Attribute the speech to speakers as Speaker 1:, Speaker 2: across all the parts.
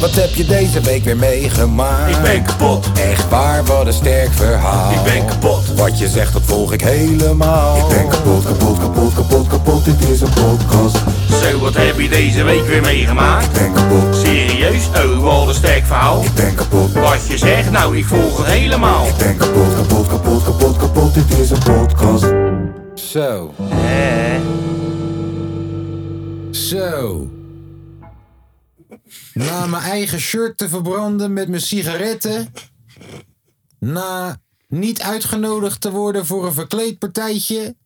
Speaker 1: Wat heb je deze week weer meegemaakt?
Speaker 2: Ik ben kapot.
Speaker 1: Echt waar, wat een sterk verhaal.
Speaker 2: Ik ben kapot.
Speaker 1: Wat je zegt, dat volg ik helemaal.
Speaker 3: Ik ben kapot, kapot, kapot, kapot, kapot, dit is een podcast.
Speaker 2: Zo, wat heb je deze week weer meegemaakt?
Speaker 3: Ik ben kapot,
Speaker 2: Serieus? Oh, wat een sterk verhaal.
Speaker 3: ik ben kapot,
Speaker 2: Wat je zegt, nou, ik volg het helemaal.
Speaker 3: ik ben kapot, kapot, kapot, kapot, kapot, dit is een podcast.
Speaker 1: Zo. Zo. Na mijn eigen shirt te verbranden met mijn sigaretten. Na niet uitgenodigd te worden voor een verkleedpartijtje.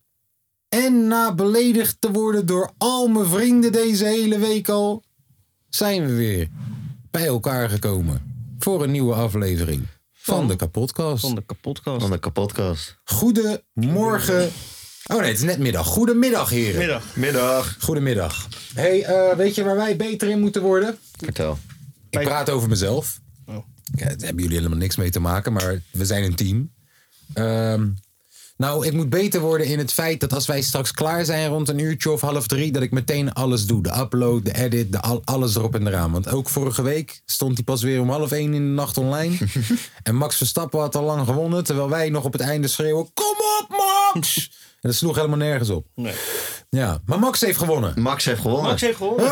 Speaker 1: En na beledigd te worden door al mijn vrienden deze hele week al. Zijn we weer bij elkaar gekomen. Voor een nieuwe aflevering van de kapotcast.
Speaker 4: Van de kapotkast.
Speaker 5: Van de kapotkast.
Speaker 1: Goedemorgen. Oh nee, het is net middag. Goedemiddag, heren.
Speaker 5: Middag.
Speaker 1: Goedemiddag. hey, eh, weet je waar wij beter in moeten worden? Oh.
Speaker 5: Vertel.
Speaker 1: Ik praat over mezelf. Ja, daar hebben jullie helemaal niks mee te maken, maar we zijn een team. Ehm, nou, ik moet beter worden in het feit dat als wij straks klaar zijn rond een uurtje of half drie, dat ik meteen alles doe. De upload, de edit, de al- alles erop en eraan. Want ook vorige week stond hij pas weer om half één in de nacht online. en Max Verstappen had al lang gewonnen, terwijl wij nog op het einde schreeuwen: Kom op, Max! En dat sloeg helemaal nergens op.
Speaker 4: Nee.
Speaker 1: Ja, maar Max heeft gewonnen.
Speaker 5: Max heeft gewonnen.
Speaker 4: Max heeft gewonnen.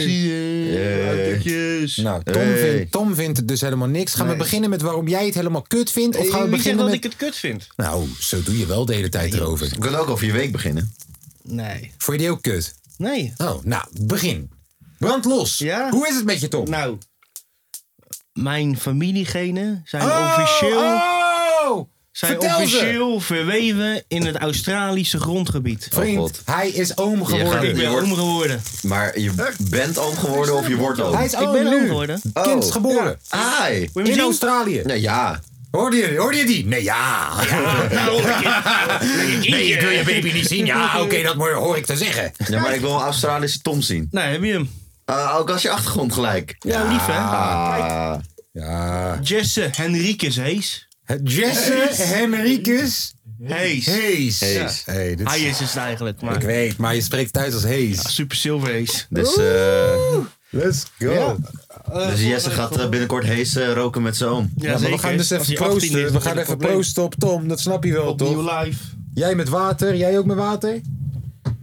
Speaker 5: Zie je.
Speaker 1: Nou, Tom,
Speaker 5: Hey.
Speaker 1: vindt, Tom vindt het dus helemaal niks. Gaan we beginnen met waarom jij het helemaal kut vindt? Of
Speaker 4: Hey,
Speaker 1: gaan we
Speaker 4: wie zegt dat
Speaker 1: beginnen met...
Speaker 4: Eh, ik het kut vind?
Speaker 1: Nou, zo doe je wel de hele tijd erover.
Speaker 5: We kunnen ook over je week beginnen.
Speaker 4: Nee.
Speaker 1: Vond je die ook kut?
Speaker 4: Nee.
Speaker 1: Oh, nou, begin. Brand los.
Speaker 4: Ja?
Speaker 1: Hoe is het met je, Tom?
Speaker 4: Nou, mijn familiegenen zijn
Speaker 1: Oh,
Speaker 4: officieel,
Speaker 1: oh!
Speaker 4: zijn
Speaker 1: Vertel ze.
Speaker 4: officieel verweven in het Australische grondgebied.
Speaker 1: Vriend,
Speaker 5: God.
Speaker 1: hij is oom geworden.
Speaker 4: ik ben
Speaker 5: Je wordt-
Speaker 4: oom geworden.
Speaker 5: Maar je bent oom geworden of je wordt
Speaker 1: Hij
Speaker 5: oom?
Speaker 1: is
Speaker 4: Ik
Speaker 1: oom
Speaker 4: ben
Speaker 1: nu.
Speaker 4: oom geworden.
Speaker 1: Kind is
Speaker 5: Oh.
Speaker 1: geboren.
Speaker 5: Ai.
Speaker 4: Wil je
Speaker 1: In
Speaker 4: hem zien?
Speaker 1: Australië.
Speaker 5: Nou ja.
Speaker 1: Hoorde, je, hoorde je die? Nee, ja.
Speaker 4: nou,
Speaker 1: nee, je wil je baby niet zien. Ja, Ah, oké, dat mo- hoor ik te zeggen.
Speaker 5: ja. Maar ik wil een Australische Tom zien.
Speaker 4: Nou, heb je hem.
Speaker 5: Ah, ook als je achtergrond gelijk.
Speaker 4: Nou, lief hè.
Speaker 5: Ah.
Speaker 1: Ja.
Speaker 4: Jesse Henriques Hees.
Speaker 1: Jesse Henriques
Speaker 4: Hees.
Speaker 1: Hayes.
Speaker 5: Hayes.
Speaker 1: Ja. Hey, dit is-
Speaker 4: Hij is het eigenlijk, maar
Speaker 1: Ik weet, maar je spreekt thuis als Hayes.
Speaker 4: super zilver Hees.
Speaker 5: Dus, eh
Speaker 1: Let's go. Ja,
Speaker 5: dus Jesse gaat eh, binnenkort hees eh, roken met zijn oom.
Speaker 4: Ja,
Speaker 1: maar
Speaker 4: zeker.
Speaker 1: we gaan dus
Speaker 4: Als hij
Speaker 1: even
Speaker 4: 18 is,
Speaker 1: proosten. We
Speaker 4: wordt
Speaker 1: gaan
Speaker 4: het
Speaker 1: even
Speaker 4: probleem.
Speaker 1: proosten op Tom, dat snap je wel toch?
Speaker 4: Nieuw live.
Speaker 1: Jij met water, jij ook met water?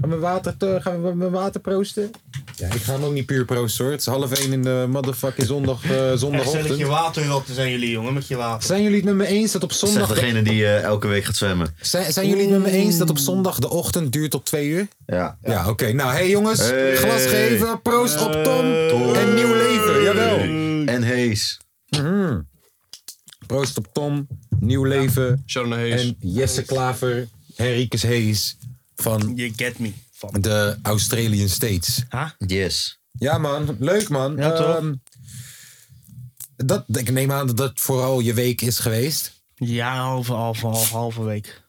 Speaker 1: Gaan we, water, te- gaan we met water proosten? Ja, ik ga hem ook niet puur proosten hoor. Het is half één in de motherfucking zondag, eh,
Speaker 4: Echt stelletje
Speaker 1: zondagochtend.
Speaker 4: waterratten zijn jullie, jongen, met je water.
Speaker 1: Zijn jullie het met me eens dat op
Speaker 5: Zegt
Speaker 1: zondag...
Speaker 5: degene die eh, elke week gaat zwemmen.
Speaker 1: Zijn, zijn jullie het met me eens dat op zondag de ochtend duurt tot twee uur?
Speaker 5: Ja.
Speaker 1: Ja, oké. Nou, hey jongens.
Speaker 5: Hey.
Speaker 1: Glas geven. Proost op Tom. En nieuw leven. Jawel. Mhm.
Speaker 5: En hees.
Speaker 1: Proost op Tom. Nieuw leven.
Speaker 6: Sharon Hayes.
Speaker 1: En Jesse Klaver. Henrikus Hayes. Van
Speaker 4: You get me. Van.
Speaker 1: de Australian States.
Speaker 4: Ha?
Speaker 5: Yes.
Speaker 1: Ja man. Leuk man.
Speaker 4: Ja, toch?
Speaker 1: Ehm, dat, ik neem aan dat dat vooral je week is geweest.
Speaker 4: Ja, halve, halve, halve, halve week.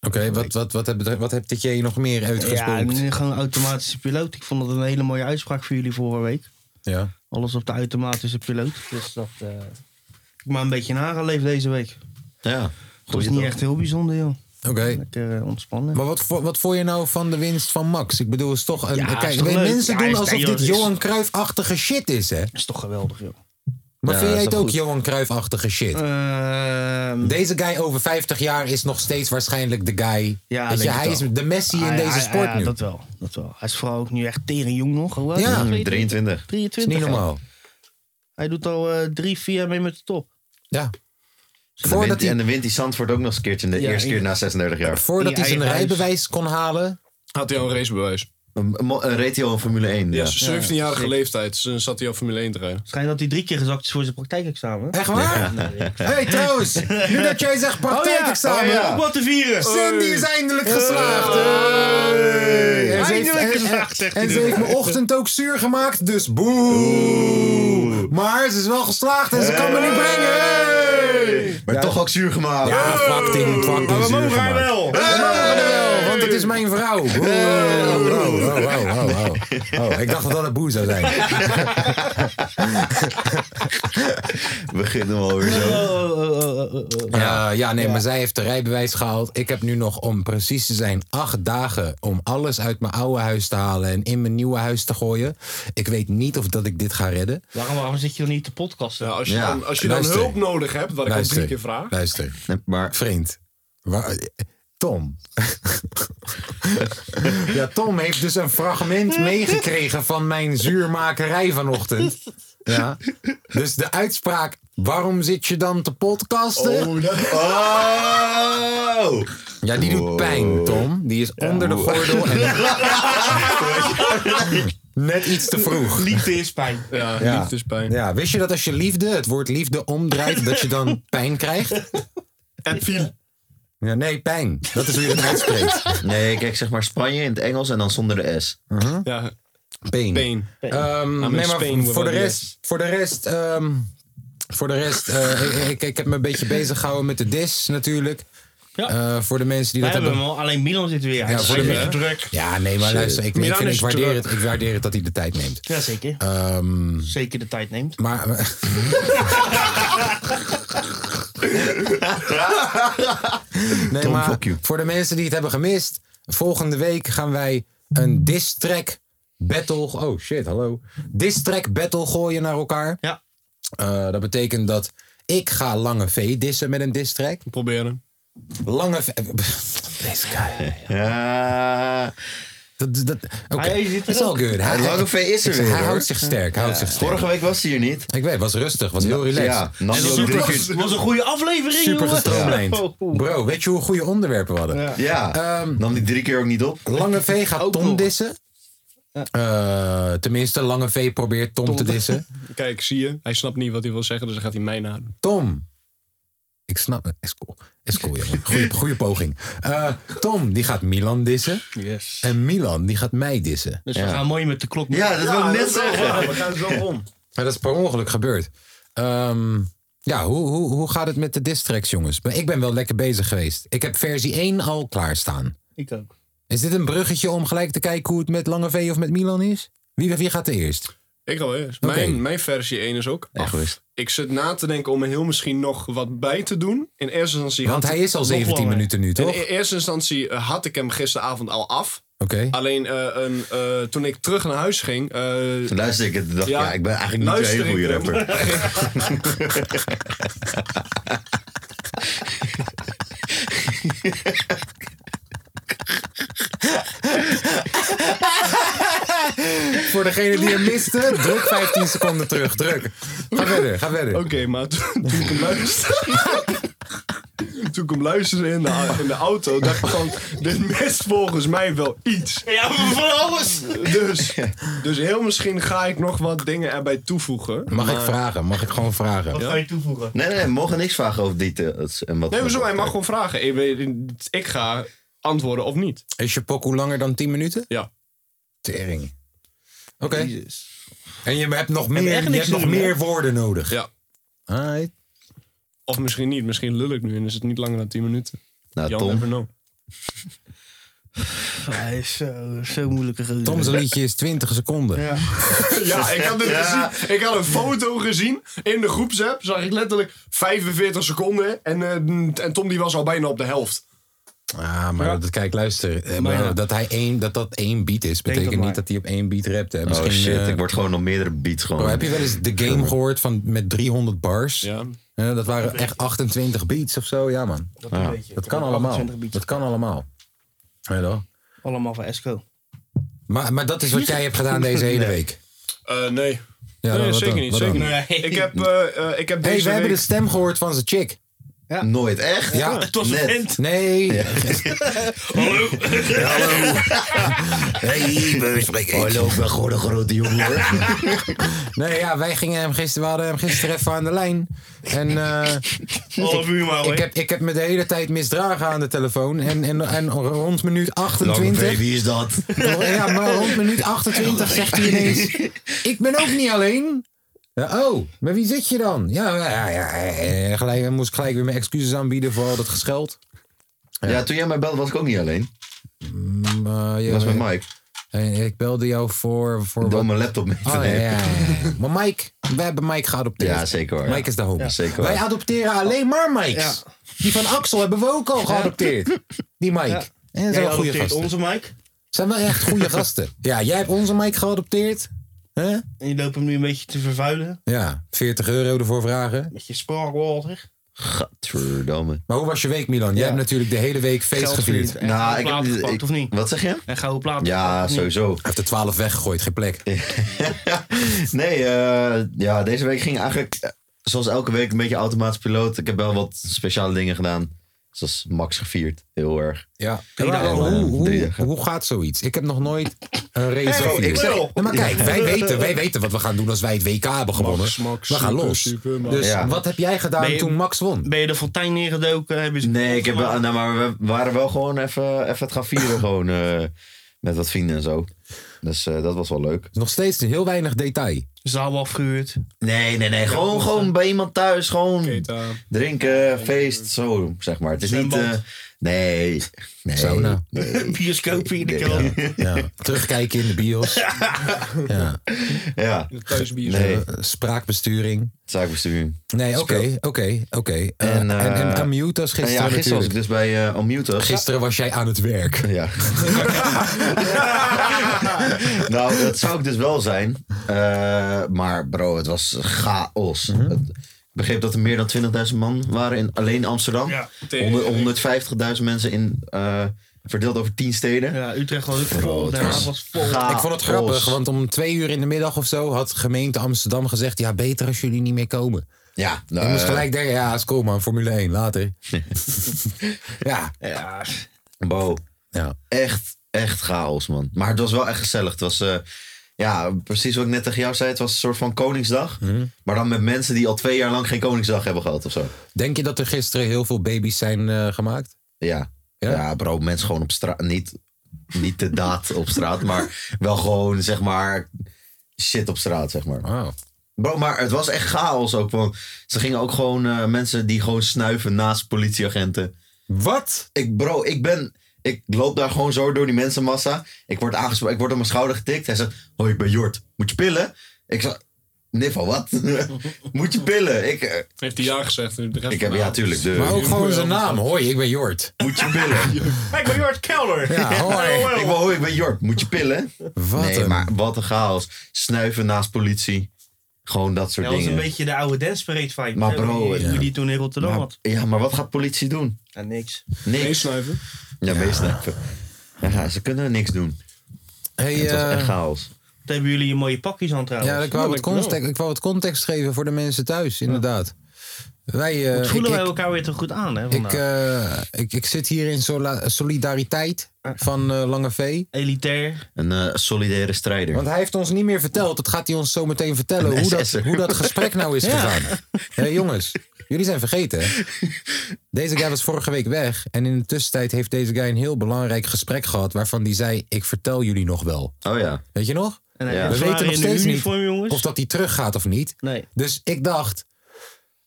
Speaker 1: Oké, wat, wat, wat, heb, wat heb dit je nog meer
Speaker 4: Ja,
Speaker 1: uitgesproken?
Speaker 4: en gewoon automatische piloot. Ik vond dat een hele mooie uitspraak voor jullie vorige week.
Speaker 1: Ja.
Speaker 4: Alles op de automatische piloot. Dus dat eh, heb ik maar een beetje nageleefd deze week.
Speaker 5: Ja.
Speaker 4: Dat is niet echt heel bijzonder, joh.
Speaker 1: Oké.
Speaker 4: Lekker eh, ontspannen.
Speaker 1: Maar wat, vo- wat vond je nou van de winst van Max? Ik bedoel, het is toch een.
Speaker 4: Ja,
Speaker 1: kijk,
Speaker 4: is toch leuk?
Speaker 1: mensen
Speaker 4: Ja,
Speaker 1: doen
Speaker 4: is-
Speaker 1: alsof
Speaker 4: ja,
Speaker 1: dit
Speaker 4: is-
Speaker 1: Johan Cruijff-achtige shit is, hè?
Speaker 4: is toch geweldig, joh.
Speaker 1: Maar
Speaker 5: Ja,
Speaker 1: vind jij
Speaker 5: is
Speaker 1: het
Speaker 5: toch
Speaker 1: ook
Speaker 5: goed.
Speaker 1: Johan Cruijff-achtige shit?
Speaker 4: Ehm,
Speaker 1: Deze guy over 50 jaar is nog steeds waarschijnlijk de guy.
Speaker 4: Ja,
Speaker 1: Weet je,
Speaker 4: denk ik
Speaker 1: hij is
Speaker 4: wel.
Speaker 1: de Messi in
Speaker 4: ah, ja,
Speaker 1: deze
Speaker 4: ja,
Speaker 1: sport
Speaker 4: ja,
Speaker 1: nu.
Speaker 4: dat wel. Dat wel. Hij is vooral ook nu echt tering jong nog. Hoe oud
Speaker 1: Ja.
Speaker 4: is hij?
Speaker 5: 23.
Speaker 4: 23.
Speaker 1: is niet
Speaker 4: hè?
Speaker 1: normaal.
Speaker 4: Hij doet al eh, drie, vier jaar mee met de top.
Speaker 1: Ja.
Speaker 5: En de
Speaker 1: Voordat
Speaker 5: wint-
Speaker 1: hij,
Speaker 5: En dan wint die Zandvoort ook nog eens een keertje. in De
Speaker 4: Ja,
Speaker 5: eerste keer na 36 jaar.
Speaker 1: voordat
Speaker 4: in
Speaker 1: hij zijn
Speaker 4: eigen huis.
Speaker 1: rijbewijs kon halen.
Speaker 6: Had hij al een racebewijs?
Speaker 5: Een, een mo- een ratio in Formule 1. Ja.
Speaker 6: Ja, zijn 17-jarige
Speaker 4: zeker.
Speaker 6: leeftijd. Ze zat hij al Formule 1 te rijden.
Speaker 4: Schijnt dat hij drie keer gezakt is voor zijn praktijkexamen.
Speaker 1: Echt waar? hey, trouwens, nu dat jij zegt praktijkexamen.
Speaker 5: Oh, ja.
Speaker 4: Om wat te vieren.
Speaker 1: Cindy is eindelijk geslaagd. En ze heeft-
Speaker 4: Eindelijk
Speaker 1: en-
Speaker 4: geslaagd, zegt
Speaker 1: En,
Speaker 4: hij
Speaker 1: ze
Speaker 4: nu.
Speaker 1: heeft mijn ochtend ook zuur gemaakt, dus boe. Maar ze is wel geslaagd en ze kan me niet brengen.
Speaker 5: Maar toch ook zuur gemaakt.
Speaker 1: Ja, fucking, fucking
Speaker 4: Maar we
Speaker 1: zuur
Speaker 4: mogen haar
Speaker 1: gemaakt.
Speaker 4: wel.
Speaker 1: Ja, want het is mijn vrouw. Oh, oh, oh, oh, oh, oh, oh. Oh, ik dacht dat dat een boer zou zijn.
Speaker 5: Beginnen we alweer zo.
Speaker 1: Ja, ja nee, maar zij heeft de rijbewijs gehaald. Ik heb nu nog, om precies te zijn, acht dagen om alles uit mijn oude huis te halen en in mijn nieuwe huis te gooien. Ik weet niet of dat ik dit ga redden.
Speaker 4: Waarom, waarom zit je dan niet te podcasten?
Speaker 6: Ja, als je
Speaker 5: Ja,
Speaker 6: dan, als je dan
Speaker 1: luister.
Speaker 6: hulp nodig hebt, wat ik al drie keer vraag.
Speaker 1: luister.
Speaker 5: Nee, Maar
Speaker 1: Vriend. Waar- Tom. ja, Tom heeft dus een fragment meegekregen van mijn zuurmakerij vanochtend. Ja. Dus de uitspraak, waarom zit je dan te podcasten?
Speaker 5: Oh!
Speaker 1: Ja, die doet pijn, Tom. Die is onder de gordel en net iets te vroeg.
Speaker 4: Liefde is pijn.
Speaker 6: Ja,
Speaker 1: Ja.
Speaker 6: liefdespijn.
Speaker 1: Ja, wist je dat als je liefde, het woord liefde omdraait, dat je dan pijn krijgt?
Speaker 6: En viel.
Speaker 1: Ja, nee, pijn. Dat is hoe je het uitspreekt.
Speaker 5: Nee, kijk, zeg maar Spanje in het Engels en dan zonder de S.
Speaker 6: Ja,
Speaker 1: Pijn.
Speaker 6: pain.
Speaker 1: Ehm,
Speaker 6: I'm
Speaker 1: nee,
Speaker 6: in
Speaker 1: maar
Speaker 6: Spain
Speaker 1: voor
Speaker 6: without
Speaker 1: de rest, voor de rest, ehm, voor de rest, eh, ik, ik, ik heb me een beetje bezig gehouden met de dis natuurlijk.
Speaker 4: Ja.
Speaker 1: Eh, voor de mensen die
Speaker 4: Wij
Speaker 1: dat
Speaker 4: hebben
Speaker 1: hebben.
Speaker 4: hem al, alleen Milan zit weer. Ja,
Speaker 1: voor de
Speaker 4: weer
Speaker 1: Milan.
Speaker 4: druk.
Speaker 1: Ja, nee, maar luister, ik, ik,
Speaker 6: Milan
Speaker 1: vind,
Speaker 6: is
Speaker 1: ik, waardeer
Speaker 6: druk.
Speaker 1: het, ik waardeer het dat hij de tijd neemt.
Speaker 4: Jazeker.
Speaker 1: Ehm,
Speaker 4: Zeker de tijd neemt.
Speaker 1: maar eh, nee,
Speaker 5: Tom,
Speaker 1: maar
Speaker 5: fuck you.
Speaker 1: voor de mensen die het hebben gemist, volgende week gaan wij een diss-track battle. Oh shit, hallo. Diss-track battle gooien naar elkaar.
Speaker 4: Ja.
Speaker 1: Eh, dat betekent dat ik ga Lange V dissen met een diss-track.
Speaker 6: Proberen.
Speaker 1: Lange V. Deze guy.
Speaker 5: Ja.
Speaker 1: Dat, dat, oké.
Speaker 4: Hij zit
Speaker 1: It's
Speaker 4: erop.
Speaker 1: all good. Hij,
Speaker 5: Lange V is er weer,
Speaker 1: Hij
Speaker 5: hoor.
Speaker 1: houdt zich sterk. Hij houdt zich sterk.
Speaker 5: Vorige week was hij hier niet.
Speaker 1: Ik weet, was rustig, was heel relaxed.
Speaker 5: Ja, nam hij ook
Speaker 4: Super,
Speaker 5: drie
Speaker 4: was,
Speaker 5: keer-
Speaker 4: een goede aflevering,
Speaker 1: Super
Speaker 4: jongen.
Speaker 1: gestroomlijnd.
Speaker 4: Oh, oh.
Speaker 1: Bro, weet je hoe goede onderwerpen we hadden? Ehm,
Speaker 5: Ja, nam die drie keer ook niet op.
Speaker 1: Lange V gaat
Speaker 4: Ook
Speaker 1: Tom
Speaker 4: nog.
Speaker 1: dissen. Eh, tenminste, Lange V probeert Tom, te dissen.
Speaker 6: Kijk, zie je? Hij snapt niet wat hij wil zeggen, dus dan gaat hij mij nadoen.
Speaker 1: Tom. Ik snap het. Is cool. Is cool, jongen. Goeie, goeie poging. Eh, Tom, die gaat Milan dissen.
Speaker 6: Yes.
Speaker 1: En Milan, die gaat mij dissen.
Speaker 4: Dus we gaan mooi met de klok.
Speaker 5: Ja, dat wil ik net zeggen.
Speaker 6: we gaan zo om.
Speaker 1: Maar dat is per ongeluk gebeurd. Ehm, ja, hoe, hoe, hoe gaat het met de distracts, jongens? Maar ik ben wel lekker bezig geweest. Ik heb versie 1 al klaarstaan.
Speaker 4: Ik ook.
Speaker 1: Is dit een bruggetje om gelijk te kijken hoe het met Lange V of met Milan is? Wie, wie gaat er eerst?
Speaker 6: Ik ga wel eerst.
Speaker 1: Oké.
Speaker 6: Mijn, mijn versie 1 is ook af.
Speaker 5: goed.
Speaker 6: Ik zit na te denken om er heel misschien nog wat bij te doen. In eerste instantie
Speaker 1: Want
Speaker 6: had
Speaker 1: hij is al 17
Speaker 4: langer.
Speaker 1: minuten nu, toch?
Speaker 6: In e- eerste instantie eh, had ik hem gisteravond al af.
Speaker 1: Oké.
Speaker 6: Alleen eh, een, eh, toen ik terug naar huis ging. eh,
Speaker 5: Toen luisterde ik het en dacht, ja,
Speaker 6: Ja,
Speaker 5: ik ben eigenlijk niet zo'n
Speaker 6: luister
Speaker 5: hele goede
Speaker 6: ik hem.
Speaker 5: rapper.
Speaker 1: Voor degene die hem miste, druk 15 seconden terug. Druk. Ga verder, ga verder.
Speaker 6: Oké, maar toen, toen ik hem luisterde. toen ik hem luisterde in de, in de auto. dacht ik van. Dit mist volgens mij wel iets.
Speaker 4: Ja, voor alles.
Speaker 6: Dus, dus heel misschien ga ik nog wat dingen erbij toevoegen.
Speaker 1: Mag ik vragen? Mag ik gewoon vragen?
Speaker 4: Wat ga je toevoegen?
Speaker 5: Nee, nee, nee, we mogen niks vragen over details en wat.
Speaker 6: Nee, maar zo, hij mag gewoon vragen. Ik, weet- ik ga antwoorden of niet.
Speaker 1: Is je pokoe langer dan 10 minuten?
Speaker 6: Ja.
Speaker 1: Tering. Oké. En je hebt nog meer,
Speaker 4: echt
Speaker 1: je
Speaker 4: niks
Speaker 1: hebt
Speaker 4: te
Speaker 1: nog
Speaker 4: doen, hè?
Speaker 1: meer woorden nodig.
Speaker 6: ja.
Speaker 1: Alright.
Speaker 6: Of misschien niet. Misschien lul ik nu en is het niet langer dan 10 minuten.
Speaker 5: Nou,
Speaker 6: Jan,
Speaker 5: Tom.
Speaker 6: never know.
Speaker 4: Hij is zo, zo moeilijke gozer.
Speaker 1: Tom's liedje is 20 seconden.
Speaker 6: Ja, ik had, het
Speaker 5: Ja.
Speaker 6: gezien. ik had een foto gezien in de groepsapp. Zag ik letterlijk 45 seconden. En, eh, en Tom die was al bijna op de helft.
Speaker 1: Ah, maar dat, kijk, luister. eh,
Speaker 4: Maar
Speaker 1: maar
Speaker 4: ja.
Speaker 1: dat, hij één, dat dat één beat is, betekent
Speaker 4: dat maar.
Speaker 1: niet dat hij op één beat rapt. Hè.
Speaker 5: Oh
Speaker 1: Misschien,
Speaker 5: shit,
Speaker 1: eh,
Speaker 5: ik word gewoon op meerdere beats
Speaker 1: bro,
Speaker 5: gewoon.
Speaker 1: heb je wel eens The Game gehoord van, met 300 bars?
Speaker 6: Ja.
Speaker 1: Eh, dat waren echt 28 beats of zo. Ja, man.
Speaker 4: Dat, een beetje.
Speaker 1: Dat
Speaker 4: 28
Speaker 1: kan allemaal.
Speaker 4: beats.
Speaker 1: Dat kan allemaal. Ja, toch?
Speaker 4: Allemaal van Esco.
Speaker 1: Maar, maar dat is wat jij hebt gedaan deze hele week.
Speaker 6: Eh, nee.
Speaker 1: Ja,
Speaker 6: nee,
Speaker 1: wat
Speaker 6: zeker
Speaker 1: dan?
Speaker 6: niet.
Speaker 1: Wat dan?
Speaker 6: Zeker niet.
Speaker 4: Nee.
Speaker 6: Ik heb, eh, eh, ik heb
Speaker 1: Hé, hey,
Speaker 6: deze
Speaker 1: we hebben de
Speaker 6: week...
Speaker 1: stem gehoord van zijn chick.
Speaker 5: Nooit, echt?
Speaker 1: Ja.
Speaker 4: Het was
Speaker 5: Net.
Speaker 4: een vent.
Speaker 1: Nee.
Speaker 5: Hey, we spreken. Hallo, ik ben gewoon een grote jongen hoor.
Speaker 1: Nee, ja, wij gingen hem gisteren, we hadden hem gisteren even aan de lijn. En eh,
Speaker 4: Half uur maar,
Speaker 1: ik, heb, ik heb me de hele tijd misdragen aan de telefoon. En, en, en rond minuut
Speaker 5: Lange
Speaker 1: 28.
Speaker 5: baby is dat.
Speaker 1: Ja, maar rond minuut 28 zegt hij ineens: Ik ben ook niet alleen. Ja, oh, met wie zit je dan? Ja, ja, ja, ja, gelijk, dan moest ik gelijk weer mijn excuses aanbieden voor al dat gescheld.
Speaker 5: Ja, toen jij mij belde was ik ook niet alleen.
Speaker 1: eh, je-
Speaker 5: was met Mike.
Speaker 1: Eh, ik belde jou voor... voor
Speaker 5: Door
Speaker 1: wat-
Speaker 5: mijn laptop mee te
Speaker 1: Oh, ja,
Speaker 5: nemen.
Speaker 1: ja, ja. Maar Mike, wij hebben Mike geadopteerd.
Speaker 5: Ja, zeker hoor.
Speaker 1: Mike is de homie.
Speaker 5: Ja, zeker
Speaker 1: wij
Speaker 5: hoor.
Speaker 1: adopteren alleen maar Mikes. Die van Axel hebben we ook al geadopteerd. Die Mike.
Speaker 4: Ja.
Speaker 1: En dat zijn
Speaker 4: Jij
Speaker 1: wel goede
Speaker 4: adopteert
Speaker 1: gasten.
Speaker 4: onze Mike.
Speaker 1: Zijn wel echt goede gasten. Ja, jij hebt onze Mike geadopteerd. hè?
Speaker 4: En je loopt hem nu een beetje te vervuilen.
Speaker 1: Ja, 40 euro ervoor vragen.
Speaker 4: Met je spraakwater.
Speaker 5: Gadverdamme.
Speaker 1: Maar hoe was je week, Milan? Jij hebt natuurlijk de hele week feest gevierd. Hij
Speaker 4: En nou, ik heb
Speaker 5: ik-
Speaker 4: gepakt, of niet?
Speaker 5: Wat zeg je?
Speaker 4: En gouden platen. gepakt,
Speaker 5: Ja,
Speaker 4: of niet?
Speaker 5: sowieso.
Speaker 1: heeft de 12 weggegooid, geen plek.
Speaker 5: Nee, eh, ja, deze week ging eigenlijk eh, zoals elke week een beetje automatisch piloot. Ik heb wel wat speciale dingen gedaan. Zoals Max gevierd, heel erg.
Speaker 1: Ja.
Speaker 5: dagen,
Speaker 1: hoe,
Speaker 5: eh, drie
Speaker 1: hoe,
Speaker 5: dagen.
Speaker 1: hoe gaat zoiets? Ik heb nog nooit een race gevierd.
Speaker 5: ik zeg-
Speaker 1: Nee, maar kijk, wij weten, wij weten wat we gaan doen als wij het WK hebben gewonnen.
Speaker 6: Max,
Speaker 1: we gaan
Speaker 6: super,
Speaker 1: los.
Speaker 6: super, Max.
Speaker 1: dus
Speaker 5: Ja.
Speaker 1: wat heb jij gedaan
Speaker 4: Ben je-
Speaker 1: toen Max won?
Speaker 4: Ben je eh, de fontein neergedoken? Hebben ze
Speaker 5: Nee, ik heb wel, nou, maar we waren wel gewoon even, even het gaan vieren. gewoon eh, met wat vrienden en zo. Dus eh, dat was wel leuk.
Speaker 1: Nog steeds heel weinig detail.
Speaker 4: zaal afgehuurd.
Speaker 5: Nee, nee, nee. Gewoon, gewoon bij iemand thuis. Gewoon
Speaker 6: Keta.
Speaker 5: drinken, feest, zo zeg maar. Het is niet...
Speaker 4: Zwembad.
Speaker 5: eh, nee. Nee.
Speaker 1: Sauna.
Speaker 5: Nee.
Speaker 4: Bioscoop in de
Speaker 5: Nee,
Speaker 4: kelder.
Speaker 1: Ja. Terugkijken in de bios. Ja.
Speaker 5: Ja,
Speaker 6: Thuisbier.
Speaker 5: nee.
Speaker 1: Eh, spraakbesturing.
Speaker 5: Zaakbestuur.
Speaker 1: Nee, oké, oké, oké. Eh,
Speaker 5: En,
Speaker 1: En
Speaker 5: eh,
Speaker 1: en Amute als
Speaker 5: En
Speaker 1: gisteren
Speaker 5: ja, gisteren was ik
Speaker 1: natuurlijk.
Speaker 5: dus bij eh Unmuted.
Speaker 1: Gisteren was jij aan het werk.
Speaker 5: Ja. nou, dat zou ik dus wel zijn. Eh, maar bro, het was chaos.
Speaker 1: Mhm.
Speaker 5: Het- ik begreep dat er meer dan 20.000 man waren in alleen Amsterdam.
Speaker 4: Ja,
Speaker 6: tegen-
Speaker 5: Honderd- 150.000 mensen in, eh, verdeeld over 10 steden.
Speaker 4: Ja, Utrecht was ook vol.
Speaker 6: Oh,
Speaker 5: het
Speaker 4: Den Haag
Speaker 5: was-
Speaker 4: was vol.
Speaker 1: Ik vond het grappig,
Speaker 5: Chaos.
Speaker 1: want om twee uur in de middag of zo had gemeente Amsterdam gezegd: ja, beter als jullie niet meer komen.
Speaker 5: Ja, nou,
Speaker 1: ik moest
Speaker 5: eh,
Speaker 1: gelijk denken: ja, is cool man, Formule 1, later. ja,
Speaker 4: Ja,
Speaker 5: Bo,
Speaker 1: ja.
Speaker 5: echt, echt chaos, man. Maar het was wel echt gezellig. Het was, eh, ja, precies wat ik net tegen jou zei. Het was een soort van Koningsdag.
Speaker 1: Hm?
Speaker 5: Maar dan met mensen die al twee jaar lang geen Koningsdag hebben gehad of zo.
Speaker 1: Denk je dat er gisteren heel veel baby's zijn eh, gemaakt?
Speaker 5: Ja.
Speaker 1: Ja?
Speaker 5: Ja, bro, mensen gewoon op straat. Niet, niet de daad op straat, maar wel gewoon, zeg maar, shit op straat, zeg maar.
Speaker 1: Wow.
Speaker 5: Bro, maar het was echt chaos ook. Want ze gingen ook gewoon eh, mensen die gewoon snuiven naast politieagenten.
Speaker 1: Wat?
Speaker 5: Ik, bro, ik ben. Ik loop daar gewoon zo door die mensenmassa. Ik word aangesproken, ik word op mijn schouder getikt. Hij zegt: Hoi, ik ben Jort. Moet je pillen? Ik zeg: Niffel, wat? Moet je pillen? Ik, eh,
Speaker 6: Heeft hij ja gezegd. De rest
Speaker 5: ik heb,
Speaker 6: van de
Speaker 5: ja,
Speaker 6: avond.
Speaker 5: tuurlijk. De,
Speaker 1: Maar ook gewoon zijn naam. Hoi, ik ben Jort.
Speaker 5: Moet je pillen?
Speaker 4: Ik ben Jort Kelder.
Speaker 1: Ja, hoi.
Speaker 5: ik ben, hoi, ik ben Jort. Moet je pillen?
Speaker 1: Wat
Speaker 5: nee,
Speaker 1: een-
Speaker 5: maar wat een chaos. Snuiven naast politie. Gewoon dat soort
Speaker 4: Dat was
Speaker 5: dingen.
Speaker 4: een beetje de oude dance parade vibe.
Speaker 5: Maar bro,
Speaker 4: Hoe je
Speaker 5: ja.
Speaker 4: die toen in Rotterdam had.
Speaker 5: Ja, maar wat gaat politie doen?
Speaker 4: Ja, niks.
Speaker 5: Niks.
Speaker 6: Meesnuiven.
Speaker 5: Ja, meesnuiven. Ja, ze kunnen niks doen.
Speaker 1: Hey,
Speaker 5: Het was
Speaker 1: eh,
Speaker 5: echt chaos.
Speaker 4: Wat hebben jullie je mooie pakjes aan trouwens?
Speaker 1: ja, ik wou,
Speaker 6: Ja,
Speaker 1: wat
Speaker 6: dankjewel.
Speaker 1: context, ik wou wat context geven voor de mensen thuis, inderdaad. Wij, eh,
Speaker 4: Wat voelen
Speaker 1: ik-
Speaker 4: wij
Speaker 1: ik-
Speaker 4: elkaar weer te goed aan, hè,
Speaker 1: Ik,
Speaker 4: vandaag.
Speaker 1: eh, ik, ik zit hier in sola- solidariteit van eh, Lange V.
Speaker 4: Elitair.
Speaker 5: Een eh, solidaire strijder.
Speaker 1: Want hij heeft ons niet meer verteld. Dat gaat hij ons zo meteen vertellen.
Speaker 5: Een
Speaker 1: Hoe dat,
Speaker 5: SS'er.
Speaker 1: hoe dat gesprek nou is gegaan. Hé jongens, jullie zijn vergeten. hè? Deze guy was vorige week weg. En in de tussentijd heeft deze guy een heel belangrijk gesprek gehad. Waarvan hij zei, ik vertel jullie nog wel.
Speaker 5: Oh ja.
Speaker 1: Weet je nog?
Speaker 4: En
Speaker 5: Ja.
Speaker 4: hij
Speaker 5: We
Speaker 4: we
Speaker 1: weten nog
Speaker 4: in
Speaker 1: steeds
Speaker 4: de
Speaker 1: niet
Speaker 4: uniform, jongens.
Speaker 1: Of dat hij teruggaat of niet.
Speaker 4: Nee.
Speaker 1: Dus ik dacht,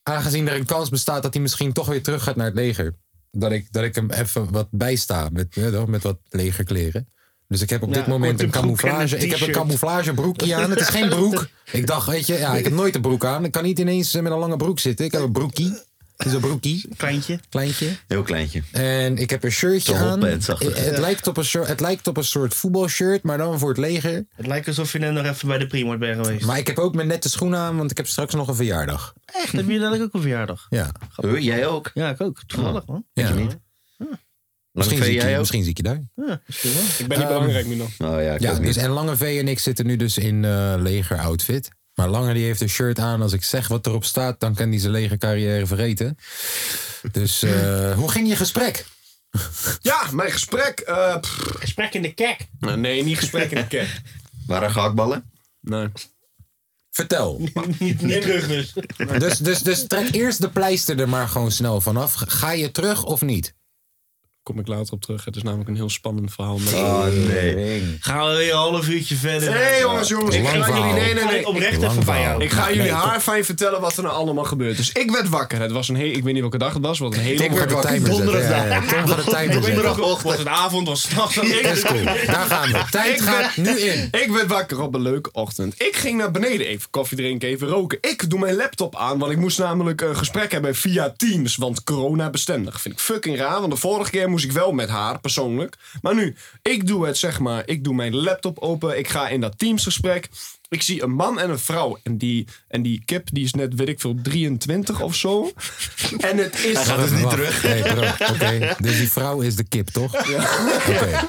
Speaker 1: aangezien er een kans bestaat dat hij misschien toch weer terug gaat naar het leger, dat ik, dat ik hem even wat bijsta met, hè, toch, met wat legerkleren. Dus ik heb op
Speaker 4: Ja,
Speaker 1: dit moment
Speaker 4: korte
Speaker 1: een
Speaker 4: broek en een
Speaker 1: camouflage. ik heb een
Speaker 4: t-shirt.
Speaker 1: camouflagebroekje aan. Het is geen broek. Ik dacht, weet je, ja, ik heb nooit een broek aan. Ik kan niet ineens eh, met een lange broek zitten. Ik heb een broekie. Het is een broekie,
Speaker 4: Kleintje.
Speaker 1: kleintje.
Speaker 5: Heel kleintje.
Speaker 1: En ik heb een shirtje
Speaker 5: Zo'n
Speaker 1: aan. Het,
Speaker 5: hotpants-achtig.
Speaker 1: het lijkt op een, soort- het lijkt op een soort voetbalshirt, maar dan voor het leger.
Speaker 4: Het lijkt alsof je net nog even bij de Primord bent geweest.
Speaker 1: Maar ik heb ook mijn nette schoenen aan, want ik heb straks nog een verjaardag.
Speaker 4: Echt, hebben jullie dadelijk ook een verjaardag?
Speaker 1: Ja.
Speaker 5: Huh, jij ook?
Speaker 4: Ja, ik ook. Toevallig, man.
Speaker 1: ja.
Speaker 4: Hm.
Speaker 5: Lange
Speaker 1: Misschien, zie
Speaker 5: V,
Speaker 1: ik je,
Speaker 5: jij ook?
Speaker 1: misschien zie ik je daar.
Speaker 4: Ja, misschien wel.
Speaker 6: Ik ben niet belangrijk, Milan.
Speaker 5: Oh ja, ik
Speaker 1: Ja,
Speaker 5: ook niet.
Speaker 1: dus en Lange V en ik zitten nu dus in eh leger outfit. Maar Lange die heeft een shirt aan. Als ik zeg wat erop staat, dan kan hij zijn legercarrière vergeten. Dus eh, hoe ging je gesprek?
Speaker 6: Ja, mijn gesprek. eh, pff,
Speaker 4: Gesprek in de kerk.
Speaker 6: nee, niet gesprek in de kerk.
Speaker 5: Waren er gehaktballen?
Speaker 6: Nee.
Speaker 1: Vertel.
Speaker 4: Niet, niet terug dus.
Speaker 1: Dus, dus, dus trek eerst de pleister er maar gewoon snel vanaf. Ga je terug of niet?
Speaker 7: Kom ik later op terug. Het is namelijk een heel spannend verhaal. Met
Speaker 5: Oh, nee.
Speaker 4: Gaan we weer een half uurtje verder.
Speaker 6: Nee, jongens, jongens. Ik
Speaker 1: Lang
Speaker 6: ga jullie...
Speaker 1: verhaal.
Speaker 6: Nee, nee,
Speaker 4: Ga
Speaker 6: nee.
Speaker 4: ik oprecht
Speaker 1: Lang
Speaker 4: even bij
Speaker 1: verhaal.
Speaker 4: jou.
Speaker 6: Ik ga
Speaker 1: Nee,
Speaker 6: jullie
Speaker 1: nee,
Speaker 6: haar fijn vertellen wat er nou allemaal gebeurt. Dus ik werd wakker.
Speaker 7: Het was een heel, ik weet niet welke dag het was. Wat een hele
Speaker 1: Tom gaat de timer zetten. Ja, ja, Tom gaat de timer zetten.
Speaker 4: Donderdagochtend. Was het avond, was het nacht.
Speaker 1: Let's go. Daar gaan we. Tijd
Speaker 6: Ik
Speaker 1: gaat
Speaker 6: ben-
Speaker 1: nu in.
Speaker 6: Ik werd wakker op een leuke ochtend. Ik ging naar beneden even koffie drinken, even roken. Ik doe mijn laptop aan, want ik moest namelijk een gesprek hebben via Teams. Want corona bestendig. Vind ik fucking raar, want de vorige keer moest ik wel met haar persoonlijk. Maar nu, ik doe het zeg maar. Ik doe mijn laptop open. Ik ga in dat Teams gesprek. Ik zie een man en een vrouw. En die, en die kip, die is net, weet ik veel, 23 of zo. En het is...
Speaker 5: gaat dus niet
Speaker 1: Wacht.
Speaker 5: terug.
Speaker 1: Nee, terug. Oké, dus die vrouw is de kip, toch? Ja. Oké.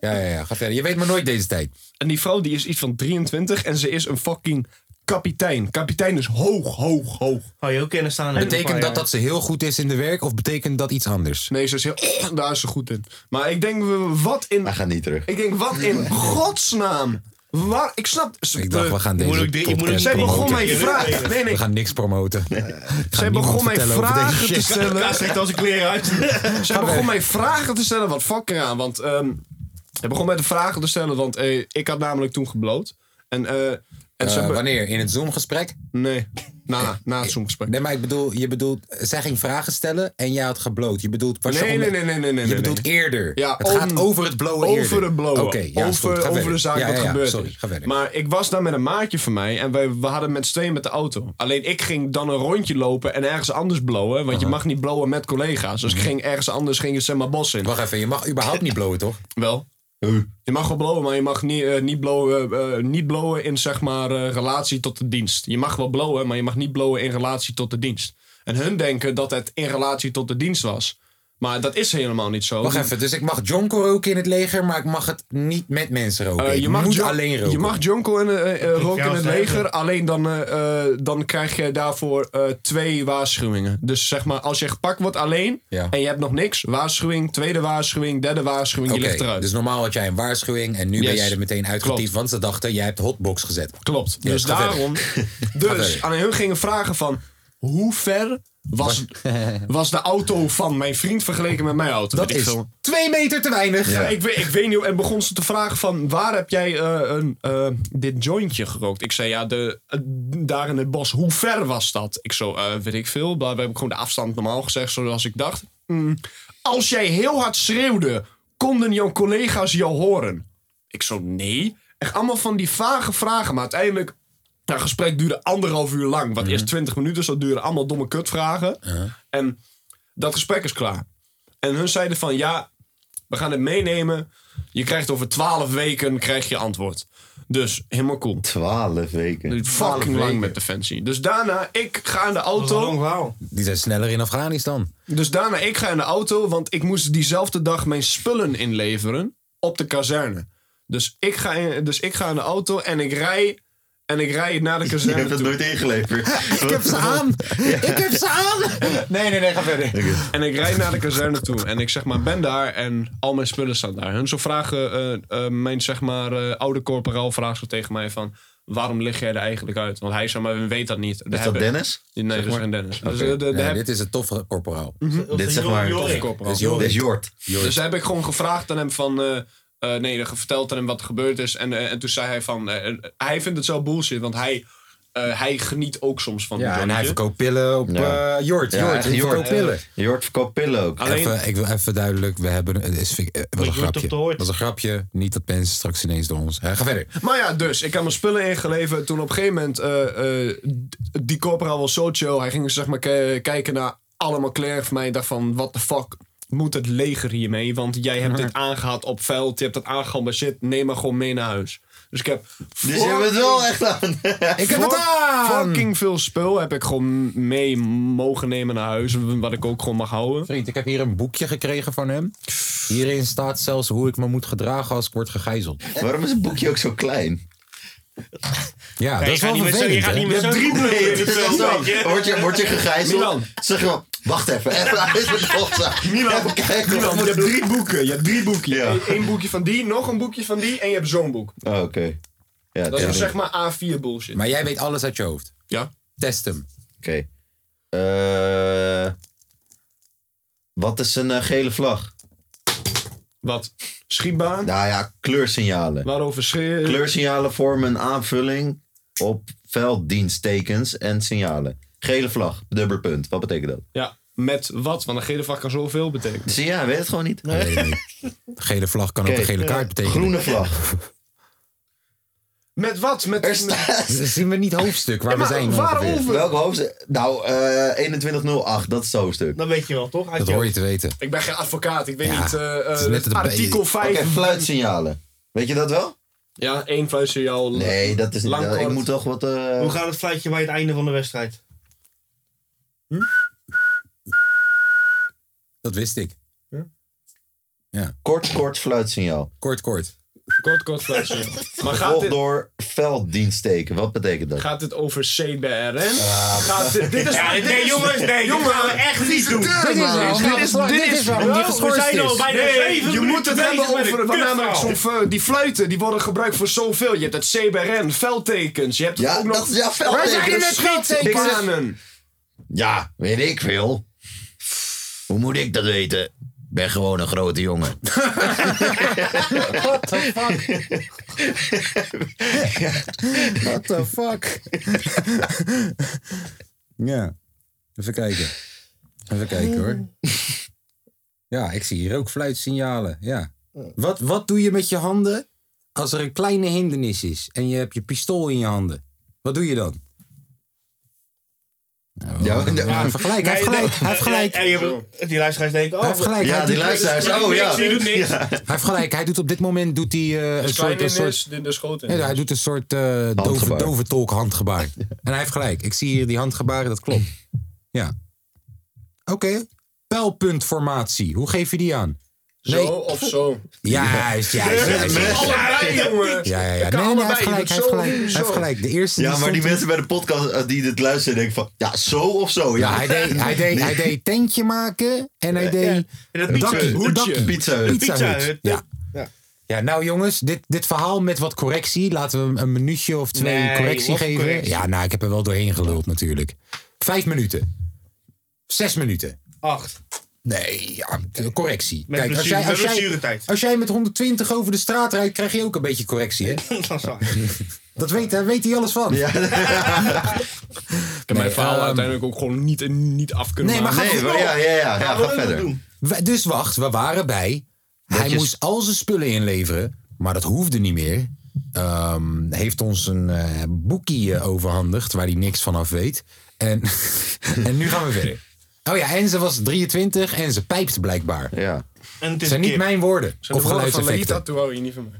Speaker 1: Ja, ja, ja. Ga verder. Je weet maar nooit deze tijd.
Speaker 6: En die vrouw die is iets van 23 en ze is een fucking kapitein. Kapitein is hoog, hoog, hoog.
Speaker 4: Had je ook kunnen staan. in een paar
Speaker 1: Betekent dat dat ze heel goed is in de werk of betekent dat iets anders?
Speaker 6: Nee, ze is heel, Oh, daar is ze goed in. Maar ik denk, wat in...
Speaker 5: Hij gaat niet terug.
Speaker 6: Ik denk, wat in godsnaam? Waar, ik snap... Ze,
Speaker 1: Ik dacht, we gaan deze
Speaker 4: moet ik die- moet ik-
Speaker 1: podcast
Speaker 6: zij begon
Speaker 1: promoten.
Speaker 6: mij vragen... Nee, nee.
Speaker 1: We gaan niks promoten.
Speaker 6: Zij begon mij vragen te stellen...
Speaker 4: jaar. Trekt al zijn kleren uit.
Speaker 6: Zij begon mij vragen te stellen, wat fuck eraan. Want ehm hij begon mij de vragen te stellen, want eh, ik had namelijk toen gebloot. En, eh en ze...
Speaker 1: Eh,
Speaker 6: be-
Speaker 1: wanneer? In het Zoom-gesprek?
Speaker 6: Nee, na, na het zoomgesprek.
Speaker 1: Nee, maar ik bedoel, je bedoelt, zij ging vragen stellen en jij had gebloot. Je bedoelt, was je
Speaker 6: Nee,
Speaker 1: onder-
Speaker 6: nee, nee, nee, nee, nee.
Speaker 1: Je
Speaker 6: nee.
Speaker 1: bedoelt eerder.
Speaker 6: Ja,
Speaker 1: het gaat
Speaker 6: om-
Speaker 1: over het blowen
Speaker 6: over
Speaker 1: eerder.
Speaker 6: het blowen.
Speaker 1: Oké, ja, is goed.
Speaker 6: over
Speaker 1: Ga
Speaker 6: over
Speaker 1: verder.
Speaker 6: de zaak
Speaker 1: Ja,
Speaker 6: wat
Speaker 1: ja, ja,
Speaker 6: gebeurt.
Speaker 1: Sorry,
Speaker 6: is.
Speaker 1: ga verder.
Speaker 6: Maar ik was daar met een maatje van mij en wij, we hadden met z'n tweeën met de auto. Alleen ik ging dan een rondje lopen en ergens anders blowen. Want je mag niet blowen met collega's. Dus ik ging ergens anders, ging het zeg maar bos in.
Speaker 1: Mhm. Wacht even, je mag überhaupt niet blowen, toch?
Speaker 6: Wel. Je mag wel blowen, maar je mag niet, eh, niet, blowen, eh, niet blowen in zeg maar eh, relatie tot de dienst. Je mag wel blowen, maar je mag niet blowen in relatie tot de dienst. En hun denken dat het in relatie tot de dienst was. Maar dat is helemaal niet zo.
Speaker 1: Wacht even, dus ik mag jonko roken in het leger, maar ik mag het niet met mensen roken.
Speaker 6: Eh,
Speaker 1: je mag moet alleen roken.
Speaker 6: Je mag jonko in, eh, eh, roken in
Speaker 4: als
Speaker 6: het
Speaker 4: het
Speaker 6: leger. Alleen dan, eh, eh, dan krijg je daarvoor eh, twee waarschuwingen. Dus zeg maar, als je gepakt wordt alleen
Speaker 1: Ja.
Speaker 6: en je hebt nog niks. Waarschuwing, tweede waarschuwing, derde waarschuwing.
Speaker 1: Oké,
Speaker 6: Je ligt eruit.
Speaker 1: dus normaal had jij een waarschuwing en nu ben
Speaker 6: Yes.
Speaker 1: jij er meteen uitgetiefd,
Speaker 6: Klopt.
Speaker 1: want ze dachten, jij hebt hotbox gezet.
Speaker 6: Klopt.
Speaker 1: Ja,
Speaker 6: dus
Speaker 1: ga verder.
Speaker 6: daarom. Dus
Speaker 1: verder.
Speaker 6: aan hun gingen vragen van hoe ver was, was de auto van mijn vriend vergeleken met mijn auto?
Speaker 1: Dat
Speaker 6: Weet ik
Speaker 1: is
Speaker 6: veel.
Speaker 1: twee meter te weinig.
Speaker 6: Ja, Ik, weet, ik weet niet. hoe- En begon ze te vragen van waar heb jij eh, een, eh, dit jointje gerookt? Ik zei ja, de, eh, daar in het bos. Hoe ver was dat? Ik zo, eh, weet ik veel. Daar heb ik gewoon de afstand normaal gezegd zoals ik dacht. Mm. Als jij heel hard schreeuwde, konden jouw collega's jou horen? Ik zo, nee. Echt allemaal van die vage vragen. Maar uiteindelijk, dat gesprek duurde anderhalf uur lang. Wat eerst twintig minuten zou duren. Allemaal domme kutvragen. En dat gesprek is klaar. En hun zeiden van, ja, we gaan het meenemen. Je krijgt over twaalf weken krijg je antwoord. Dus helemaal cool.
Speaker 5: 12 weken.
Speaker 6: Fucking lang met Defensie. Dus daarna, ik ga in de auto.
Speaker 4: Wauw.
Speaker 1: Die zijn sneller in Afghanistan.
Speaker 6: Dus daarna, ik ga in de auto, want ik moest diezelfde dag mijn spullen inleveren op de kazerne. Dus ik ga in, dus ik ga in de auto en ik rij, en ik rij naar de
Speaker 5: Je hebt
Speaker 6: kazerne
Speaker 5: het
Speaker 6: toe.
Speaker 5: nooit ingeleverd.
Speaker 1: Ik heb ze aan! Ik heb ze aan! Nee, nee, nee, ga verder.
Speaker 6: En ik rijd naar de kazerne toe. En ik zeg maar, ben daar en al mijn spullen staan daar. Hun zo vragen, eh, eh, mijn zeg maar eh, oude corporaal vraagt zo tegen mij van... Waarom lig jij er eigenlijk uit? Want hij zeg maar, weet dat niet.
Speaker 5: Is dat Dennis?
Speaker 6: Nee, dat is geen Dennis. Dus, eh, de, Mhm. de,
Speaker 1: Nee,
Speaker 6: heb-
Speaker 1: dit is een toffe corporaal.
Speaker 5: Dit zeg maar.
Speaker 1: Dat is
Speaker 5: Dit is
Speaker 1: Jorik.
Speaker 5: Jort.
Speaker 6: Dus heb ik gewoon gevraagd aan hem van... eh, eh, nee, verteld aan hem wat er gebeurd is. En, eh, en toen zei hij van... eh, eh, hij vindt het zo bullshit, want hij, eh, hij geniet ook soms van
Speaker 1: Ja,
Speaker 6: een
Speaker 1: en hij
Speaker 6: jointje.
Speaker 1: verkoopt pillen op
Speaker 5: Ja.
Speaker 1: eh, Jort.
Speaker 5: Ja,
Speaker 1: Jort,
Speaker 5: echt
Speaker 1: hij
Speaker 5: Jort.
Speaker 1: verkoopt pillen.
Speaker 5: Jort verkoopt pillen ook.
Speaker 6: Alleen-
Speaker 1: Even, ik wil even duidelijk, we hebben, het is, het was een
Speaker 4: Jort op
Speaker 1: grapje.
Speaker 4: de hoort.
Speaker 1: Het was een grapje, niet dat mensen straks ineens door ons... Eh, ga verder.
Speaker 6: Maar ja, dus. Ik had mijn spullen ingeleverd. Toen op een gegeven moment... eh, eh, d- die corporaal was zo chill. Hij ging dus, zeg maar ke- kijken naar allemaal kleren van mij. Ik dacht van, what the fuck moet het leger hiermee? Want jij hebt dit aangehad op veld. Je hebt dat aangehaald bij shit. Neem maar gewoon mee naar huis. Dus ik heb...
Speaker 5: Dus je hebt het wel echt aan.
Speaker 1: Ik heb het aan!
Speaker 6: Fucking veel spul heb ik gewoon mee mogen nemen naar huis. Wat ik ook gewoon mag houden.
Speaker 1: Vriend, ik heb hier een boekje gekregen van hem. Hierin staat zelfs hoe ik me moet gedragen als ik word gegijzeld.
Speaker 5: Waarom is het boekje ook zo klein?
Speaker 1: Ja, dat
Speaker 4: Je gaat
Speaker 1: is wel
Speaker 4: niet met zo- je
Speaker 1: vervelend,
Speaker 4: gaat
Speaker 1: hè?
Speaker 4: niet met zo'n
Speaker 5: Nee,
Speaker 4: drie
Speaker 5: dit is wel zo. Word je, word je gegijzeld?
Speaker 6: Milan.
Speaker 5: Zeg wel, wacht even. Even uit met Godzak. Even kijken
Speaker 6: Je
Speaker 5: wat we
Speaker 6: hebt
Speaker 5: doen.
Speaker 6: drie boeken. Je hebt drie boeken.
Speaker 5: Ja.
Speaker 6: Eén één boekje van die, nog een boekje van die en je hebt zo'n boek.
Speaker 5: Oh, Oké. Ja,
Speaker 6: Dat is
Speaker 5: tuurlijk.
Speaker 6: dus zeg maar A4 bullshit.
Speaker 1: Maar jij weet alles uit je hoofd.
Speaker 6: Ja.
Speaker 1: Test hem.
Speaker 5: Oké. Eh, wat is een eh, gele vlag?
Speaker 6: Wat? Schietbaan?
Speaker 5: Nou ja, kleursignalen.
Speaker 6: Waarover schreeuwen?
Speaker 5: Kleursignalen vormen een aanvulling op velddiensttekens en signalen. Gele vlag, dubbel punt. Wat betekent dat?
Speaker 6: Ja, met wat? Want een gele vlag kan zoveel betekenen.
Speaker 5: Zie je, hij weet het gewoon niet.
Speaker 1: Gele vlag kan ook
Speaker 5: Oké,
Speaker 1: een gele
Speaker 5: ja.
Speaker 1: kaart betekenen.
Speaker 5: Groene vlag.
Speaker 6: Met wat? Met,
Speaker 1: Dus zien we niet hoofdstuk waar
Speaker 6: Ja,
Speaker 1: we
Speaker 6: maar
Speaker 1: zijn.
Speaker 6: waarover?
Speaker 1: ongeveer.
Speaker 5: Welk hoofdstuk? Nou, eh 2108, dat is zo'n stuk.
Speaker 4: Dan weet je wel, toch? Uit
Speaker 1: Dat
Speaker 4: je
Speaker 1: hoor je
Speaker 4: hoofd.
Speaker 1: te weten.
Speaker 6: Ik ben geen advocaat, ik weet
Speaker 1: Ja,
Speaker 6: niet. eh, eh,
Speaker 1: is net het
Speaker 6: artikel
Speaker 1: bij-
Speaker 6: 5.
Speaker 5: Oké, fluitsignalen. Weet je dat wel?
Speaker 6: Ja, één fluitsignaal.
Speaker 5: Nee, dat is niet.
Speaker 6: Lang,
Speaker 5: dat- ik
Speaker 6: kort.
Speaker 5: moet toch wat. eh,
Speaker 4: Hoe gaat het fluitje bij het einde van de wedstrijd?
Speaker 1: Dat wist ik.
Speaker 5: Kort, kort fluitsignaal.
Speaker 1: Kort, kort.
Speaker 6: Kort, kort fluitsignaal. maar gaat
Speaker 5: Gevolgd
Speaker 6: dit,
Speaker 5: door velddienstteken. Wat betekent dat?
Speaker 6: gaat dit over CBRN?
Speaker 5: Ah,
Speaker 6: gaat dit, dit is...
Speaker 2: Ja, nee, jongens, nee, jongens, gaan we echt niet doen.
Speaker 1: Dit is wel. Dit is, dit is waarom die
Speaker 4: We
Speaker 1: geschorst
Speaker 4: zijn al
Speaker 1: is.
Speaker 4: bijna zeven
Speaker 6: Je moet
Speaker 4: minuten
Speaker 6: het hebben nou.
Speaker 4: bezig met
Speaker 6: over
Speaker 4: een
Speaker 6: want namelijk
Speaker 4: kutverhaal.
Speaker 6: zo'n feu- die fluiten, die worden gebruikt voor zoveel. Je hebt het CBRN, veldtekens, je hebt
Speaker 5: Ja,
Speaker 6: ook nog...
Speaker 5: dat is- ja, veldtekens.
Speaker 6: Waar zijn
Speaker 5: Dat
Speaker 6: die
Speaker 5: is
Speaker 6: met schietbanen?
Speaker 5: Ja, weet ik veel. Hoe moet ik dat weten? Ik ben gewoon een grote jongen.
Speaker 1: What the fuck? What the fuck? ja. Even kijken. Even kijken hoor. Ja, ik zie hier ook fluitsignalen. Ja. Wat, wat doe je met je handen als er een kleine hindernis is en je hebt je pistool in je handen? Wat doe je dan?
Speaker 5: Ja,
Speaker 1: Ja,
Speaker 5: ja,
Speaker 1: vergelijk, hij heeft gelijk. Hij heeft gelijk.
Speaker 4: En je hebt- die luisteraars denken,
Speaker 1: Hij
Speaker 4: oh,
Speaker 1: heeft gelijk. hij,
Speaker 5: die
Speaker 1: doet,
Speaker 5: luisteraars. Oh ja.
Speaker 4: Je doet niks.
Speaker 1: hij heeft gelijk. Hij doet op dit moment doet hij, eh, een soort... Een soort
Speaker 6: dit is groot
Speaker 1: Ja, hij doet een soort eh dove,
Speaker 5: Handgebaar.
Speaker 1: dove tolk handgebaar. en hij heeft gelijk. Ik zie hier die handgebaren, dat klopt. Ja. Oké. Pijlpuntformatie. Hoe geef je die aan? Nee.
Speaker 6: Zo of zo.
Speaker 1: Juist, juist, juist. juist.
Speaker 6: Allebei, jongen.
Speaker 1: Ja, ja, ja.
Speaker 6: Dat kan
Speaker 1: Nee, nee, hij heeft
Speaker 6: allebei.
Speaker 1: gelijk.
Speaker 6: Je
Speaker 1: Hij
Speaker 6: doet
Speaker 1: heeft
Speaker 6: zo,
Speaker 1: gelijk.
Speaker 6: je doet zo.
Speaker 1: Hij heeft gelijk. De eerste
Speaker 5: ja, maar die
Speaker 1: stond-
Speaker 5: mensen bij de podcast eh, die dit luisteren denken van... Ja, zo of zo.
Speaker 1: Ja,
Speaker 5: Ja,
Speaker 1: hij deed, hij, deed, hij deed tentje maken en hij deed
Speaker 4: En dat
Speaker 1: een
Speaker 4: pizza-
Speaker 1: dakkie. een
Speaker 5: Hoedje.
Speaker 1: dakkie.
Speaker 5: Pizza Hut.
Speaker 1: Pizza
Speaker 4: Pizza
Speaker 1: Hut,
Speaker 4: Hut.
Speaker 1: Ja. Ja, nou jongens, dit, dit verhaal met wat correctie. Laten we hem een minuutje of twee
Speaker 4: Nee,
Speaker 1: correctie
Speaker 4: wat
Speaker 1: geven.
Speaker 4: correctie?
Speaker 1: Ja, nou, ik heb er wel doorheen geluld natuurlijk. Vijf minuten. Zes minuten.
Speaker 4: Acht.
Speaker 1: Nee, ja, de correctie.
Speaker 4: Met
Speaker 1: Kijk, als
Speaker 4: blessure-
Speaker 1: jij, als,
Speaker 4: met
Speaker 1: jij,
Speaker 4: blessuretijd.
Speaker 1: als jij met 120 over de straat rijdt, krijg je ook een beetje correctie, hè?
Speaker 4: Dat is waar.
Speaker 1: Dat weet, daar weet hij alles van.
Speaker 6: Ik heb mijn verhaal
Speaker 1: ehm,
Speaker 6: uiteindelijk ook gewoon niet, eh, niet af kunnen
Speaker 1: Nee, maar
Speaker 6: maken.
Speaker 1: ga
Speaker 5: Nee, maar ja, ja, ja, ja,
Speaker 4: we
Speaker 5: ga verder.
Speaker 4: doen.
Speaker 1: We- Dus wacht, we waren bij. Hij
Speaker 5: je-
Speaker 1: moest al zijn spullen inleveren, maar dat hoefde niet meer. Ehm, heeft ons een eh, boekje eh, overhandigd waar hij niks van af weet. En, en nu gaan we verder. Oh ja, en ze was 23 en ze pijpt blijkbaar.
Speaker 5: Ja.
Speaker 4: En het is
Speaker 1: zijn
Speaker 4: een
Speaker 1: niet
Speaker 4: kip.
Speaker 1: mijn woorden of
Speaker 6: De woorden van Leita,
Speaker 1: geluidseffecten.
Speaker 6: toen wou je niet van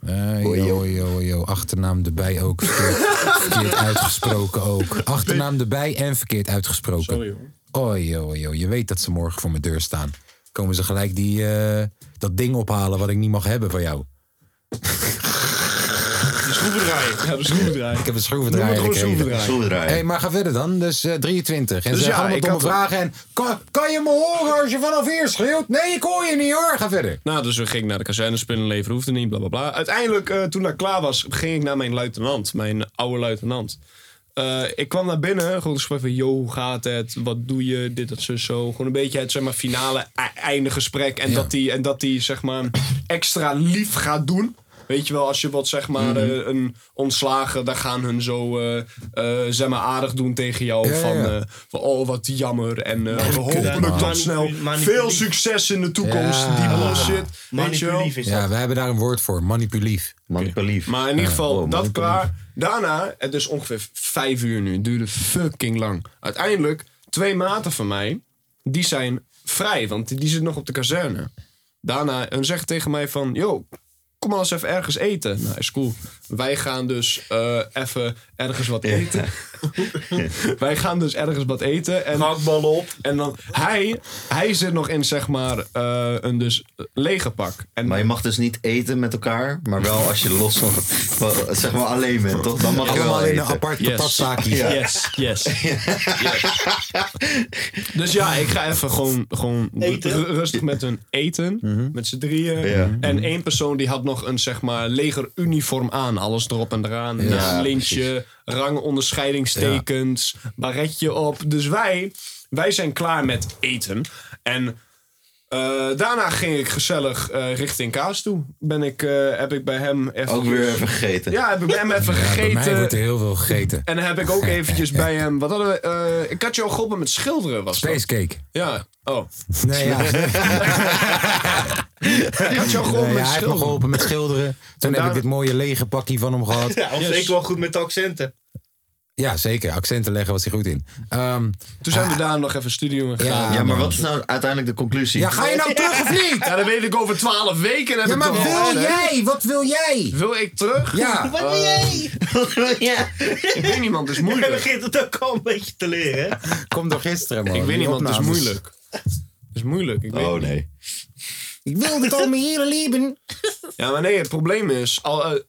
Speaker 6: mij.
Speaker 1: Eh,
Speaker 5: Oei,
Speaker 1: yo, yo, yo. Achternaam erbij ook. Verkeerd, verkeerd uitgesproken ook. Achternaam erbij en verkeerd uitgesproken.
Speaker 6: Sorry hoor.
Speaker 1: Oei, oei, oei. Je weet dat ze morgen voor mijn deur staan. Komen ze gelijk die, eh, dat ding ophalen wat ik niet mag hebben van jou.
Speaker 6: Ja, de schoenen draaien.
Speaker 1: Ik heb een schroevendraaier gekregen.
Speaker 5: Schroevendraaier.
Speaker 1: hey, maar ga verder dan. Dus eh, 23. En
Speaker 6: Dus
Speaker 1: ze
Speaker 6: ja,
Speaker 1: gaan allemaal
Speaker 6: ik
Speaker 1: domme
Speaker 6: had wel-
Speaker 1: vragen. En kan, kan je me horen als je vanaf hier schreeuwt? Nee, ik hoor je niet hoor. Ga verder.
Speaker 6: Nou, dus we gingen naar de kazerne, spullen leveren, hoefde niet, bla bla bla. Uiteindelijk, eh, toen dat klaar was, ging ik naar mijn luitenant, mijn oude luitenant. Eh, ik kwam naar binnen, gewoon een gesprek van, yo, hoe gaat het? Wat doe je? Dit, dat, zo, zo. Gewoon een beetje het, zeg maar, finale e- einde gesprek. En dat die- en dat die, zeg maar, extra lief gaat doen. Weet je wel, als je wat, zeg
Speaker 1: Mhm.
Speaker 6: maar, eh, een ontslagen, dan gaan hun zo, eh, eh, zeg maar, aardig doen tegen jou.
Speaker 1: Ja, ja,
Speaker 6: van,
Speaker 1: ja.
Speaker 6: eh, van, oh, wat jammer. En eh,
Speaker 1: kut,
Speaker 6: hopelijk
Speaker 1: man.
Speaker 6: tot snel.
Speaker 4: Manipulatief.
Speaker 6: Veel succes in de toekomst.
Speaker 1: Ja.
Speaker 6: Die bullshit. Weet je wel?
Speaker 4: Manipulief is dat.
Speaker 1: Ja, wij hebben daar een woord voor. Manipulief.
Speaker 5: Manipulief.
Speaker 6: Maar in ieder geval,
Speaker 5: wow,
Speaker 6: dat
Speaker 5: man,
Speaker 6: klaar. Daarna, het is ongeveer vijf uur nu. Het duurde fucking lang. Uiteindelijk, twee maten van mij, die zijn vrij. Want die, die zitten nog op de kazerne. Daarna, hun zegt tegen mij van... Yo, kom maar eens even ergens eten. Nou, is cool. Wij gaan dus eh, even ergens wat eten. Wij gaan dus ergens wat eten. En
Speaker 4: Hakballen op.
Speaker 6: en dan, hij, hij zit nog in, zeg maar, eh, een dus lege pak. En
Speaker 5: Maar je mag dus niet eten met elkaar, maar wel als je los van, van- zeg maar alleen bent, toch? Dan mag je wel
Speaker 1: Allemaal in een
Speaker 5: eten.
Speaker 1: apart
Speaker 6: Yes.
Speaker 1: patatzaakje.
Speaker 6: Yes, yes. yes. Dus ja, ik ga even gewoon, gewoon
Speaker 4: Eten.
Speaker 6: ru- rustig met hun eten. Met z'n drieën.
Speaker 5: Ja.
Speaker 6: En één persoon die had nog een zeg maar legeruniform aan. Alles erop en eraan. Ja, lintje, rangonderscheidingstekens, baretje op. Dus wij, wij zijn klaar met eten. En Eh, daarna ging ik gezellig eh, richting Kaas toe. Ben ik, eh, heb ik bij hem even...
Speaker 5: Ook weer even gegeten.
Speaker 6: Ja, heb ik bij hem even
Speaker 1: Ja, bij mij
Speaker 6: gegeten.
Speaker 1: wordt er heel veel gegeten.
Speaker 6: En dan heb ik ook eventjes bij hem... Wat hadden we? Eh, ik had jou geholpen met schilderen, was dat?
Speaker 1: Spacecake.
Speaker 6: Ja. Oh.
Speaker 1: Nee, ja.
Speaker 6: Ik had jou geholpen met
Speaker 1: Nee, hij heeft me
Speaker 6: schilderen.
Speaker 1: geholpen met schilderen. Toen heb ik dit mooie lege pakje van hem gehad.
Speaker 4: Ja, of zeker wel goed met de accenten.
Speaker 1: Ja, zeker. Accenten leggen was hij goed in. Ehm,
Speaker 6: Toen zijn we daar nog even studio in gegaan.
Speaker 1: ja,
Speaker 5: Ja, maar
Speaker 1: man.
Speaker 5: wat is nou uiteindelijk de conclusie?
Speaker 1: Ja, ga je nou terug of niet?
Speaker 6: Ja, dan weet ik over twaalf weken. Heb
Speaker 1: Ja,
Speaker 6: ik
Speaker 1: maar
Speaker 6: toch al
Speaker 1: wil
Speaker 6: gezegd.
Speaker 1: jij? Wat wil jij?
Speaker 6: Wil ik terug? Eh,
Speaker 1: Ja.
Speaker 4: Wat ben jij?
Speaker 5: ja.
Speaker 6: Ik weet niet, man. Het is
Speaker 4: Hij
Speaker 6: moeilijk.
Speaker 4: begint het ook al een beetje te leren. hè?
Speaker 1: Kom door gisteren, man.
Speaker 6: Ik weet niet,
Speaker 1: Die
Speaker 6: man. Het is
Speaker 1: opnames.
Speaker 6: moeilijk. Het is moeilijk. Ik weet
Speaker 5: Oh nee.
Speaker 1: Ik wil het al mijn hele leven.
Speaker 6: Ja, maar nee, het probleem is. Al, eh,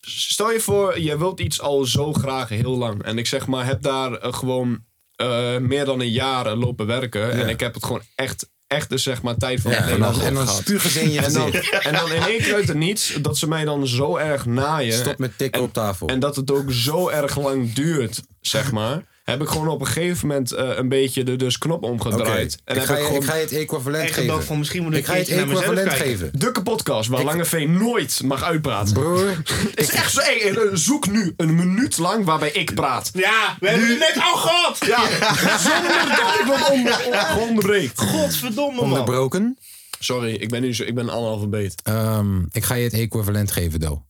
Speaker 6: stel je voor, je wilt iets al zo graag heel lang. En ik zeg maar, heb daar eh, gewoon eh, meer dan een jaar eh, lopen werken. En ik heb het gewoon echt, echt de zeg maar, tijd van
Speaker 1: Ja,
Speaker 6: mijn
Speaker 1: en
Speaker 6: leven
Speaker 1: dan, en dan
Speaker 6: gehad.
Speaker 1: spugen ze in je
Speaker 6: En dan,
Speaker 1: gezicht.
Speaker 6: en dan in één keer uit het niets dat ze mij dan zo erg naaien.
Speaker 1: Stop met tikken op tafel.
Speaker 6: En dat het ook zo erg lang duurt, zeg maar. Heb ik gewoon op een gegeven moment eh, een beetje de dus knop
Speaker 1: Oké,
Speaker 6: omgedraaid. En
Speaker 1: ik,
Speaker 6: heb
Speaker 1: ga
Speaker 6: ik
Speaker 1: je-
Speaker 6: gewoon
Speaker 1: ik ga je het equivalent
Speaker 4: Echt ook
Speaker 1: geven.
Speaker 4: van misschien moet ik,
Speaker 1: Ik ga je het
Speaker 4: een keertje naar mezelf
Speaker 1: equivalent
Speaker 4: kijken.
Speaker 1: geven.
Speaker 6: Dukke podcast waar Lange V nooit mag uitpraten.
Speaker 1: Broer,
Speaker 6: Het is echt zo, hey, eh, zoek nu een minuut lang waarbij ik praat.
Speaker 4: Ja, we hebben het net al gehad.
Speaker 6: Ja, zonder dat ik wat onder, on- geonderbreekt.
Speaker 4: Godverdomme man.
Speaker 1: onderbroken.
Speaker 6: Sorry, ik ben nu zo, ik ben analfabeet.
Speaker 1: Ehm, ik ga je het equivalent geven, Do.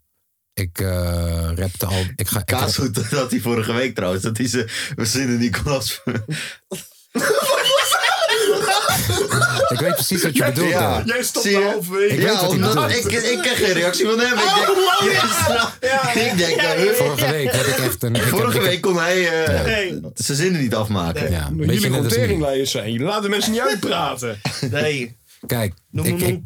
Speaker 1: Ik eh rapte al. Ik ga, ik ga-
Speaker 5: Kaas goed dat hij vorige week trouwens. Dat hij ze. We zien in die klas.
Speaker 1: Ik weet precies wat je bedoelt.
Speaker 5: ja.
Speaker 1: Doe.
Speaker 6: Jij stopt
Speaker 5: Zie je?
Speaker 6: na halverwege. Oh,
Speaker 1: Ik weet
Speaker 5: Ja,
Speaker 1: wat hij
Speaker 5: omdat ik,
Speaker 1: bedoelt.
Speaker 5: ik, ik kreeg geen reactie van hem. Ik denk, ik denk eh, dat-
Speaker 1: Vorige week had ik echt een. ik heb-
Speaker 5: Vorige
Speaker 1: ik heb-
Speaker 5: week kon hij eh,
Speaker 4: Nee.
Speaker 5: zijn zinnen niet afmaken.
Speaker 1: Ja, een
Speaker 6: Jullie
Speaker 1: beetje net
Speaker 6: gewoon
Speaker 1: als nu.
Speaker 6: teringleiers zijn. Jullie laten mensen niet uitpraten.
Speaker 4: Nee,
Speaker 1: Kijk,
Speaker 4: noem
Speaker 1: ik,
Speaker 4: hem
Speaker 1: ik,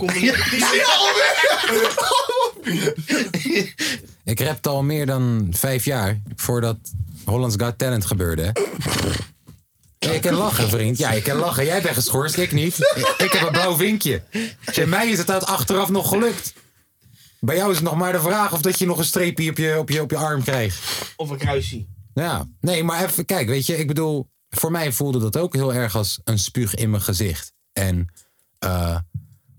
Speaker 1: ik rapte al meer dan vijf jaar voordat Holland's Got Talent gebeurde. hè. Jij kan lachen, vriend. Ja, ik kan lachen. Jij bent geschorst, ik niet. Ik heb een blauw vinkje. Bij mij is het uit achteraf nog gelukt. Bij jou is het nog maar de vraag of dat je nog een streepje op je, op je, op je arm krijgt.
Speaker 4: Of een kruisie.
Speaker 1: Ja, nee, maar even, kijk, weet je, ik bedoel, voor mij voelde dat ook heel erg als een spuug in mijn gezicht. En eh,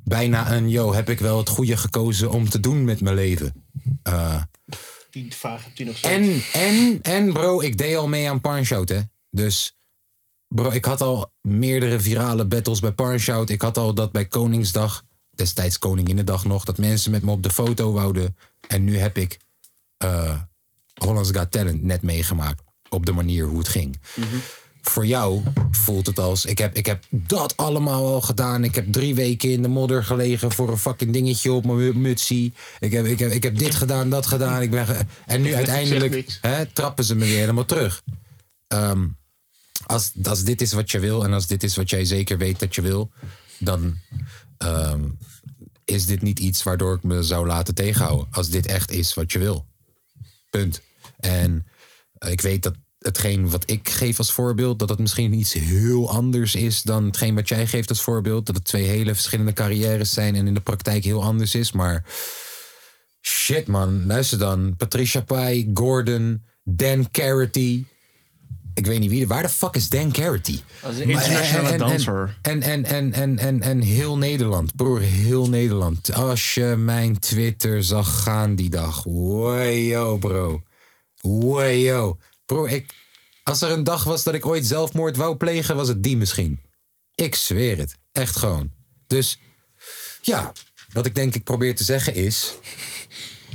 Speaker 1: bijna een, yo, heb ik wel het goede gekozen om te doen met mijn leven. Eh,
Speaker 4: Die vraag hebt u nog steeds.
Speaker 1: en, en, en bro, ik deed al mee aan Parnshout, hè. Dus, bro, ik had al meerdere virale battles bij Parnshout. Ik had al dat bij Koningsdag, destijds Koninginnedag nog, dat mensen met me op de foto wouden. En nu heb ik eh, Holland's Got Talent net meegemaakt. Op de manier hoe het ging. Voor jou voelt het als, ik heb, ik heb dat allemaal al gedaan. Ik heb drie weken in de modder gelegen voor een fucking dingetje op mijn mu- mutsie. Ik heb, ik heb, ik heb dit gedaan, dat gedaan. Ik ben ge- en nu uiteindelijk
Speaker 4: niks.
Speaker 1: hè, trappen ze me weer helemaal terug. Ehm, als, als dit is wat je wil en als dit is wat jij zeker weet dat je wil, dan ehm, is dit niet iets waardoor ik me zou laten tegenhouden. Als dit echt is wat je wil. Punt. En eh, ik weet dat hetgeen wat ik geef als voorbeeld, dat dat misschien iets heel anders is dan hetgeen wat jij geeft als voorbeeld. Dat het twee hele verschillende carrières zijn en in de praktijk heel anders is. Maar shit man, luister dan. Patricia Pai, Gordon, Dan Carity. Ik weet niet wie, waar de fuck is Dan Carity?
Speaker 4: Als een
Speaker 1: Maar-
Speaker 4: internationale
Speaker 1: en- en- en-
Speaker 4: danser.
Speaker 1: En, en, en, en, en, en heel Nederland, broer, heel Nederland. Als je mijn Twitter zag gaan die dag. Wajo, bro. Wajo. Broer, ik, als er een dag was dat ik ooit zelfmoord wou plegen, was het die misschien. Ik zweer het. Echt gewoon. Dus ja, wat ik denk ik probeer te zeggen is...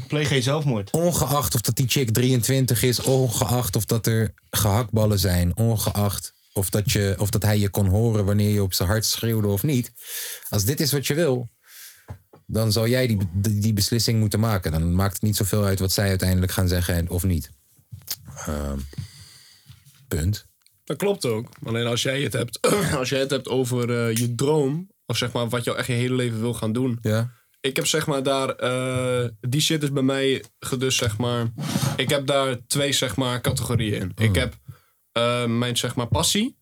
Speaker 4: Pleeg geen zelfmoord.
Speaker 1: Ongeacht of dat die chick 23 is, ongeacht of dat er gehaktballen zijn, ongeacht of dat, je, of dat hij je kon horen wanneer je op zijn hart schreeuwde of niet. Als dit is wat je wil, dan zal jij die, die, die beslissing moeten maken. Dan maakt het niet zoveel uit wat zij uiteindelijk gaan zeggen en, of niet. Ehm, punt.
Speaker 6: Dat klopt ook. Alleen als jij het hebt, als jij het hebt over eh, je droom, of zeg maar wat je echt je hele leven wil gaan doen.
Speaker 1: Ja.
Speaker 6: Ik heb zeg maar daar, eh, die shit is bij mij gedus zeg maar. Ik heb daar twee zeg maar categorieën in. Ik heb eh, mijn zeg maar passie,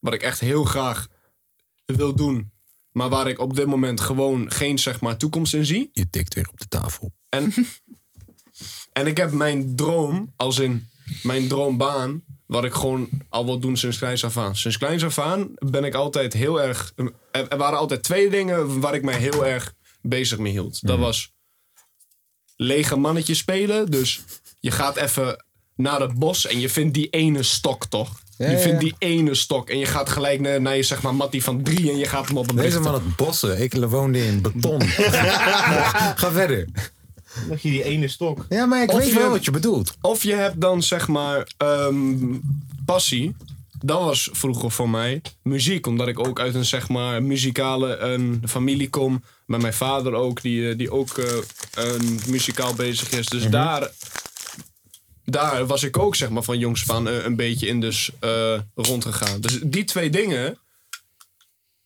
Speaker 6: wat ik echt heel graag wil doen. Maar waar ik op dit moment gewoon geen zeg maar toekomst in zie.
Speaker 1: Je tikt weer op de tafel.
Speaker 6: En ik heb mijn droom, als in mijn droombaan, Wat ik gewoon al wil doen sinds kleins af aan. Sinds kleins af aan ben ik altijd heel erg... Er er waren altijd twee dingen waar ik mij heel erg bezig mee hield. Dat
Speaker 1: Mhm.
Speaker 6: was lege mannetjes spelen. Dus je gaat even naar het bos en je vindt die ene stok toch?
Speaker 1: Ja,
Speaker 6: je
Speaker 1: ja,
Speaker 6: vindt
Speaker 1: ja.
Speaker 6: die ene stok en je gaat gelijk naar, naar je zeg maar mattie van drie en je gaat hem op een
Speaker 1: Deze man het bossen. Ik woonde in beton. Ga verder.
Speaker 4: Dat je die ene stok.
Speaker 1: Ja, maar ik
Speaker 6: Of
Speaker 1: weet
Speaker 6: je-
Speaker 1: wel wat je bedoelt.
Speaker 6: Of je hebt dan zeg maar ehm, passie. Dat was vroeger voor mij muziek. Omdat ik ook uit een zeg maar muzikale een familie kom. Met mijn vader ook, die, eh, die ook eh, een muzikaal bezig is.
Speaker 1: Mhm.
Speaker 6: Dus daar, daar was ik ook zeg maar van jongs van eh, een beetje in dus eh, rondgegaan. Dus die twee dingen.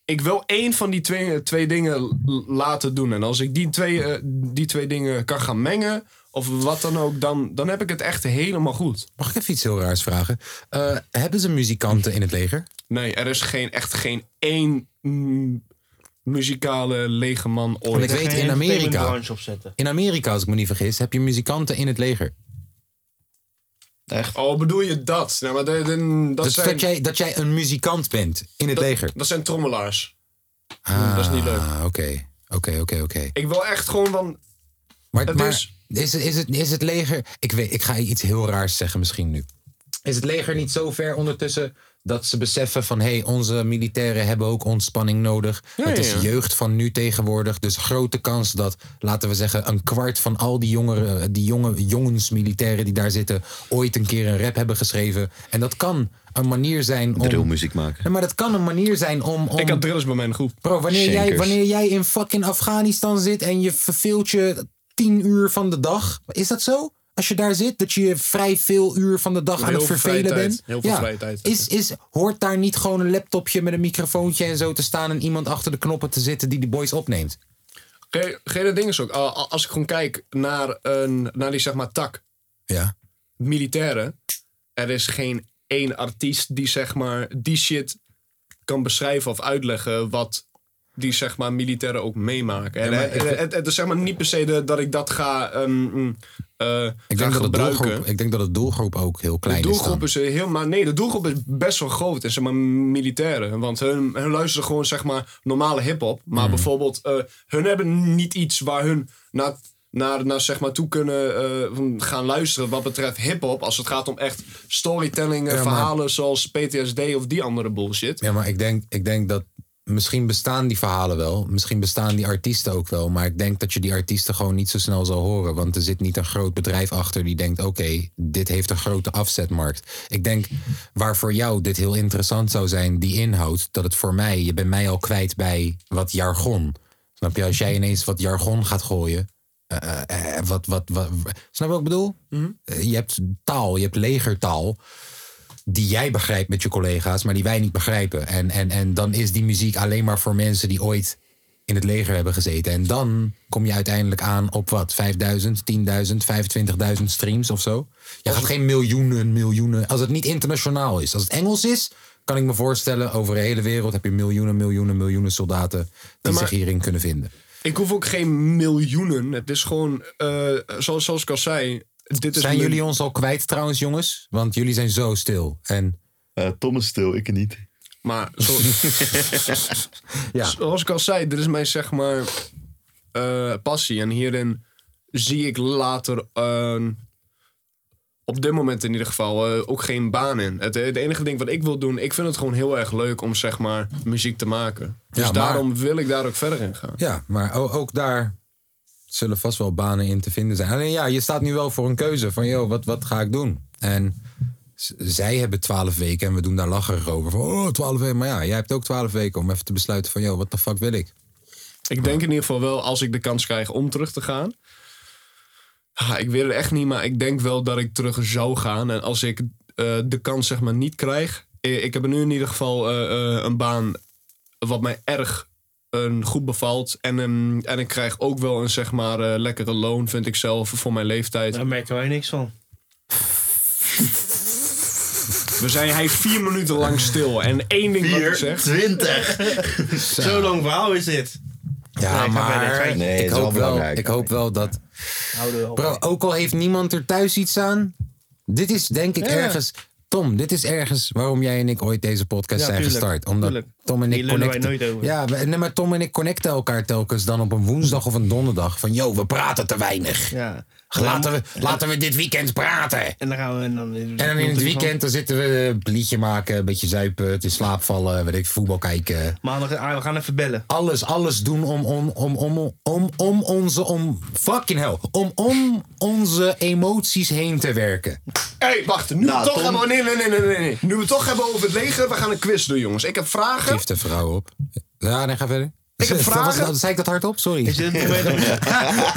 Speaker 6: Ik wil één van die twee, eh, twee dingen l- laten doen. En als ik die twee, eh, die twee dingen kan gaan mengen. Of wat dan ook, dan, dan heb ik het echt helemaal goed.
Speaker 1: Mag ik even iets heel raars vragen? Eh, hebben ze muzikanten in het leger?
Speaker 6: Nee, er is geen, echt geen één mm, muzikale lege man
Speaker 1: Want
Speaker 6: ooit.
Speaker 1: ik weet in Amerika.
Speaker 4: branch opzetten.
Speaker 1: In Amerika, als ik me niet vergis, heb je muzikanten in het leger.
Speaker 6: Oh, bedoel je dat? Nou, maar de- de- dat,
Speaker 1: dus
Speaker 6: zijn,
Speaker 1: dat, jij, dat jij een muzikant bent in het
Speaker 6: dat,
Speaker 1: leger.
Speaker 6: dat zijn trommelaars. dat is niet leuk.
Speaker 1: Ah, oké. Oké, oké, oké.
Speaker 6: Ik wil echt gewoon van...
Speaker 1: Maar,
Speaker 6: Het
Speaker 1: maar
Speaker 6: is-
Speaker 1: is, is, het, is het leger. Ik, weet, ik ga iets heel raars zeggen misschien nu. Is het leger niet zo ver ondertussen dat ze beseffen van hé, hey, onze militairen hebben ook ontspanning nodig? het
Speaker 6: ja,
Speaker 1: is
Speaker 6: ja.
Speaker 1: jeugd van nu tegenwoordig. Dus grote kans dat, laten we zeggen, een kwart van al die, jongeren, die jonge, jongens militairen die daar zitten, ooit een keer een rap hebben geschreven. En dat kan een manier zijn om.
Speaker 5: Drillmuziek maken.
Speaker 1: Nee, maar dat kan een manier zijn om. om
Speaker 6: Ik had drillers bij mijn groep.
Speaker 1: Bro, wanneer jij,
Speaker 5: Shankers.
Speaker 1: wanneer jij in fucking Afghanistan zit en je verveelt je tien uur van de dag. Is dat zo? Als je daar zit, dat je vrij veel uur van de dag aan
Speaker 6: Heel
Speaker 1: het
Speaker 6: veel
Speaker 1: vervelen
Speaker 6: vrije
Speaker 1: bent.
Speaker 6: tijd. Heel veel vrije tijd.
Speaker 1: Is, is, hoort daar niet gewoon een laptopje met een microfoontje en zo te staan en iemand achter de knoppen te zitten die die boys opneemt?
Speaker 6: Ge- Gele ding is ook, a- a- als ik gewoon kijk naar, een, naar die zeg maar tak,
Speaker 1: Ja.
Speaker 6: militairen. Er is geen één artiest die zeg maar die shit kan beschrijven of uitleggen wat die zeg maar militairen ook meemaken. En, eh, het, het, is zeg maar niet per se de- dat ik dat ga, ehm, mm, eh,
Speaker 1: Ik
Speaker 6: ga
Speaker 1: denk, dat de
Speaker 6: gebruiken.
Speaker 1: doelgroep, ik denk dat de doelgroep ook heel klein
Speaker 6: De doelgroep
Speaker 1: is.
Speaker 6: is eh, heel, maar nee, de doelgroep is best wel groot. En zeg maar militairen. Want hun, hun luisteren gewoon zeg maar normale hip-hop. Maar
Speaker 1: Hmm.
Speaker 6: bijvoorbeeld, eh, hun hebben niet iets waar hun naar, naar, naar zeg maar toe kunnen eh, van gaan luisteren. Wat betreft hip-hop. Als het gaat om echt storytelling, eh,
Speaker 1: Ja, maar-
Speaker 6: verhalen zoals PTSD of die andere bullshit.
Speaker 1: Ja, maar ik denk, ik denk dat misschien bestaan die verhalen wel. Misschien bestaan die artiesten ook wel. Maar ik denk dat je die artiesten gewoon niet zo snel zal horen. Want er zit niet een groot bedrijf achter die denkt: oké, dit heeft een grote afzetmarkt. Ik denk waar voor jou dit heel interessant zou zijn, die inhoud. Dat het voor mij, je bent mij al kwijt bij wat jargon. Snap je? Als jij ineens wat jargon gaat gooien. eh, eh, eh, wat, wat, wat, snap je wat ik bedoel? Eh, Je hebt taal, je hebt legertaal die jij begrijpt met je collega's, maar die wij niet begrijpen. En, en, en dan is die muziek alleen maar voor mensen die ooit in het leger hebben gezeten. En dan kom je uiteindelijk aan op wat? 5000, 10.000, 25.000 streams of zo. Je gaat geen miljoenen, miljoenen. Als het niet internationaal is, als het Engels is, kan ik me voorstellen, over de hele wereld heb je miljoenen, miljoenen, miljoenen soldaten die
Speaker 6: maar-
Speaker 1: zich hierin kunnen vinden.
Speaker 6: Ik hoef ook geen miljoenen. Het is gewoon, eh, zoals, zoals ik al zei. Dit is
Speaker 1: Zijn
Speaker 6: mijn-
Speaker 1: jullie ons al kwijt trouwens, jongens? Want jullie zijn zo stil. En
Speaker 5: Eh, Tom is stil, ik niet.
Speaker 6: Maar zo- Dus zoals ik al zei, dit is mijn zeg maar eh, passie. En hierin zie ik later, eh, op dit moment in ieder geval, eh, ook geen baan in. Het, het enige ding wat ik wil doen, ik vind het gewoon heel erg leuk om zeg maar muziek te maken. Dus
Speaker 1: Ja, maar-
Speaker 6: daarom wil ik daar ook verder in gaan.
Speaker 1: Ja, maar o- ook daar zullen vast wel banen in te vinden zijn. Alleen ja, je staat nu wel voor een keuze van, joh, wat, wat ga ik doen? En z- zij hebben twaalf weken en we doen daar lacherig over. Van, oh, twaalf weken. Maar ja, jij hebt ook twaalf weken om even te besluiten van, joh, wat de fuck wil ik?
Speaker 6: Ik denk in ieder geval wel, als ik de kans krijg om terug te gaan. Ah, ik weet het echt niet, maar ik denk wel dat ik terug zou gaan. En als ik eh, de kans zeg maar niet krijg. eh, Ik heb nu in ieder geval eh, eh, een baan wat mij erg een goed bevalt. En, ehm, en ik krijg ook wel een zeg maar eh, lekkere loon, vind ik zelf, voor mijn leeftijd.
Speaker 4: Daar merken wij niks van.
Speaker 6: We zijn hij vier minuten lang stil. En één ding wat ik zeg.
Speaker 5: 20.
Speaker 4: Zo lang verhaal is dit.
Speaker 1: Ja,
Speaker 4: ik ga verder.
Speaker 1: maar
Speaker 4: Kijk,
Speaker 5: nee, het
Speaker 1: ik
Speaker 5: is wel
Speaker 1: hoop wel,
Speaker 5: belangrijk.
Speaker 1: ik hoop wel dat...
Speaker 4: Houden we op.
Speaker 1: Bro, ook al heeft niemand er thuis iets aan. Dit is denk ik ergens. Tom, dit is ergens waarom jij en ik ooit deze podcast
Speaker 4: Ja,
Speaker 1: zijn
Speaker 4: tuurlijk,
Speaker 1: gestart. Omdat
Speaker 4: tuurlijk.
Speaker 1: Tom en
Speaker 4: Die
Speaker 1: ik
Speaker 4: lullen wij
Speaker 1: connecten.
Speaker 4: nooit over.
Speaker 1: Ja, we- nee, maar Tom en ik connecten elkaar telkens dan op een woensdag of een donderdag. Van, yo, we praten te weinig.
Speaker 4: Ja.
Speaker 1: Laten we, laten we dit weekend praten.
Speaker 4: En dan gaan we... En dan,
Speaker 1: En dan in het weekend dan zitten we een liedje maken, een beetje zuipen, het in slaap vallen, weet ik, voetbal kijken.
Speaker 4: Maandag, ah, we gaan even bellen.
Speaker 1: Alles, alles doen om, om, om, om, om, om onze, om, fucking hell, om, om onze emoties heen te werken.
Speaker 6: Hé, hey, wacht. Nu
Speaker 5: Nou,
Speaker 6: we
Speaker 5: Tom-
Speaker 6: toch hebben... Nee, nee, nee, nee, nee, nee. Nu we het toch hebben over het leger, we gaan een quiz doen, jongens. Ik heb vragen.
Speaker 1: Geef de vrouw op. Ja, nee, ga verder.
Speaker 6: Ik heb
Speaker 1: Was- nou-
Speaker 6: vragen.
Speaker 1: was- Zei ik dat hardop?
Speaker 4: Is
Speaker 1: Sorry.
Speaker 4: dit, het moment om,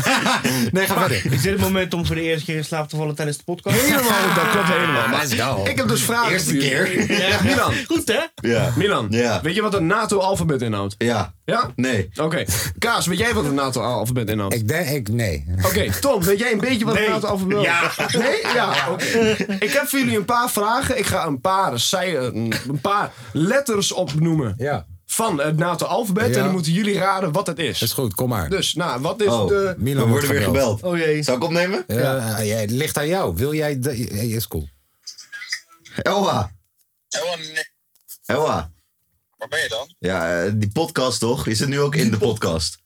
Speaker 1: Nee, ga verder.
Speaker 4: is dit het moment om voor de eerste keer in slaap te vallen tijdens de podcast?
Speaker 6: Helemaal, dat klopt helemaal. Maar
Speaker 1: Let's go.
Speaker 6: ik heb dus vragen
Speaker 5: Eerste
Speaker 6: voor jullie.
Speaker 5: keer.
Speaker 6: Ja. Milan,
Speaker 4: Goed, hè?
Speaker 5: Ja.
Speaker 6: Milan.
Speaker 5: Ja.
Speaker 6: Weet je wat het NATO-alfabet inhoudt?
Speaker 5: Ja.
Speaker 6: Ja?
Speaker 5: Nee.
Speaker 6: Oké. Kaas, weet jij wat het NATO-alfabet inhoudt?
Speaker 1: Ik denk, ik, nee.
Speaker 6: Oké, Tom, weet jij een beetje wat het NATO-alfabet inhoudt? Ja. Nee? Ja, oké. Ik heb voor jullie een paar vragen. Ik ga een paar, zij, een een paar letters opnoemen
Speaker 1: Ja,
Speaker 6: van het NATO-alfabet. En
Speaker 1: Ja.
Speaker 6: dan moeten jullie raden wat het is.
Speaker 1: is goed, kom maar.
Speaker 6: Dus, nou, wat is
Speaker 5: Oh.
Speaker 6: de...
Speaker 1: Milan
Speaker 5: We worden weer gebeld.
Speaker 4: Oh jee.
Speaker 5: Zal ik opnemen?
Speaker 1: Eh, ja, het ligt aan jou. Wil jij... de- eh, Is cool.
Speaker 5: Elwa.
Speaker 8: Helemaal niet.
Speaker 5: Elwa.
Speaker 8: Waar ben je dan?
Speaker 5: Ja, eh, die podcast toch? Je zit nu ook in de podcast.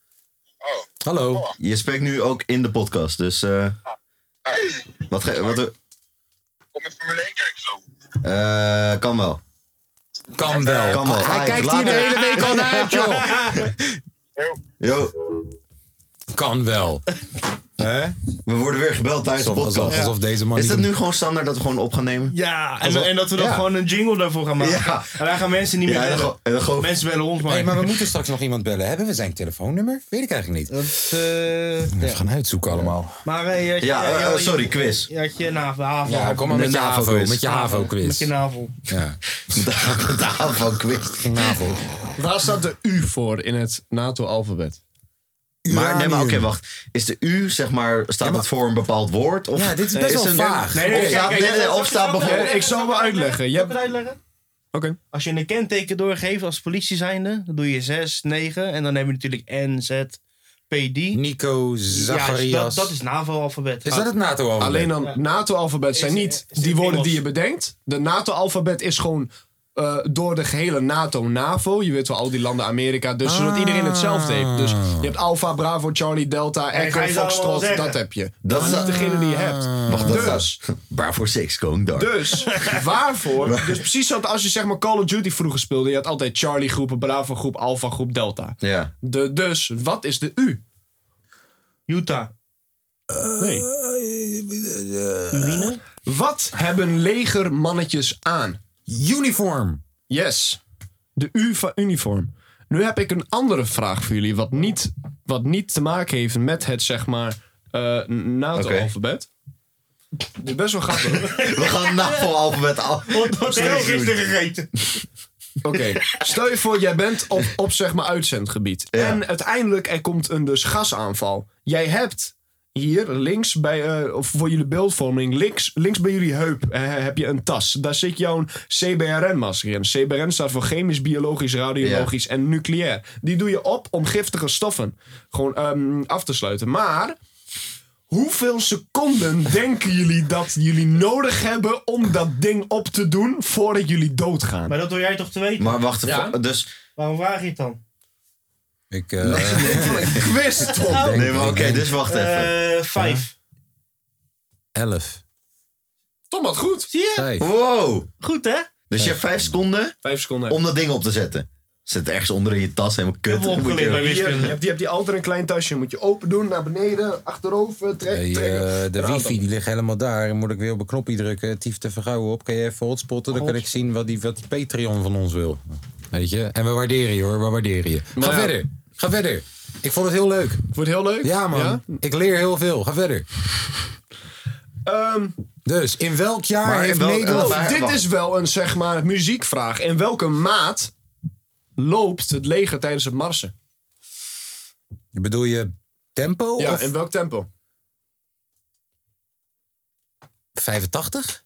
Speaker 8: Oh,
Speaker 1: Hallo.
Speaker 5: Je spreekt nu ook in de podcast, dus...
Speaker 8: Ah.
Speaker 5: eh, wat ge- wat,
Speaker 8: kom je Formule 1 kijken zo?
Speaker 5: eh, kan wel.
Speaker 1: Kan wel.
Speaker 5: Kan wel. Ah,
Speaker 1: Hij
Speaker 5: Ai,
Speaker 1: kijkt hier
Speaker 5: later.
Speaker 1: de hele week al naar uit, joh.
Speaker 5: Yo,
Speaker 1: Kan wel. Hè?
Speaker 5: we worden weer gebeld tijdens de
Speaker 1: Alsof, alsof,
Speaker 5: podcast.
Speaker 1: alsof deze man.
Speaker 5: Is
Speaker 1: niet-
Speaker 5: dat nu gewoon standaard dat we gewoon op gaan nemen?
Speaker 4: Ja, Ah, en, en dat we dan
Speaker 1: Ja.
Speaker 4: gewoon een jingle daarvoor gaan maken.
Speaker 5: Ja.
Speaker 4: En dan gaan mensen niet meer
Speaker 5: Ja, en dan
Speaker 4: bellen.
Speaker 5: gewoon- en dan gewoon-
Speaker 4: Mensen bellen ons maar.
Speaker 1: Hey, maar we moeten straks nog iemand bellen. Hebben we zijn telefoonnummer? Weet ik eigenlijk niet.
Speaker 4: Dat, eh, ja.
Speaker 1: Even gaan uitzoeken allemaal.
Speaker 4: Maar eh, je had je-
Speaker 5: Ja,
Speaker 4: je-
Speaker 5: eh,
Speaker 4: je-
Speaker 5: sorry, quiz.
Speaker 4: Je had je navel. havel.
Speaker 1: Ja, kom maar met,
Speaker 5: Met
Speaker 1: je
Speaker 5: je
Speaker 1: HAVO.
Speaker 5: HAVO-quiz.
Speaker 1: Met je
Speaker 4: Met
Speaker 1: HAVO-quiz.
Speaker 4: je
Speaker 1: Ja.
Speaker 4: navel.
Speaker 5: De aanval quiz.
Speaker 1: HAVO.
Speaker 6: Waar staat de U voor in het NATO-alfabet?
Speaker 5: Maar, nee, maar oké,
Speaker 1: Uranium.
Speaker 5: wacht. Is de U, zeg maar, staat dat voor een bepaald woord? Of,
Speaker 1: Ja, dit is best wel
Speaker 5: een-
Speaker 1: vaag.
Speaker 5: Nee, nee,
Speaker 4: Of
Speaker 5: nee,
Speaker 4: staat-
Speaker 5: nee, nee, of staat bijvoorbeeld...
Speaker 6: ik zal wel uitleggen. Je
Speaker 4: Zal ik het
Speaker 6: hebt-
Speaker 4: uitleggen?
Speaker 6: Oké.
Speaker 4: Als je een kenteken doorgeeft als politie zijnde, dan doe je 6, 9 en dan heb je natuurlijk N, Z, P, D.
Speaker 1: Nico Zacharias.
Speaker 4: Ja, dus dat, dat is NAVO-alfabet.
Speaker 1: Is dat het nato alfabet
Speaker 6: Alleen dan, NATO-alfabet zijn
Speaker 4: Is-
Speaker 6: niet
Speaker 4: is- is
Speaker 6: die woorden die je
Speaker 4: Engels.
Speaker 6: bedenkt. De NATO-alfabet is gewoon eh, door de gehele NATO-NAVO. Je weet wel, al die landen Amerika. Dus
Speaker 4: Ah.
Speaker 6: zodat iedereen hetzelfde heeft. Dus je hebt Alpha, Bravo, Charlie, Delta,
Speaker 4: ga je
Speaker 6: Echo,
Speaker 4: ze allemaal
Speaker 6: Foxtrot.
Speaker 4: zeggen?
Speaker 6: Dat heb je.
Speaker 5: Dat
Speaker 6: Dat
Speaker 5: is-
Speaker 6: is niet degene die je hebt.
Speaker 5: Wacht, dat
Speaker 6: dus,
Speaker 5: Waarvoor seks, going dark.
Speaker 6: dus, waarvoor? Dus precies zoals als je zeg maar Call of Duty vroeger speelde. Je had altijd Charlie-groepen, Bravo-groep, Alpha-groep, Delta.
Speaker 5: Ja.
Speaker 6: De, dus, wat is de U?
Speaker 4: Utah.
Speaker 6: Nee. Wat hebben legermannetjes aan?
Speaker 1: Uniform.
Speaker 6: Yes. De U van uniform. Nu heb ik een andere vraag voor jullie, wat niet, wat niet te maken heeft met het zeg maar eh, NATO-alfabet. Dit is best wel grappig. hoor.
Speaker 5: We gaan NAVO-alfabet af.
Speaker 4: Wat heb gisteren gegeten?
Speaker 6: Oké, stel je voor, jij bent op, op zeg maar uitzendgebied.
Speaker 5: Ja.
Speaker 6: En uiteindelijk er komt een dus gasaanval. Jij hebt hier links bij, eh, of voor jullie beeldvorming, links, links bij jullie heup eh, heb je een tas. Daar zit jouw CBRN-masker in. CBRN staat voor chemisch, biologisch, radiologisch en nucleair. Die doe je op om giftige stoffen gewoon ehm, af te sluiten. Maar Hoeveel seconden denken jullie dat jullie nodig hebben om dat ding op te doen voordat jullie doodgaan?
Speaker 4: Maar dat wil jij toch te weten?
Speaker 5: Maar wacht,
Speaker 6: Ja.
Speaker 5: even, dus...
Speaker 4: Waarom vraag je het dan?
Speaker 1: Ik, eh, denk-
Speaker 6: Quiz,
Speaker 4: Oh.
Speaker 6: Tom.
Speaker 5: Nee, maar oké, dus wacht even.
Speaker 4: Eh, Vijf.
Speaker 1: Eh, Elf.
Speaker 6: Tom had goed.
Speaker 4: Zie je?
Speaker 1: Vijf.
Speaker 5: Wow!
Speaker 4: Goed, hè?
Speaker 5: Dus je hebt vijf seconden
Speaker 6: Vijf seconden.
Speaker 5: om dat ding op te zetten. Zit ergens onder in je tas, helemaal kut.
Speaker 4: Helemaal
Speaker 5: Moet je-
Speaker 4: opgeleerd bij
Speaker 6: Hier, je,
Speaker 4: wiskunde.
Speaker 6: hebt, je hebt die altijd een klein tasje. Moet je open doen, naar beneden, achterover, trek,
Speaker 1: Hey,
Speaker 6: trekken.
Speaker 1: eh, de wifi die ligt helemaal daar. Dan moet ik weer op een knopje drukken. Tief te vergouwen op. Kan je even hotspotten? Dan kan ik zien wat die, wat die Patreon van ons wil. Weet je? En we waarderen je hoor. We waarderen je. Ga
Speaker 6: ja.
Speaker 1: verder. Ga verder. Ik vond het heel leuk.
Speaker 6: Wordt heel leuk.
Speaker 1: Ja man. Ik leer heel veel. Ga verder.
Speaker 6: Ehm,
Speaker 1: Dus, in welk jaar
Speaker 5: Maar in
Speaker 1: heeft
Speaker 5: welk-
Speaker 1: Nederland...
Speaker 5: eh,
Speaker 6: oh,
Speaker 5: waar-
Speaker 6: dit
Speaker 5: wacht.
Speaker 6: is wel een zeg maar muziekvraag. In welke maat loopt het leger tijdens het marsen?
Speaker 1: Bedoel je tempo?
Speaker 6: Ja,
Speaker 1: of
Speaker 6: in welk tempo?
Speaker 1: 85?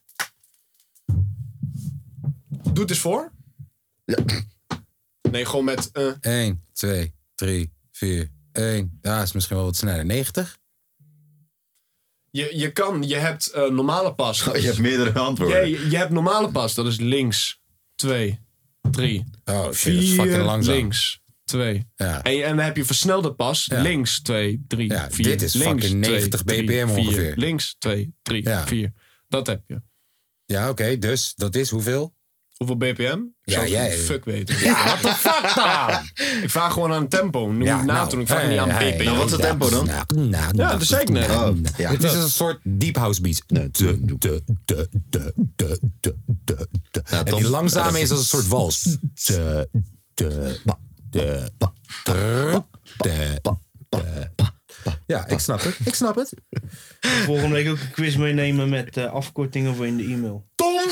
Speaker 6: Doe het eens voor. Nee, gewoon met... eh,
Speaker 1: 1, 2, 3, 4, 1. Ja, is misschien wel wat sneller. 90?
Speaker 6: Je, je kan, je hebt eh, normale pas.
Speaker 5: Oh, je hebt meerdere antwoorden.
Speaker 6: Ja, je, je hebt normale pas, dat is links, 2, 3,
Speaker 1: Oh, shit, dat is fucking
Speaker 6: vier,
Speaker 1: langzaam.
Speaker 6: links, 2.
Speaker 1: Ja.
Speaker 6: En, je- en dan heb je versnelde pas, links, 2, 3,
Speaker 1: Ja,
Speaker 6: 4.
Speaker 1: dit is
Speaker 6: links,
Speaker 1: fucking 90
Speaker 6: 2, 3,
Speaker 1: BPM
Speaker 6: 4,
Speaker 1: ongeveer.
Speaker 6: Links, 2, 3,
Speaker 1: Ja.
Speaker 6: 4. Dat heb je.
Speaker 1: Ja, oké, dus dat is hoeveel?
Speaker 6: Hoeveel BPM? Ik
Speaker 1: Ja,
Speaker 6: zou het
Speaker 1: jij-
Speaker 6: fuck weten. Ja, what the fuck dan? Ik vraag gewoon aan het tempo. Noem
Speaker 1: Ja,
Speaker 6: het na
Speaker 1: nou,
Speaker 6: toen. Ik vraag niet aan
Speaker 1: hey,
Speaker 6: BPM.
Speaker 5: Nou, wat is het tempo dan?
Speaker 1: Nou, nou, nou,
Speaker 6: Ja, Ah, dat zei ik net.
Speaker 1: nou,
Speaker 5: Oh, ja.
Speaker 1: Het is een soort deep house beat.
Speaker 5: Nee.
Speaker 1: Du- du- du- du- du- du- du- du- du. En
Speaker 5: Tom,
Speaker 1: die
Speaker 5: ja,
Speaker 1: langzame
Speaker 5: dat
Speaker 1: is als een soort wals. Du- du- ba- du- ba- du- du- du- Ja, ik snap het. Ik snap het.
Speaker 4: Volgende week ook een quiz meenemen met eh, afkortingen voor in de e-mail.
Speaker 1: Tom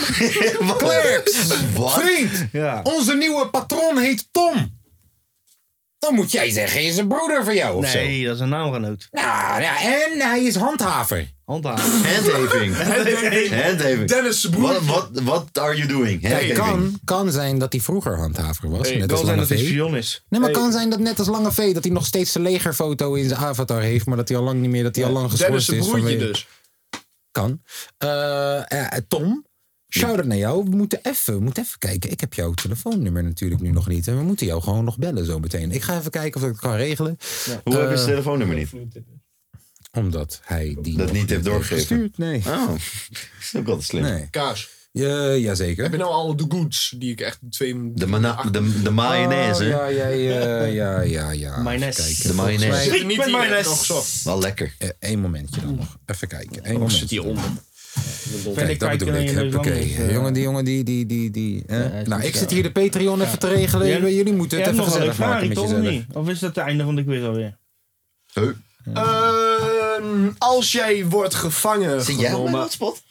Speaker 1: Clerks. Vriend.
Speaker 4: Ja.
Speaker 1: Onze nieuwe patroon heet Tom. Dan moet jij zeggen, is een broeder van jou of zo.
Speaker 4: Nee, dat is een naamgenoot.
Speaker 1: Nou ja, en hij is handhaver.
Speaker 4: Handhaven.
Speaker 5: Handhaving. Handhaving.
Speaker 6: Dennis' broer.
Speaker 5: What, what, what are you doing?
Speaker 1: Het
Speaker 5: Handhaving.
Speaker 1: kan, kan zijn dat hij vroeger handhaver was. net als
Speaker 4: Kan zijn
Speaker 1: Lange
Speaker 4: dat het
Speaker 1: V.
Speaker 4: spion is.
Speaker 1: Nee, maar kan zijn dat net als Lange V dat hij nog steeds zijn legerfoto in zijn avatar heeft, maar dat hij al lang niet meer, dat hij al lang geschorst is.
Speaker 6: Dennis' broertje
Speaker 1: vanwege-
Speaker 6: dus.
Speaker 1: Kan. Eh, eh, Tom, shout-out naar jou. We moeten even, we moeten even kijken. Ik heb jouw telefoonnummer natuurlijk nu nog niet. En we moeten jou gewoon nog bellen zo meteen. Ik ga even kijken of ik het kan regelen.
Speaker 5: Hoe
Speaker 1: eh,
Speaker 5: heb je zijn telefoonnummer niet?
Speaker 1: Omdat hij die
Speaker 5: Dat
Speaker 1: nog
Speaker 5: niet heeft doorgegeven.
Speaker 1: gestuurd. Nee.
Speaker 5: Oh, dat is ook altijd slim.
Speaker 1: nee.
Speaker 6: Kaas.
Speaker 1: Ja, jazeker.
Speaker 6: Heb je nou al de goods die ik echt twee...
Speaker 5: De, mana- de, de mayonaise.
Speaker 1: Oh, ja, ja, ja, ja, ja, ja.
Speaker 4: Mayonaise.
Speaker 1: Even
Speaker 5: De
Speaker 1: kijken. Volgens
Speaker 5: mayonaise.
Speaker 1: mij-
Speaker 6: Zit er niet
Speaker 4: Met
Speaker 6: hier
Speaker 4: mayonaise.
Speaker 6: nog zo.
Speaker 5: Wel lekker.
Speaker 1: Eh, Eén momentje dan nog. Even kijken. Eén
Speaker 6: Of
Speaker 1: moment.
Speaker 6: zit hieronder?
Speaker 1: Kijk, dat bedoel ik. Huppakee. Eh, jongen, die jongen, die, die, die, die. hè? nou, ik zit hier de Patreon even te regelen.
Speaker 4: Jij-
Speaker 1: Jullie moeten
Speaker 4: Je
Speaker 1: het
Speaker 4: hebt
Speaker 1: even
Speaker 4: nog een
Speaker 1: gezellig
Speaker 4: ervaring,
Speaker 1: maken met
Speaker 4: toch? Of,
Speaker 1: jezelf.
Speaker 4: niet? of is dat het einde van de quiz alweer?
Speaker 5: Huh?
Speaker 6: Ehm, als jij wordt gevangen
Speaker 5: Zit jij op mijn
Speaker 6: genomen...
Speaker 5: hotspot?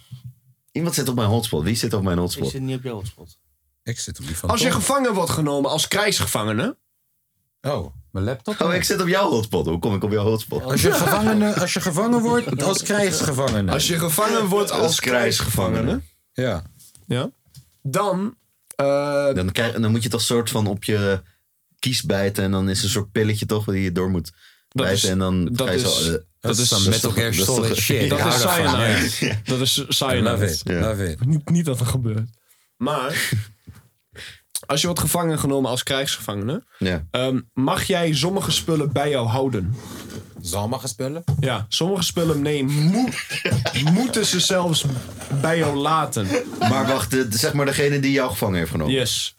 Speaker 5: Iemand zit op mijn hotspot. Wie zit op mijn
Speaker 4: Ik
Speaker 5: hotspot?
Speaker 4: zit niet op jouw hotspot.
Speaker 1: Ik zit op die van.
Speaker 6: Als je
Speaker 1: Tom.
Speaker 6: gevangen wordt genomen als krijgsgevangene...
Speaker 1: Oh, mijn laptop.
Speaker 5: Oh, ik zit op jouw hotspot. Hoe kom ik op jouw hotspot?
Speaker 1: Als je, gevangene, als je gevangen wordt als krijgsgevangene.
Speaker 6: Als je gevangen wordt als
Speaker 5: Als
Speaker 6: krijgsgevangene...
Speaker 5: krijgsgevangene.
Speaker 1: Ja.
Speaker 6: Dan... eh,
Speaker 5: Dan, krijg, dan moet je toch soort van op je kies bijten. En dan is er een soort pilletje toch die je door moet
Speaker 6: Dat
Speaker 5: bijten.
Speaker 6: is-
Speaker 5: en dan
Speaker 6: dat
Speaker 5: ga je
Speaker 6: is-
Speaker 5: zo... eh,
Speaker 1: Dat is dan Metal
Speaker 5: toch-
Speaker 1: Gear
Speaker 5: dat is
Speaker 1: Solid
Speaker 5: toch-
Speaker 1: shit.
Speaker 6: dat
Speaker 1: Ik
Speaker 6: is
Speaker 1: hou ervan, ja.
Speaker 6: cyanide. Dat is
Speaker 1: Love
Speaker 6: cyanide.
Speaker 1: it, love it.
Speaker 6: Niet, niet dat er gebeurt. Maar... Als je wordt gevangen genomen als krijgsgevangene...
Speaker 5: ja.
Speaker 6: ehm, mag jij sommige spullen bij jou houden?
Speaker 1: Zalma gespullen?
Speaker 6: Ja, sommige spullen nee, moe- moeten ze zelfs bij jou laten.
Speaker 5: Maar wacht, de- zeg maar degene die jou gevangen heeft genomen.
Speaker 6: Yes.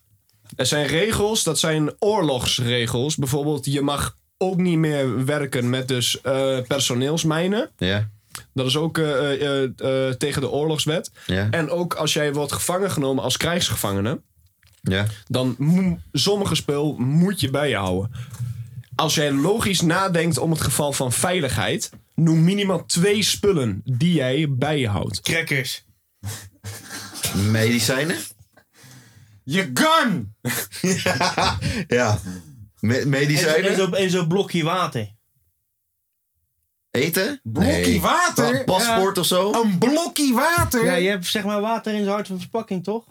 Speaker 6: Er zijn regels, dat zijn oorlogsregels. Bijvoorbeeld, je mag ook niet meer werken met dus eh, personeelsmijnen.
Speaker 5: Ja.
Speaker 6: Dat is ook eh, eh, eh, eh, tegen de oorlogswet.
Speaker 5: Ja.
Speaker 6: En ook als jij wordt gevangen genomen als krijgsgevangene,
Speaker 5: Ja.
Speaker 6: dan mo- sommige spul moet je bij je houden. Als jij logisch nadenkt om het geval van veiligheid, noem minimaal twee spullen die jij bij je houdt.
Speaker 4: Crackers.
Speaker 5: Medicijnen?
Speaker 1: Je gun!
Speaker 5: Ja. Me-
Speaker 4: En zo- en
Speaker 5: medicijnen?
Speaker 4: zo- en zo'n blokje water.
Speaker 5: Eten?
Speaker 1: Blokkie
Speaker 5: Nee. Pa-
Speaker 1: water?
Speaker 5: paspoort of zo?
Speaker 1: Ja. Een blokkie water?
Speaker 4: Ja, je hebt zeg maar water in zijn hart van verpakking, toch?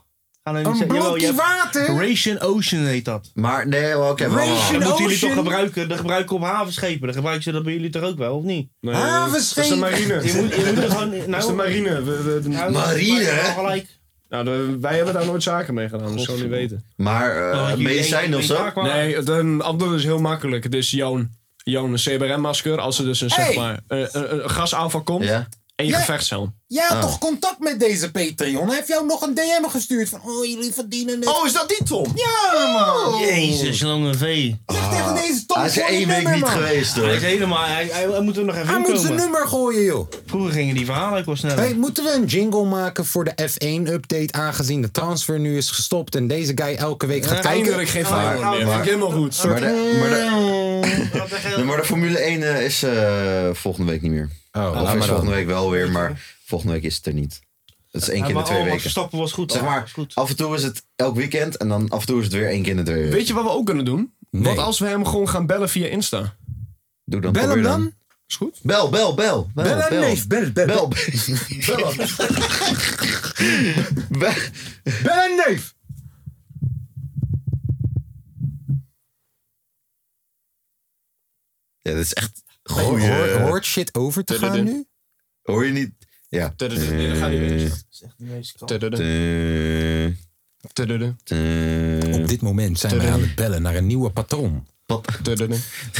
Speaker 4: Gaan we niet
Speaker 1: Een
Speaker 4: zeggen- jawel, je
Speaker 1: blokkie
Speaker 4: hebt-
Speaker 1: water?
Speaker 4: Ration Ocean heet dat.
Speaker 5: Maar nee, oké. maar-
Speaker 1: Ration-
Speaker 4: Dat moeten jullie
Speaker 1: Ocean?
Speaker 4: toch gebruiken? Dat gebruiken op havenschepen. Dan gebruiken ze dat bij jullie toch ook wel, of niet?
Speaker 6: Nee,
Speaker 1: Havenschepen.
Speaker 6: Dat is de marine.
Speaker 4: Je moet, je moet er gewoon... Nou,
Speaker 6: Dat is de marine. We- we- de-
Speaker 4: nou,
Speaker 5: Marine,
Speaker 4: dat is
Speaker 5: hè?
Speaker 4: wel Gelijk.
Speaker 6: nou, de- wij hebben daar nooit zaken mee gedaan, dus zou niet weten.
Speaker 5: maar eh,
Speaker 4: Dat jullie
Speaker 5: medicijnen
Speaker 4: één-
Speaker 5: of
Speaker 4: één
Speaker 5: zo?
Speaker 4: taak waren.
Speaker 6: Nee, de antwoord is heel makkelijk. Het is jouw, jouw CBRM-masker als er dus een,
Speaker 1: Hey!
Speaker 6: zeg maar, een, een- een gasaanval komt
Speaker 5: Ja. Ah.
Speaker 6: en je
Speaker 1: Ja.
Speaker 6: gevechtshelm.
Speaker 1: Jij had toch contact met deze Patreon? Hij heeft jou nog een DM gestuurd van... Oh, jullie verdienen het.
Speaker 6: is dat die Tom?
Speaker 1: Ja,
Speaker 4: Oh.
Speaker 1: man!
Speaker 4: Jezus, lange vee.
Speaker 1: Zeg tegen deze Tom
Speaker 5: Oh. Ah. Hij is er
Speaker 1: gewoon
Speaker 5: één
Speaker 1: je
Speaker 5: week
Speaker 1: nummer,
Speaker 5: niet
Speaker 1: man.
Speaker 5: geweest hoor.
Speaker 4: Hij is helemaal... Hij, hij, hij moet er nog even
Speaker 1: Hij
Speaker 4: in
Speaker 1: moet
Speaker 4: komen.
Speaker 1: zijn nummer gooien, joh.
Speaker 4: Vroeger gingen die verhalen ook wel sneller.
Speaker 1: Hey, moeten we een jingle maken voor de F1-update... aangezien de transfer nu is gestopt... en deze guy elke week gaat kijken?
Speaker 6: Eindelijk geen
Speaker 5: Maar-
Speaker 6: vijand meer. Vind
Speaker 5: maar-
Speaker 6: ik helemaal goed.
Speaker 5: Maar de, maar, de,
Speaker 4: Dat is echt-
Speaker 5: nee, maar de Formule 1 eh, is eh, volgende week niet meer.
Speaker 1: Oh,
Speaker 5: Of is volgende week wel weer, maar volgende week is het er niet. Dat is één keer in de
Speaker 4: maar
Speaker 5: twee
Speaker 4: oh,
Speaker 5: weken.
Speaker 4: Verstappen was goed.
Speaker 5: Zeg
Speaker 4: Oh,
Speaker 5: maar,
Speaker 4: was goed.
Speaker 5: af en toe is het elk weekend en dan af en toe is het weer één keer in de twee weken.
Speaker 6: Weet je wat we ook kunnen doen? Wat als we hem gewoon gaan bellen via Insta?
Speaker 5: Doe dan,
Speaker 1: Bel hem
Speaker 5: probeer
Speaker 1: dan.
Speaker 6: Is goed?
Speaker 5: Bel, bel, bel. Bel,
Speaker 1: Bel
Speaker 5: bel.
Speaker 1: hem, neef. Bel, bel,
Speaker 5: Bel.
Speaker 1: bel.
Speaker 5: Bel. Bel.
Speaker 1: Bel hem, neef.
Speaker 5: Ja, dat is echt
Speaker 1: Hoor-
Speaker 5: goeie...
Speaker 1: Hoort shit over te gaan nu?
Speaker 5: Hoor je niet? Ja. Eh.
Speaker 6: Ja, dan ga je weer.
Speaker 5: Eh.
Speaker 1: Op dit moment zijn wij aan het bellen naar een nieuwe patroon.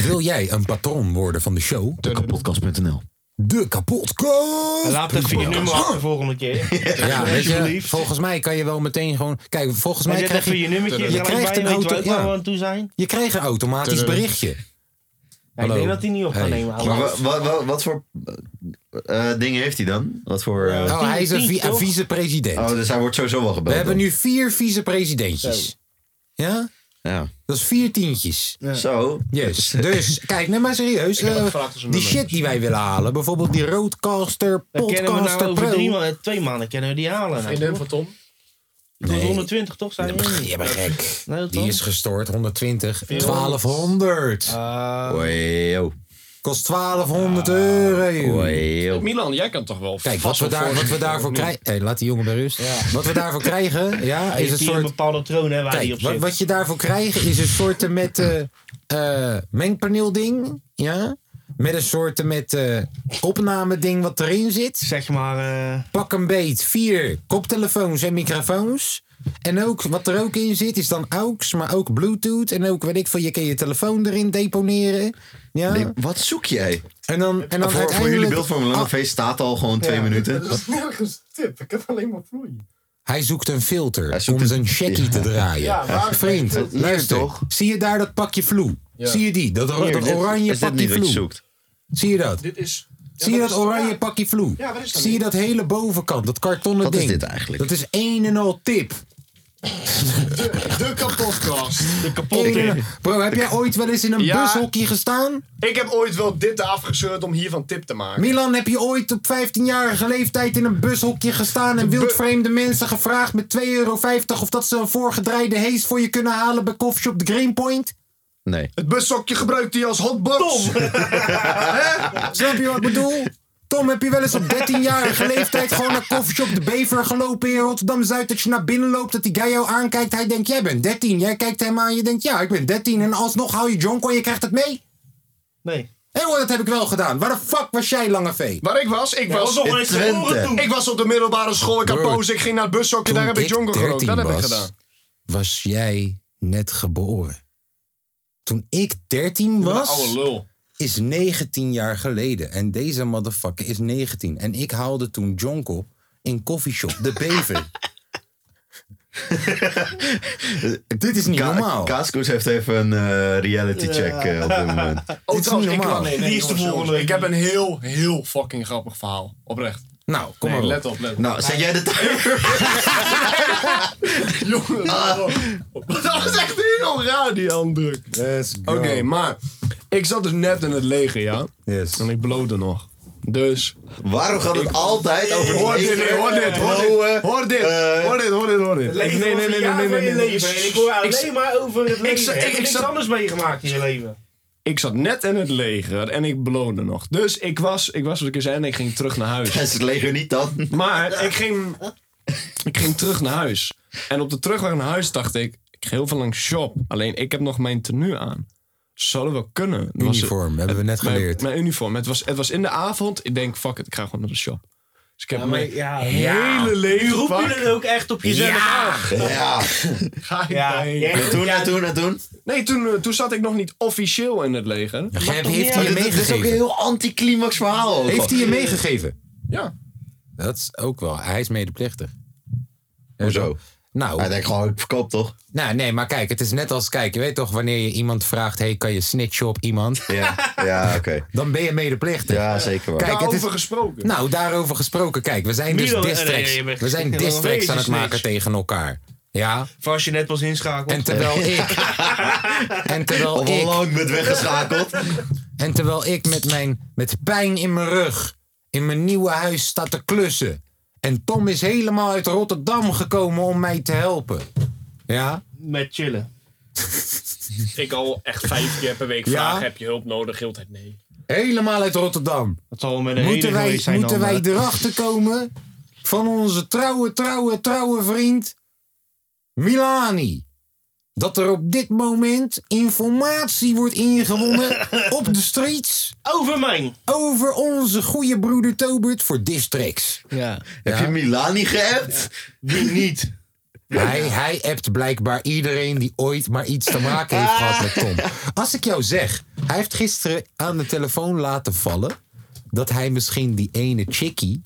Speaker 1: Wil jij een patroon worden van de show? De
Speaker 5: Kapotkast.nl
Speaker 1: De kapotkast!
Speaker 4: Laat even je nummer achter de volgende keer.
Speaker 1: Ja, weet je,
Speaker 4: Alsjeblieft.
Speaker 1: volgens mij kan je wel meteen gewoon... Kijk, volgens
Speaker 4: Maar
Speaker 1: mij
Speaker 4: zet
Speaker 1: krijg
Speaker 4: even
Speaker 1: je,
Speaker 4: je nummertje
Speaker 1: je
Speaker 4: gelijk
Speaker 1: krijgt
Speaker 4: bij.
Speaker 1: een
Speaker 4: Weet je
Speaker 1: auto-
Speaker 4: waar
Speaker 1: ja.
Speaker 4: we aan toe zijn?
Speaker 1: je krijgt een automatisch berichtje.
Speaker 4: Ja, ik
Speaker 1: Hallo.
Speaker 4: denk dat hij niet op gaat
Speaker 1: Hey.
Speaker 4: nemen.
Speaker 5: Maar
Speaker 4: ouwe.
Speaker 5: wa- wa- wa- wat voor eh, eh, dingen heeft hij dan? Wat voor... eh,
Speaker 1: Oh, hij is een, vi-
Speaker 4: Tien, toch?
Speaker 1: vicepresident.
Speaker 5: Oh, dus hij wordt sowieso wel
Speaker 1: We
Speaker 5: gebeld.
Speaker 1: hebben
Speaker 5: dan.
Speaker 1: nu vier vicepresidentjes. Ja?
Speaker 5: Ja.
Speaker 1: Dat is vier tientjes.
Speaker 5: Zo.
Speaker 1: Yes. Dus, kijk, nee maar serieus. eh, die shit die wij willen halen. Bijvoorbeeld die Roadcaster,
Speaker 4: Dan kennen we nou
Speaker 1: Podcaster
Speaker 4: over
Speaker 1: Pro.
Speaker 4: drie maanden, twee maanden kennen we die halen. Nou, toch?
Speaker 6: van Tom.
Speaker 4: Dat is 120 toch? Zijn we
Speaker 1: Pff,
Speaker 4: niet?
Speaker 1: Je bent gek.
Speaker 4: Nee, dat
Speaker 1: Die
Speaker 4: toch?
Speaker 1: is gestoord, 120. 1200.
Speaker 4: Ah.
Speaker 5: Oei, joh.
Speaker 1: Kost 1200 euro. joh.
Speaker 5: Oei, joh.
Speaker 6: Milan, jij kan toch wel.
Speaker 1: Kijk, wat
Speaker 6: vast
Speaker 1: we,
Speaker 6: wel
Speaker 1: daar, wat we daarvoor krijgen. Hé, laat die jongen bij rust. Wat we daarvoor krijgen, ja,
Speaker 4: Hij heeft
Speaker 1: is een
Speaker 4: hier een
Speaker 1: soort.
Speaker 4: bepaalde troon hè, waar hij op
Speaker 1: Kijk, wat,
Speaker 4: zit.
Speaker 1: wat je daarvoor krijgt is een soort met eh eh, mengpaneelding. Ja? Met een soort met eh opnameding wat erin zit.
Speaker 4: Zeg maar... eh,
Speaker 1: Pak een beet, vier koptelefoons en microfoons. En ook, wat er ook in zit, is dan AUX, maar ook Bluetooth. En ook, weet ik veel, je kan je telefoon erin deponeren. Ja?
Speaker 5: Nee, wat zoek jij?
Speaker 1: En dan, en dan
Speaker 5: Voor, voor jullie
Speaker 1: uiteindelijk... Ah,
Speaker 5: beeld van een lange feest staat al gewoon twee minuten.
Speaker 6: nergens tip. Ik heb alleen maar vloeien.
Speaker 1: Hij zoekt een filter
Speaker 5: Hij zoekt
Speaker 1: om
Speaker 5: een-
Speaker 1: zijn checkie te draaien.
Speaker 6: waar-
Speaker 1: Vriend,
Speaker 5: Dat is
Speaker 1: luister.
Speaker 5: toch?
Speaker 1: Zie je daar dat pakje vloe? Zie je die? Dat,
Speaker 5: Hier,
Speaker 1: dat
Speaker 5: dit-
Speaker 1: oranje
Speaker 5: is dit
Speaker 1: pakje
Speaker 5: niet wat je
Speaker 1: vloe?
Speaker 5: zoekt?
Speaker 1: Zie je dat?
Speaker 6: Dit is.
Speaker 1: Zie je dat oranje pakje vloe?
Speaker 6: wat is dat
Speaker 1: Zie je dat hele bovenkant, dat kartonnen
Speaker 5: Wat is
Speaker 1: ding?
Speaker 5: dit eigenlijk?
Speaker 1: Dat is een en al tip.
Speaker 6: De kapotkast.
Speaker 1: Een en al- Bro, heb jij ooit wel eens in een
Speaker 6: Ja.
Speaker 1: bushokje gestaan?
Speaker 6: Ik heb ooit wel dit afgescheurd om hiervan tip te maken.
Speaker 1: Milan, heb je ooit op 15-jarige leeftijd in een bushokje gestaan en wildvreemde mensen gevraagd met 2,50 euro of dat ze een voorgedraaide hees voor je kunnen halen bij koffieshop de Greenpoint?
Speaker 5: Nee.
Speaker 6: Het bushokje gebruikt hij als hotbox.
Speaker 1: Snap je wat ik bedoel? Tom, heb je wel eens op 13-jarige leeftijd gewoon naar koffieshop de Bever gelopen in Rotterdam-Zuid? Dat je naar binnen loopt, dat die guy jou aankijkt. Hij denkt, jij bent 13. Jij kijkt hem aan, je denkt, ja, ik ben 13. En alsnog hou je jonko en je krijgt het mee.
Speaker 4: Nee.
Speaker 1: Hé hoor, dat heb ik wel gedaan. Waar de fuck was jij, Lange V?
Speaker 6: Waar ik was, ik was,
Speaker 5: In Twente.
Speaker 6: ik was op de middelbare school. Ik had
Speaker 1: Broer,
Speaker 6: pauze. Ik ging naar het bushokje. Daar heb ik jongo gerookt. Dat heb ik gedaan.
Speaker 1: was jij net geboren. Toen ik 13
Speaker 6: Oude lul.
Speaker 1: is 19 jaar geleden. En deze motherfucker is 19. En ik haalde toen jonk op in koffieshop De Bever. Dit is niet
Speaker 5: Ka
Speaker 1: normaal.
Speaker 5: Kaaskoes heeft even een eh, reality check eh, op dit moment.
Speaker 6: Oh,
Speaker 1: Dit is
Speaker 6: trouwens,
Speaker 1: niet
Speaker 6: ik
Speaker 1: normaal.
Speaker 6: kan nee, nee,
Speaker 4: Die is de
Speaker 6: jongens,
Speaker 4: volgende
Speaker 6: jongens,
Speaker 4: week.
Speaker 6: Ik heb een heel, heel fucking grappig verhaal. Oprecht.
Speaker 1: Nou, kom
Speaker 6: Nee,
Speaker 1: maar op.
Speaker 6: let op, let op.
Speaker 5: Nou, zet jij de timer?
Speaker 6: Jongen, dat was echt heel raar die handdruk. Oké, maar ik zat dus net in het leger, ja.
Speaker 1: Yes.
Speaker 6: En ik blode nog. Dus.
Speaker 5: Waarom gaat het altijd over
Speaker 6: Hoor dit,
Speaker 5: leger,
Speaker 6: hoor dit, hoor dit.
Speaker 5: vrouwen?
Speaker 6: Hoor dit, hoor dit, hoor dit, hoor dit.
Speaker 4: Nee, nee, nee, nee, nee, nee, Ik hoor alleen maar over het leven. Ik,
Speaker 6: zat-
Speaker 4: heb
Speaker 6: ik- ik
Speaker 4: niks
Speaker 6: zat-
Speaker 4: anders meegemaakt in je leven.
Speaker 6: Ik zat net in het leger en ik blode nog. Dus ik was, ik was wat ik al zei, en ik ging terug naar huis.
Speaker 5: Is het leger niet dan?
Speaker 6: Maar ik ging, ik ging terug naar huis. En op de terugweg naar huis dacht ik, ik ga heel veel langs de shop. Alleen ik heb nog mijn tenue aan. Zou dat wel kunnen? Het was-
Speaker 1: Uniform, hebben we net
Speaker 6: mijn-
Speaker 1: geleerd.
Speaker 6: Mijn, uniform. Het was, het was in de avond. Ik denk, fuck it, ik ga gewoon naar de shop. Dus ik heb mijn
Speaker 4: ja,
Speaker 6: hele
Speaker 4: Nu
Speaker 6: leven
Speaker 4: roep je
Speaker 6: pak.
Speaker 4: het ook echt op jezelf aan.
Speaker 5: Ja.
Speaker 6: Ga ik
Speaker 4: Ja,
Speaker 6: daarheen?
Speaker 4: ja.
Speaker 5: En toen, en toen, en toen.
Speaker 6: Nee, toen, eh, toen zat ik nog niet officieel in het leger.
Speaker 1: Heb- heeft
Speaker 4: niet
Speaker 1: hij je
Speaker 5: Dit is
Speaker 4: uit.
Speaker 5: ook een
Speaker 1: meegegeven?
Speaker 5: heel anticlimax verhaal. ook.
Speaker 1: Heeft hij je meegegeven?
Speaker 6: Ja.
Speaker 1: Dat is ook wel. Hij is medeplichtig.
Speaker 5: Hoezo? Hij
Speaker 1: Nou,
Speaker 5: denkt gewoon, ik verkoop toch?
Speaker 1: nou, nee, maar kijk, het is net als, kijk, je weet toch, wanneer je iemand vraagt, hey, kan je snitchen op iemand?
Speaker 5: Ja, ja oké.
Speaker 1: Dan ben je medeplichtig.
Speaker 5: Ja, zeker waar.
Speaker 1: Kijk, het
Speaker 6: Daarover
Speaker 1: is,
Speaker 6: gesproken.
Speaker 1: Nou, daarover gesproken. Kijk, we zijn dus
Speaker 4: Milo-
Speaker 1: diss
Speaker 4: nee, nee,
Speaker 1: tracks.
Speaker 4: je bent-
Speaker 1: We zijn
Speaker 4: je
Speaker 1: diss
Speaker 4: bent
Speaker 1: tracks aan het
Speaker 4: Jezus,
Speaker 1: maken
Speaker 4: niks.
Speaker 1: tegen elkaar. Ja?
Speaker 4: Voor als je net was inschakeld.
Speaker 1: En terwijl ik... En terwijl
Speaker 5: Of al
Speaker 1: ik,
Speaker 5: lang bent weggeschakeld.
Speaker 1: en terwijl ik met, mijn, met pijn in mijn rug in mijn nieuwe huis sta te klussen. En Tom is helemaal uit Rotterdam gekomen om mij te helpen. Ja?
Speaker 4: Met chillen.
Speaker 9: Ik al echt vijf keer per week
Speaker 1: Ja?
Speaker 9: vragen, heb je hulp nodig? Heel de tijd nee.
Speaker 1: Helemaal uit Rotterdam.
Speaker 4: Dat zal wel met een
Speaker 1: Moeten
Speaker 4: reden
Speaker 1: wij,
Speaker 4: geweest zijn eh,
Speaker 1: moeten
Speaker 4: dan,
Speaker 1: wij
Speaker 4: maar-
Speaker 1: erachter komen van onze trouwe, trouwe, trouwe vriend Milani. dat er op dit moment informatie wordt ingewonnen op de streets.
Speaker 4: Over mijn.
Speaker 1: Over onze goede broeder Tobert voor Districts.
Speaker 4: Ja.
Speaker 5: Heb je Milani geappt?
Speaker 4: Wie niet?
Speaker 1: Hij, hij appt blijkbaar iedereen die ooit maar iets te maken heeft gehad met Tom. Als ik jou zeg, hij heeft gisteren aan de telefoon laten vallen dat hij misschien die ene chickie.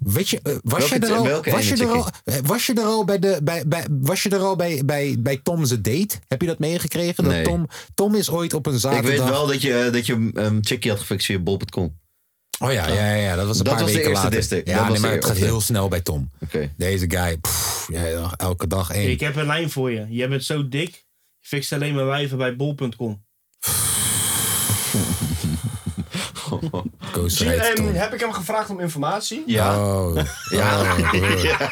Speaker 1: Weet je, eh, was,
Speaker 5: Welke
Speaker 1: je er
Speaker 5: chi-
Speaker 1: al,
Speaker 5: welke
Speaker 1: was, je
Speaker 5: ene
Speaker 1: er al, eh, was je er al bij de bij, bij, was je er al bij, bij, bij Tom's date? Heb je dat meegekregen?
Speaker 5: Nee.
Speaker 1: Dat Tom, Tom is ooit op een
Speaker 5: Ik
Speaker 1: zaterdag.
Speaker 5: weet wel dat je, dat je ehm Chickie had gefixt via bol.com.
Speaker 1: Oh ja, ja, ja, ja, dat was een
Speaker 5: Dat
Speaker 1: paar
Speaker 5: was de
Speaker 1: weken
Speaker 5: eerste
Speaker 1: later.
Speaker 5: district.
Speaker 1: Ja,
Speaker 5: Dat
Speaker 1: nee,
Speaker 5: was de
Speaker 1: maar het gaat
Speaker 5: eerste.
Speaker 1: heel snel bij Tom.
Speaker 5: Oké.
Speaker 1: Deze guy, pff, ja, elke dag één.
Speaker 4: Ik heb een lijn voor je. Jij bent zo dik. Je fixt alleen maar wijven bij bol.com.
Speaker 1: Koos rijdt Tom.
Speaker 6: heb ik hem gevraagd om informatie?
Speaker 5: Ja.
Speaker 1: Oh. Ja.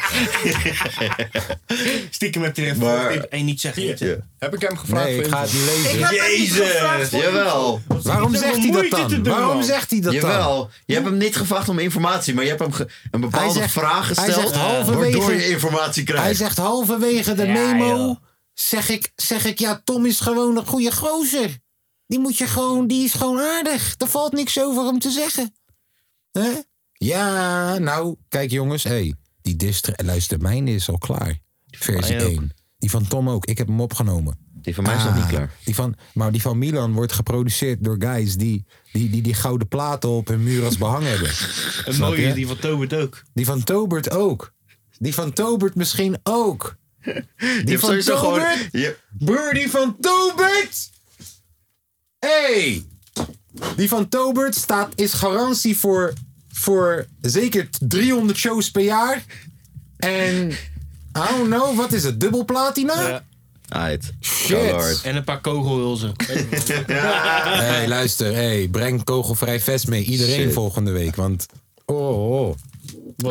Speaker 4: Stiekem met de
Speaker 5: Maar-
Speaker 4: En niet zeggen.
Speaker 5: Ja.
Speaker 6: Heb ik hem gevraagd
Speaker 1: Nee, ik ga het niet lezen.
Speaker 5: Jezus. Jawel.
Speaker 1: Waarom
Speaker 4: Ik heb
Speaker 1: zegt
Speaker 4: wel
Speaker 1: hij dat
Speaker 4: moeite te
Speaker 1: dan?
Speaker 4: doen,
Speaker 1: Waarom
Speaker 4: man.
Speaker 1: zegt hij dat dan?
Speaker 5: Jawel. Je hebt hem niet gevraagd om informatie, maar je hebt hem ge- een bepaalde
Speaker 1: Hij zegt-
Speaker 5: vraag
Speaker 1: hij
Speaker 5: gesteld.
Speaker 1: zegt halverwege-
Speaker 5: waardoor je informatie
Speaker 1: Hij
Speaker 5: krijgt.
Speaker 1: zegt halverwege de
Speaker 4: Ja,
Speaker 1: memo,
Speaker 4: joh.
Speaker 1: zeg ik, zeg ik, ja, Tom is gewoon een goede gozer. Die moet je gewoon, die is gewoon aardig. Er valt niks over om te zeggen. Hè? Ja, nou, kijk jongens, hé, hey, die distre, luister, mijn is al klaar. Versie
Speaker 4: mij ook.
Speaker 1: 1. Die van Tom ook, ik heb hem opgenomen.
Speaker 5: Die van mij is nog niet
Speaker 1: Ah,
Speaker 5: klaar.
Speaker 1: Die van, maar die van Milan wordt geproduceerd door guys die die, die, die gouden platen op hun muur als behang hebben.
Speaker 4: Een
Speaker 1: Snap
Speaker 4: mooie
Speaker 1: je?
Speaker 4: is die van Tobert ook.
Speaker 1: Die van Tobert ook. Die van Tobert misschien ook. Die
Speaker 5: Je hebt
Speaker 1: van
Speaker 5: sowieso gewoon.
Speaker 1: Tobert?
Speaker 5: je-
Speaker 1: Broer, die van Tobert! Hey! Die van Tobert staat, is garantie voor, voor zeker 300 shows per jaar. En, I don't know, wat is het? Dubbel platina?
Speaker 5: Uit.
Speaker 1: Shit.
Speaker 5: Lord.
Speaker 4: En een paar kogelhulzen.
Speaker 1: hey, luister, hey, breng kogelvrij vest mee. Iedereen
Speaker 5: Shit.
Speaker 1: volgende week, want... Oh, oh.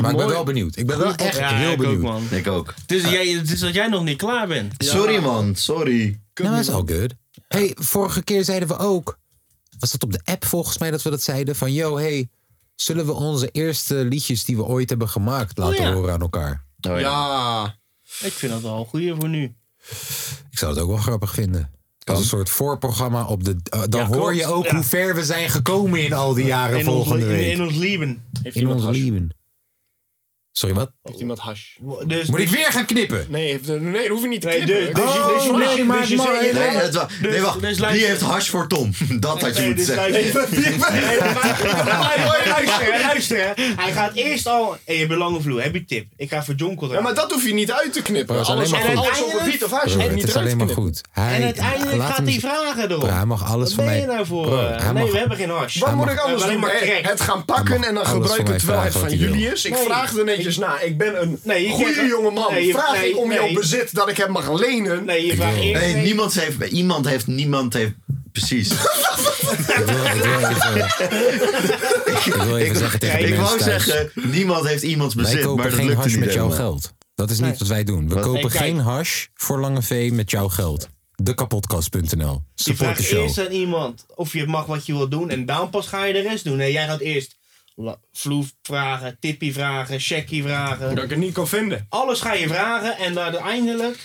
Speaker 1: Maar ik ben wel benieuwd. Ik ben wel echt
Speaker 4: Ja,
Speaker 1: heel
Speaker 4: ik
Speaker 1: benieuwd.
Speaker 4: ook, man.
Speaker 5: Ik ook.
Speaker 4: Het is, jij, het is dat jij nog niet klaar bent.
Speaker 5: Sorry man, sorry.
Speaker 1: Nou, dat is all good. Hey, vorige keer zeiden we ook... Was dat op de app volgens mij dat we dat zeiden? Van, yo, hey, zullen we onze eerste liedjes die we ooit hebben gemaakt laten
Speaker 4: ja.
Speaker 1: horen aan elkaar?
Speaker 5: Oh,
Speaker 6: Ja.
Speaker 4: Ik vind dat wel een goeie voor nu.
Speaker 1: Ik zou het ook wel grappig vinden. Als een soort voorprogramma op de... eh, dan
Speaker 4: klopt.
Speaker 1: hoor je ook hoe ver we zijn gekomen in al die jaren
Speaker 4: In ons,
Speaker 1: volgende
Speaker 4: in,
Speaker 1: week.
Speaker 4: in ons leven.
Speaker 9: Heeft
Speaker 1: in
Speaker 9: iemand
Speaker 1: ons
Speaker 9: hash?
Speaker 1: leven. Sorry, wat?
Speaker 7: Heeft iemand hash?
Speaker 4: Dus,
Speaker 1: Moet ik weer gaan knippen?
Speaker 7: Nee,
Speaker 6: eh,
Speaker 7: heeft, nee, hoef je niet te
Speaker 4: Nee,
Speaker 7: knippen.
Speaker 4: dus- dus je- dus je-
Speaker 1: Oh, nee,
Speaker 4: dus
Speaker 1: maar-
Speaker 4: je- dus je-
Speaker 1: maar-
Speaker 5: Nee, dat is wel- nee, wacht.
Speaker 4: dus luister-
Speaker 5: Wie heeft hash voor Tom? Dat had je
Speaker 4: Nee,
Speaker 5: moeten
Speaker 4: dus
Speaker 5: zeggen.
Speaker 4: luister. Nee, maar- Luister, hè, luister. hè. Hij gaat eerst al... Hé, je belangenvloer, heb je tip? Ik ga voor Jonko
Speaker 7: Ja,
Speaker 4: draaien.
Speaker 7: maar dat hoef je niet uit te knippen.
Speaker 1: Dat is
Speaker 7: alles
Speaker 1: alleen maar goed.
Speaker 7: alles over Piet of hash. hoef
Speaker 1: Broer,
Speaker 7: je
Speaker 1: het
Speaker 7: niet
Speaker 1: is
Speaker 7: eruit te
Speaker 1: alleen maar
Speaker 7: knippen.
Speaker 1: goed. Hij,
Speaker 4: En uiteindelijk
Speaker 1: laat
Speaker 4: gaat
Speaker 1: hem
Speaker 4: hij
Speaker 1: z-
Speaker 4: vragen erop.
Speaker 1: Broer, hij mag alles
Speaker 4: Wat
Speaker 1: van
Speaker 4: ben
Speaker 1: mij.
Speaker 4: je nou voor?
Speaker 1: Broer,
Speaker 4: eh?
Speaker 1: hij
Speaker 4: nee,
Speaker 1: mag-
Speaker 4: we hebben geen hars.
Speaker 7: Wat moet ik
Speaker 4: We
Speaker 7: anders
Speaker 4: hebben
Speaker 7: doen?
Speaker 4: Eh, alleen maar
Speaker 7: Het,
Speaker 4: crack.
Speaker 7: het gaan pakken en dan
Speaker 1: alles van
Speaker 7: gebruiken
Speaker 1: mij
Speaker 7: terwijl het
Speaker 1: vragen
Speaker 7: van
Speaker 1: wat hij wil.
Speaker 7: jullie is. Ik
Speaker 4: Nee.
Speaker 7: vraag er netjes na. Ik ben een
Speaker 4: Nee, je
Speaker 7: goede
Speaker 4: krijgt-
Speaker 7: jonge man.
Speaker 4: nee, je-
Speaker 7: vraag
Speaker 4: nee,
Speaker 7: ik om jouw
Speaker 4: nee.
Speaker 7: bezit dat ik hem mag lenen.
Speaker 4: Nee, je vraagt eerst...
Speaker 5: Nee, niemand heeft, iemand heeft, niemand heeft, precies.
Speaker 1: Ik wil, ik wil even, ik wil even zeggen tegen de
Speaker 5: ik
Speaker 1: mensen
Speaker 5: wou
Speaker 1: thuis,
Speaker 5: zeggen, niemand heeft iemands
Speaker 1: Wij
Speaker 5: bezit,
Speaker 1: kopen
Speaker 5: maar dat
Speaker 1: geen
Speaker 5: lukte
Speaker 1: hash
Speaker 5: niet
Speaker 1: met jouw
Speaker 5: helemaal.
Speaker 1: geld. Dat is niet wat wij doen. We kopen
Speaker 4: Nee, kijk.
Speaker 1: geen hash voor Lange V met jouw geld. Dekapotkast.nl.
Speaker 4: Je
Speaker 1: Support de
Speaker 4: vraagt
Speaker 1: show.
Speaker 4: eerst aan iemand of je mag wat je wil doen en dan pas ga je de rest doen. Nee, jij gaat eerst la- vloef vragen, tippie vragen, checkie vragen.
Speaker 7: Dat ik het niet kon vinden.
Speaker 4: Alles ga je vragen en dan uiteindelijk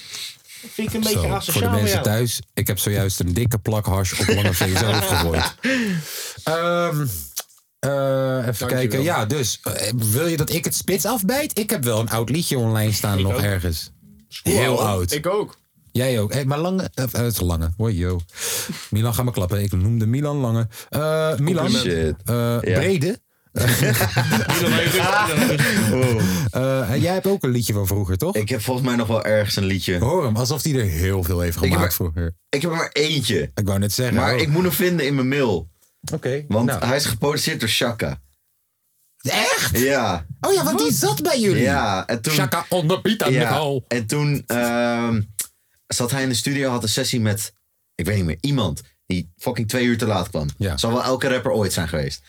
Speaker 4: vind ik een beetje
Speaker 1: Zo, voor de
Speaker 4: asociaal met
Speaker 1: mensen
Speaker 4: jou.
Speaker 1: thuis. Ik heb zojuist een dikke plak hash op Lange V zelf gegooid. Ehm, eh, even kijken. Ja, dus eh, wil je dat ik het spits afbijt? Ik heb wel een oud liedje online staan nog ergens. Heel oud.
Speaker 7: Ik ook.
Speaker 1: Jij ook. Hey, maar Lange... eh, eh, het is Lange. Hoi, yo. Milan, ga maar klappen. Ik noemde Milan Lange. Eh, Milan.
Speaker 5: Shit.
Speaker 1: eh, Brede. Ah. Eh, en jij hebt ook een liedje van vroeger, toch?
Speaker 5: Ik heb volgens mij nog wel ergens een liedje.
Speaker 1: Hoor hem, alsof hij er heel veel heeft
Speaker 5: heb
Speaker 1: gemaakt
Speaker 5: maar-
Speaker 1: vroeger.
Speaker 5: Ik heb er maar eentje,
Speaker 1: Ik wou net zeggen.
Speaker 5: maar
Speaker 1: oh,
Speaker 5: ik moet hem vinden in mijn mail.
Speaker 1: Oké.
Speaker 5: Want
Speaker 1: nou.
Speaker 5: hij is geproduceerd door Shaka.
Speaker 1: Echt?
Speaker 5: Ja,
Speaker 1: Oh ja, want die zat bij jullie.
Speaker 5: ja. En toen,
Speaker 1: Chaka on the beat aan de
Speaker 5: ja,
Speaker 1: bal.
Speaker 5: en toen ehm, zat hij in de studio, had een sessie met, ik weet niet meer, iemand die fucking twee uur te laat kwam.
Speaker 1: Ja.
Speaker 5: Zal wel elke rapper ooit zijn geweest.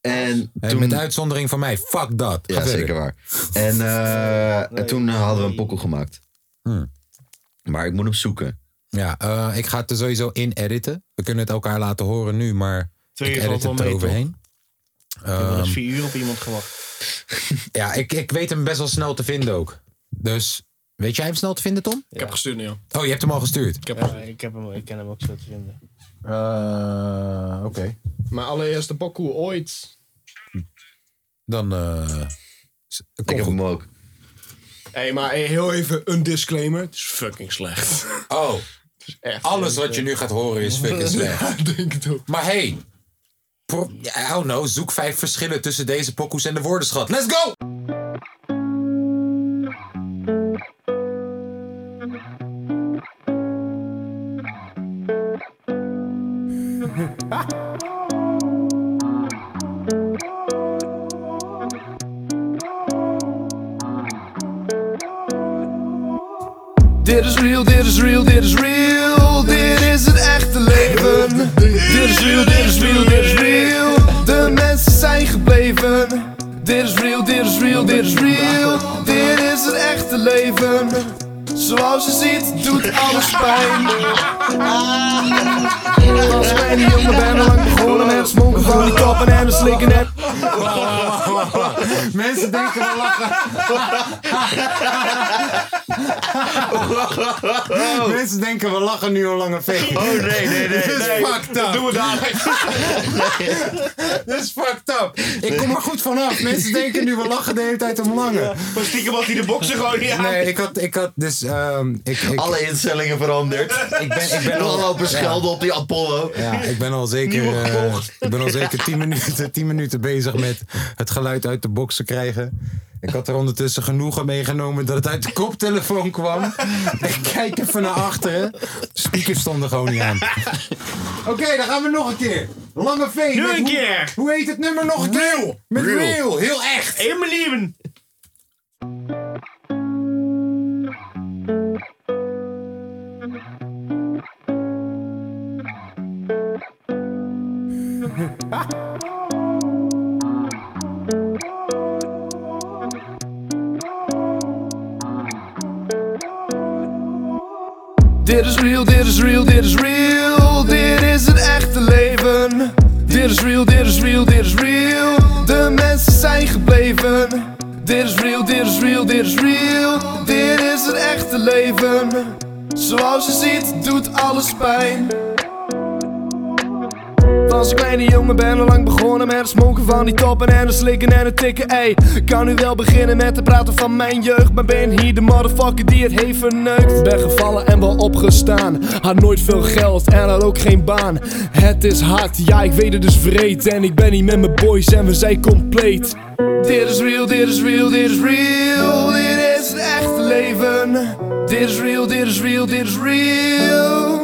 Speaker 5: En
Speaker 1: Hey,
Speaker 5: toen,
Speaker 1: Met uitzondering van mij. Fuck dat. Ga
Speaker 5: Ja,
Speaker 1: verder.
Speaker 5: zeker waar. En eh, toen eh, hadden we een pokoe gemaakt.
Speaker 1: Hmm.
Speaker 5: Maar ik moet hem zoeken.
Speaker 1: Ja, eh, ik ga het er sowieso in editen. We kunnen het elkaar laten horen nu, maar
Speaker 4: Twee
Speaker 1: ik
Speaker 4: uur valt
Speaker 1: edit
Speaker 4: wel
Speaker 1: het
Speaker 4: mee, toch?
Speaker 1: eroverheen.
Speaker 4: Ik heb nog
Speaker 1: Ehm,
Speaker 4: eens vier uur op iemand gewacht.
Speaker 1: Ja, ik, ik weet hem best wel snel te vinden ook. Dus Weet jij hem snel te vinden, Tom?
Speaker 4: Ik heb
Speaker 1: gestuurd, nu. Oh, je hebt hem al gestuurd? Ik
Speaker 4: Ja, ik, heb hem, ik ken hem ook zo te vinden.
Speaker 1: Oké.
Speaker 7: Eh, Maar allereerst de pokoe ooit.
Speaker 1: Dan... eh
Speaker 5: Ik heb hem ook.
Speaker 7: Hé, hey, maar hey, heel even een disclaimer. Het is fucking slecht.
Speaker 1: Oh, alles wat je nu gaat horen is fucking slecht.
Speaker 7: denk het ook.
Speaker 1: Maar hey, pro- I don't know, zoek vijf verschillen tussen deze pokoes en de woordenschat. Let's go!
Speaker 10: Dit is real, dit is real, dit is real. Dit is het echte leven. Dit is real, dit is real, dit is real. De mensen zijn gebleven. Dit is real, dit is real, dit is real. Dit is het echte leven. Zoals je ziet, doet alles pijn. Als ik bij die jongen ben, lang begonnen met het smoken van die kappen en het slikken en...
Speaker 1: Mensen denken wel lachen. Mensen denken we lachen nu al lange fake.
Speaker 5: Oh nee, nee, nee.
Speaker 1: Dit is
Speaker 5: nee.
Speaker 1: fucked up. Doe we dadelijk. Dit is fucked up. Ik kom er goed vanaf. Mensen denken nu we lachen de hele tijd om lange.
Speaker 4: Maar stiekem was hij de boksen gewoon niet aan.
Speaker 1: Nee, ik had, ik had dus... ehm, ik, ik,
Speaker 5: Alle instellingen veranderd.
Speaker 1: ik ben, ik ben
Speaker 5: En al
Speaker 1: al...
Speaker 5: lopen schelden op die Apollo.
Speaker 1: Ja, ik ben al zeker,
Speaker 5: Nieuwe
Speaker 1: eh,
Speaker 5: gekocht.
Speaker 1: ik ben al zeker 10 minuten, 10 minuten bezig met het geluid uit de box te krijgen. Ik had er ondertussen genoegen meegenomen dat het uit de koptelefoon kwam. Ik kijk even naar achteren. Speakers stonden gewoon niet aan. Oké, dan gaan we nog een keer. Lange V.
Speaker 4: Nu
Speaker 1: met
Speaker 4: een
Speaker 1: hoe-
Speaker 4: keer.
Speaker 1: Hoe heet het nummer nog een keer? Met real. Heel echt.
Speaker 4: In mijn leven.
Speaker 10: Dit is real, dit is real, dit is real. Dit is het echte leven. Dit is real, dit is real, dit is real. De mensen zijn gebleven. Dit is real, dit is real, dit is real. Dit is het echte leven. Zoals je ziet, doet alles pijn. Als een kleine jongen ben al lang begonnen met het smoken van die toppen en het slikken en het tikken. Ey, ik kan nu wel beginnen met het praten van mijn jeugd, maar ben hier de motherfucker die het heeft verneukt. Ben gevallen en wel opgestaan, had nooit veel geld en had ook geen baan. Het is hard, ja ik weet het is vreed en ik ben hier met mijn boys en we zijn compleet. Dit is real, dit is real, dit is real, dit is het echte leven. Dit is real, dit is real, dit is real.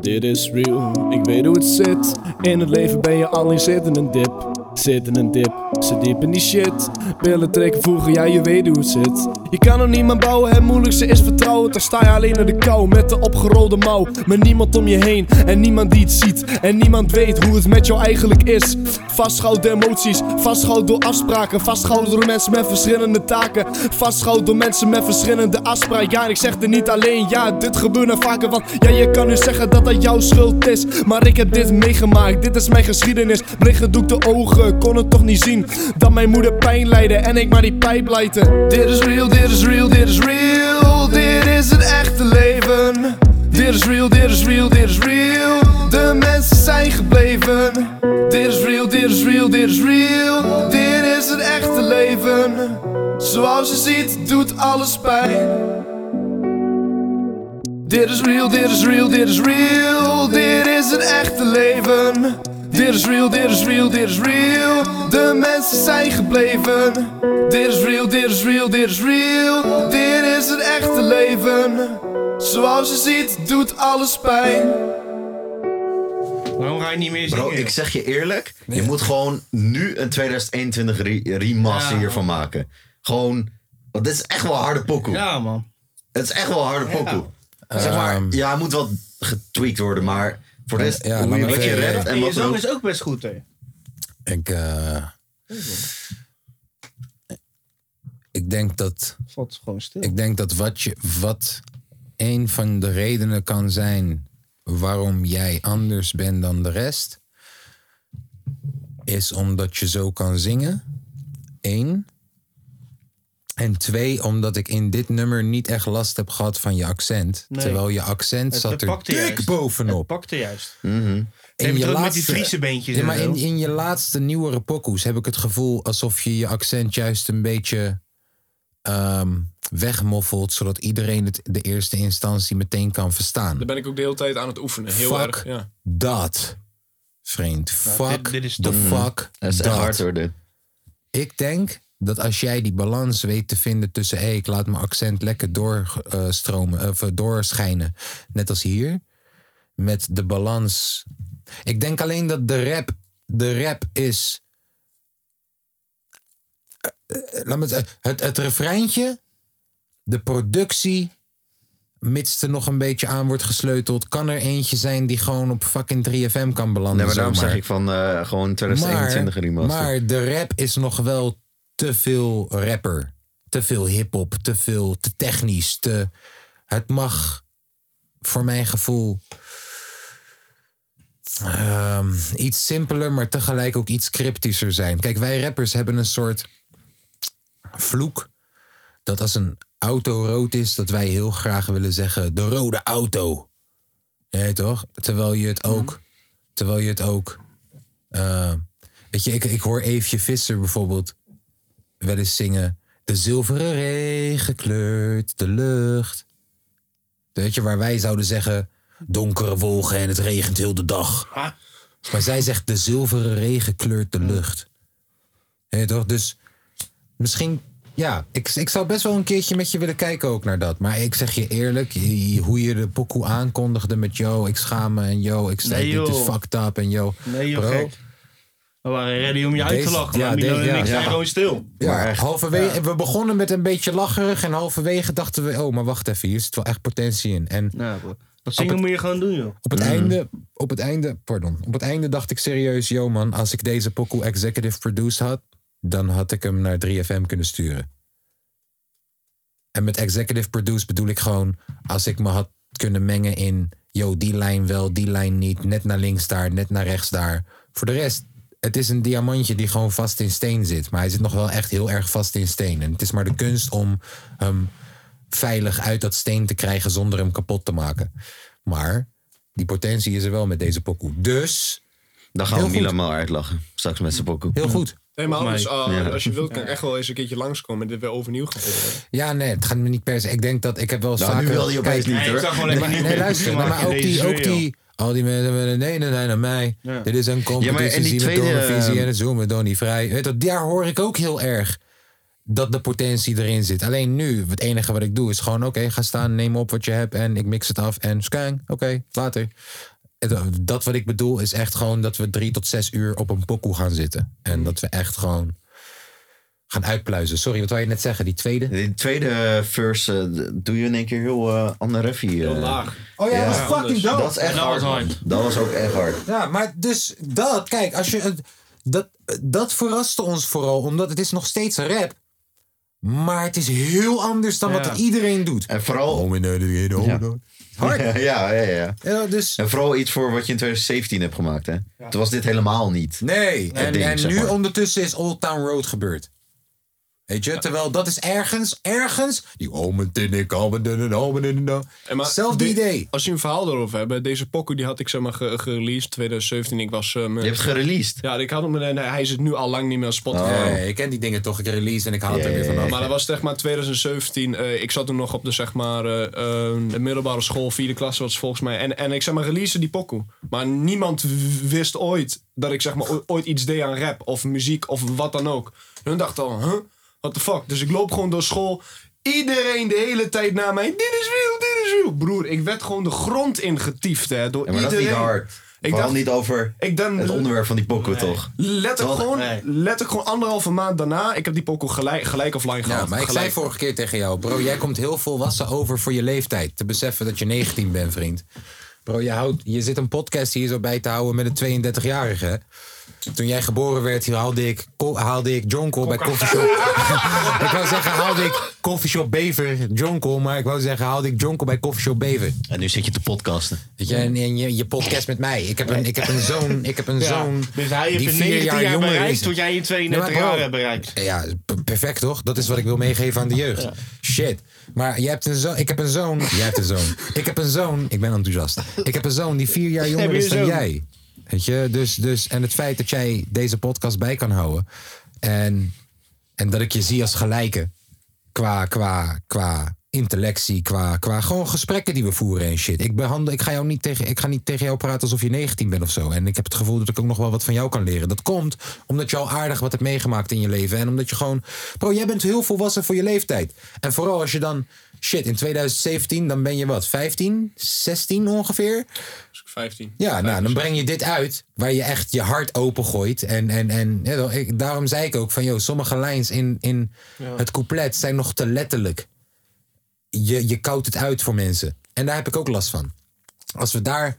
Speaker 10: Dit is real, ik weet hoe het zit. In het leven ben je alleen zit in een dip. Zit in een dip, ze diep in die shit. Pillen trekken, voegen, ja je weet hoe het zit. Je kan er niemand bouwen, het moeilijkste is vertrouwen. Dan sta je alleen in de kou met de opgerolde mouw. Met niemand om je heen en niemand die het ziet. En niemand weet hoe het met jou eigenlijk is. Vastgehouden door emoties, vastgehouden door afspraken. Vastgehouden door mensen met verschillende taken. Vastgehouden door mensen met verschillende afspraken. Ja, en ik zeg er niet alleen, ja, dit gebeurt nou vaker. Want ja, je kan nu zeggen dat dat jouw schuld is. Maar ik heb dit meegemaakt, dit is mijn geschiedenis. Bleekgedoekte ogen, kon het toch niet zien. Dat mijn moeder pijn leidde en ik maar die pijp leidde. Dit is real, dit is real, dit is real. Dit is het echte leven. Dit is real, dit is real, dit is real. De mensen zijn gebleven. Dit is real, dit is real, dit is real. Dit is het echte leven. Zoals je ziet, doet alles pijn. Dit is real, dit is real, dit is real. Dit is het echte leven. Dit is real, dit is real, dit is real. De mensen zijn gebleven. Dit is real, dit is real, dit is real. Dit is het echte leven. Zoals je ziet, doet alles pijn.
Speaker 4: Waarom ga je niet meer zingen?
Speaker 5: Bro, ik zeg je eerlijk. Je moet gewoon nu een 2021 re- remaster
Speaker 4: Ja.
Speaker 5: hiervan maken. Gewoon. Want dit is echt wel harde pokoe.
Speaker 4: Ja, man.
Speaker 5: Het is echt wel harde pokoe. Zeg maar,
Speaker 1: Ehm.
Speaker 5: ja, hij moet wat getweakt worden, maar voor de rest,
Speaker 1: Ja,
Speaker 5: hoe je
Speaker 1: maar
Speaker 5: wat je
Speaker 1: even-
Speaker 5: redt en
Speaker 4: En je
Speaker 5: wat
Speaker 4: zang
Speaker 5: ook.
Speaker 4: is ook best goed, hè?
Speaker 1: Ik, eh, ik denk dat...
Speaker 4: Valt gewoon stil.
Speaker 1: Ik denk dat wat, je, wat een van de redenen kan zijn waarom jij anders bent dan de rest, is omdat je zo kan zingen. Eén. En twee, omdat ik in dit nummer niet echt last heb gehad van je accent.
Speaker 4: Nee.
Speaker 1: Terwijl je accent
Speaker 4: Het
Speaker 1: zat er
Speaker 4: pakte
Speaker 1: dik
Speaker 4: juist.
Speaker 1: bovenop.
Speaker 4: pakte juist.
Speaker 1: Mhm. In
Speaker 4: Neem
Speaker 1: je
Speaker 4: het ook met
Speaker 1: laatste-
Speaker 4: die Friese beentjes.
Speaker 1: Ja,
Speaker 4: en
Speaker 1: maar
Speaker 4: zo.
Speaker 1: in, in je laatste nieuwere pokoes heb ik het gevoel alsof je je accent juist een beetje ehm, wegmoffelt. Zodat iedereen het de eerste instantie meteen kan verstaan.
Speaker 7: Daar ben ik ook de hele tijd aan het oefenen. Heel
Speaker 1: Fuck.
Speaker 7: erg. Ja.
Speaker 1: Dat. Vreemd.
Speaker 7: Nou,
Speaker 1: Fuck
Speaker 7: dit- dit is
Speaker 1: the
Speaker 7: toch-
Speaker 1: fuck
Speaker 5: Dat is echt
Speaker 1: dat.
Speaker 5: hard hoor, dit.
Speaker 1: Ik denk dat als jij die balans weet te vinden tussen... hé, ik laat mijn accent lekker doorstromen, of eh, doorschijnen. Net als hier. Met de balans. Ik denk alleen dat de rap... De rap is... eh, eh, Laat me het, eh, het, het refreintje, de productie, mits er nog een beetje aan wordt gesleuteld, kan er eentje zijn die gewoon op fucking 3FM kan belanden.
Speaker 5: Nee, maar daarom
Speaker 1: zomaar.
Speaker 5: zeg ik van eh, gewoon 2021
Speaker 1: Maar,
Speaker 5: remaster.
Speaker 1: maar de rap is nog wel te veel rapper. Te veel hip-hop, te veel, te technisch. Te, het mag, voor mijn gevoel, ehm, iets simpeler, maar tegelijk ook iets cryptischer zijn. Kijk, wij rappers hebben een soort vloek. Dat als een auto rood is, dat wij heel graag willen zeggen: de rode auto. Ja, toch? Terwijl je het ook. Terwijl je het ook. eh, weet je, ik, ik hoor Eefje Visser bijvoorbeeld wel eens zingen. De zilveren regen kleurt de lucht. Weet je, waar wij zouden zeggen. Donkere wolken en het regent heel de dag. Maar zij zegt de zilveren regen kleurt de lucht. Ja, toch? Dus misschien, ja, ik, ik zou best wel een keertje met je willen kijken ook naar dat. Maar ik zeg je eerlijk, je- je- hoe je de pokoe aankondigde met yo, ik schaam me en yo, ik zei
Speaker 4: Nee,
Speaker 1: dit is
Speaker 4: joh.
Speaker 1: fucked up en yo.
Speaker 4: Nee, joh,
Speaker 1: Bro,
Speaker 4: gek. We waren ready om je uit te
Speaker 1: Deze-
Speaker 4: lachen.
Speaker 1: ja,
Speaker 4: maar Milo
Speaker 1: deze-
Speaker 4: en
Speaker 1: ja,
Speaker 4: ik zijn
Speaker 1: ja.
Speaker 4: gewoon stil.
Speaker 1: ja, halverwege, we begonnen met een beetje lacherig en halverwege dachten we, oh, maar wacht even, hier zit wel echt potentie in. En
Speaker 4: Dat
Speaker 1: op
Speaker 4: zingen
Speaker 1: het-
Speaker 4: moet je gewoon doen, joh.
Speaker 1: Op het, einde, op het einde, pardon. Op het einde dacht ik serieus, yo man, als ik deze pokoe executive produced had, dan had ik hem naar 3FM kunnen sturen. En met executive produced bedoel ik gewoon, als ik me had kunnen mengen in, yo, die lijn wel, die lijn niet, net naar links daar, net naar rechts daar. Voor de rest, het is een diamantje die gewoon vast in steen zit, maar hij zit nog wel echt heel erg vast in steen. En het is maar de kunst om hem veilig uit dat steen te krijgen zonder hem kapot te maken. Maar die potentie is er wel met deze pokoe. Dus.
Speaker 5: Dan gaan we Milan maar uitlachen. Straks met zijn pokoe.
Speaker 1: Heel goed.
Speaker 7: Nee, maar anders,
Speaker 1: Volgens
Speaker 5: mij.
Speaker 7: eh,
Speaker 5: Ja.
Speaker 7: als je wilt, kan ik echt wel eens een keertje langskomen en dit weer overnieuw gaan proberen.
Speaker 1: Ja, nee, het gaat me niet per se. Ik denk dat ik heb wel eens
Speaker 7: Nou, nu
Speaker 1: vaker...
Speaker 7: wil hij opeens
Speaker 1: Kijk,
Speaker 7: niet, Nee, ik hoor. zag gewoon
Speaker 1: Nee,
Speaker 7: even
Speaker 1: maar-
Speaker 7: niet
Speaker 1: nee,
Speaker 7: meer
Speaker 1: luister,
Speaker 7: ruzie
Speaker 1: nee, maar
Speaker 7: maken
Speaker 1: ook
Speaker 7: in
Speaker 1: die...
Speaker 7: deze
Speaker 1: Ook die al die mensen willen nee, nee, nee, naar mij. Dit is een competitie,
Speaker 5: en die
Speaker 1: zien we
Speaker 5: tweede,
Speaker 1: door een visie
Speaker 5: eh,
Speaker 1: en het zoomen door niet vrij. Weet dat, daar hoor ik ook heel erg dat de potentie erin zit. Alleen nu, het enige wat ik doe is gewoon... oké, ga staan, neem op wat je hebt en ik mix het af en skang, oké, later. Het- Dat wat ik bedoel is echt gewoon dat we drie tot zes uur op een pokoe gaan zitten. En dat we echt gewoon gaan uitpluizen. Sorry, wat wou je net zeggen? Die tweede?
Speaker 5: Die tweede eh, verse eh, d- doe je in één keer heel eh Anne Reffy. eh.
Speaker 1: Heel laag. Oh ja, dat is fucking
Speaker 5: anders.
Speaker 1: dope.
Speaker 5: Dat nou is echt
Speaker 1: Dat
Speaker 5: hard.
Speaker 1: was
Speaker 5: man.
Speaker 1: hard.
Speaker 5: Dat was ook echt hard.
Speaker 1: Ja, maar dus dat, kijk, als je het. Dat, dat verraste ons vooral, omdat het is nog steeds rap. Maar het is heel anders dan wat
Speaker 5: Ja.
Speaker 1: iedereen doet.
Speaker 5: En vooral...
Speaker 1: Oh, nee, nee, nee,
Speaker 5: ja.
Speaker 1: Hard.
Speaker 5: ja, ja, ja.
Speaker 1: dus...
Speaker 5: En vooral iets voor wat je in 2017 hebt gemaakt, hè? Toen was dit helemaal niet.
Speaker 1: Nee,
Speaker 5: het
Speaker 1: en,
Speaker 5: ding,
Speaker 1: en
Speaker 5: zeg
Speaker 1: nu
Speaker 5: maar.
Speaker 1: ondertussen is Old Town Road gebeurd. Weet je, terwijl dat is ergens, ergens. Die omen in ik, oh, omen in een, omen in een.
Speaker 7: En maar
Speaker 1: Hetzelfde
Speaker 7: de-
Speaker 1: oh. idee.
Speaker 7: Als je een verhaal erover hebt, deze pokoe die had ik zeg maar ge- gereleased 2017. Ik was, ehm,
Speaker 5: Je hebt gereleased?
Speaker 7: Ja, ik had hem, en hij zit nu al lang niet meer op Spotify.
Speaker 1: Oh. Nee, ik ken die dingen toch, ik release en ik haal het er weer vanaf.
Speaker 7: Maar dat was zeg maar 2017. eh, ik zat toen nog op de, zeg maar, eh, eh, de middelbare school, vierde klasse was het volgens mij. En, en ik zeg maar, release die pokoe. Maar niemand w- wist ooit dat ik zeg maar, o- ooit iets deed aan rap of muziek of wat dan ook. Hun dachten al, huh? What the fuck? Dus ik loop gewoon door school. Iedereen de hele tijd naar mij. Dit is wiel, dit is wiel. Broer, ik werd gewoon de grond ingetiefd hè, door
Speaker 5: Ja, maar dat is
Speaker 7: iedereen.
Speaker 5: niet hard.
Speaker 7: Ik
Speaker 5: Vooral
Speaker 7: dacht-
Speaker 5: niet over
Speaker 7: ik dan-
Speaker 5: het onderwerp van die pokoe, toch?
Speaker 7: Letterlijk
Speaker 5: Toch?
Speaker 7: gewoon, letterlijk gewoon anderhalve maand daarna. Ik heb die pokoe gelijk, gelijk offline gehad.
Speaker 1: Ja, maar ik
Speaker 7: Gelijk.
Speaker 1: zei vorige keer tegen jou, bro, jij komt heel volwassen over voor je leeftijd. Te beseffen dat je 19 bent, vriend. Bro, je, houdt, je zit een podcast hier zo bij te houden met een 32-jarige. hè? Toen jij geboren werd, hier haalde ik, ko- haalde ik Jonkel bij Coffeeshop. ik wou zeggen, haalde ik Coffeeshop Bever Jonkel. Maar ik wou zeggen, haalde ik Jonkel bij Coffeeshop Bever.
Speaker 5: En nu zit je te podcasten.
Speaker 1: Weet je, en, en je, je podcast met mij. Ik heb een, ik heb een zoon, ik heb een
Speaker 4: Ja,
Speaker 1: zoon
Speaker 4: dus hij heeft
Speaker 1: die
Speaker 4: in
Speaker 1: vier
Speaker 4: 19
Speaker 1: jaar
Speaker 4: jaar
Speaker 1: jonger
Speaker 4: bereikt
Speaker 1: is.
Speaker 4: wat jij in 32
Speaker 1: Nee, maar bro,
Speaker 4: jaar hebt bereikt.
Speaker 1: Ja, p- p- perfect toch? Dat is wat ik wil meegeven aan de jeugd. Shit. Maar jij hebt een zoon, ik heb een zoon. Jij hebt een zoon. Ik heb een zoon, ik ben enthousiast. Ik heb een zoon die vier jaar jonger
Speaker 11: Heb je
Speaker 1: is dan
Speaker 11: zoon?
Speaker 1: jij. Weet je? Dus, dus, en het feit dat jij deze podcast bij kan houden. En, en dat ik je zie als gelijke. Qua, qua, qua intellectie, qua, qua gewoon gesprekken die we voeren en shit. Ik, behandel, ik, ga jou niet tegen, ik ga niet tegen jou praten alsof je 19 bent of zo. En ik heb het gevoel dat ik ook nog wel wat van jou kan leren. Dat komt omdat je al aardig wat hebt meegemaakt in je leven. En omdat je gewoon... Bro, jij bent heel volwassen voor je leeftijd. En vooral als je dan... Shit, in 2017 dan ben je wat? 15? 16 ongeveer?
Speaker 6: 15.
Speaker 1: Ja, nou, dan breng je dit uit waar je echt je hart opengooit. En, en, en ja, dan- ik- daarom zei ik ook van, joh, sommige lijns in, in
Speaker 12: Ja.
Speaker 1: het couplet zijn nog te letterlijk. Je, je koudt het uit voor mensen. En daar heb ik ook last van. Als we daar...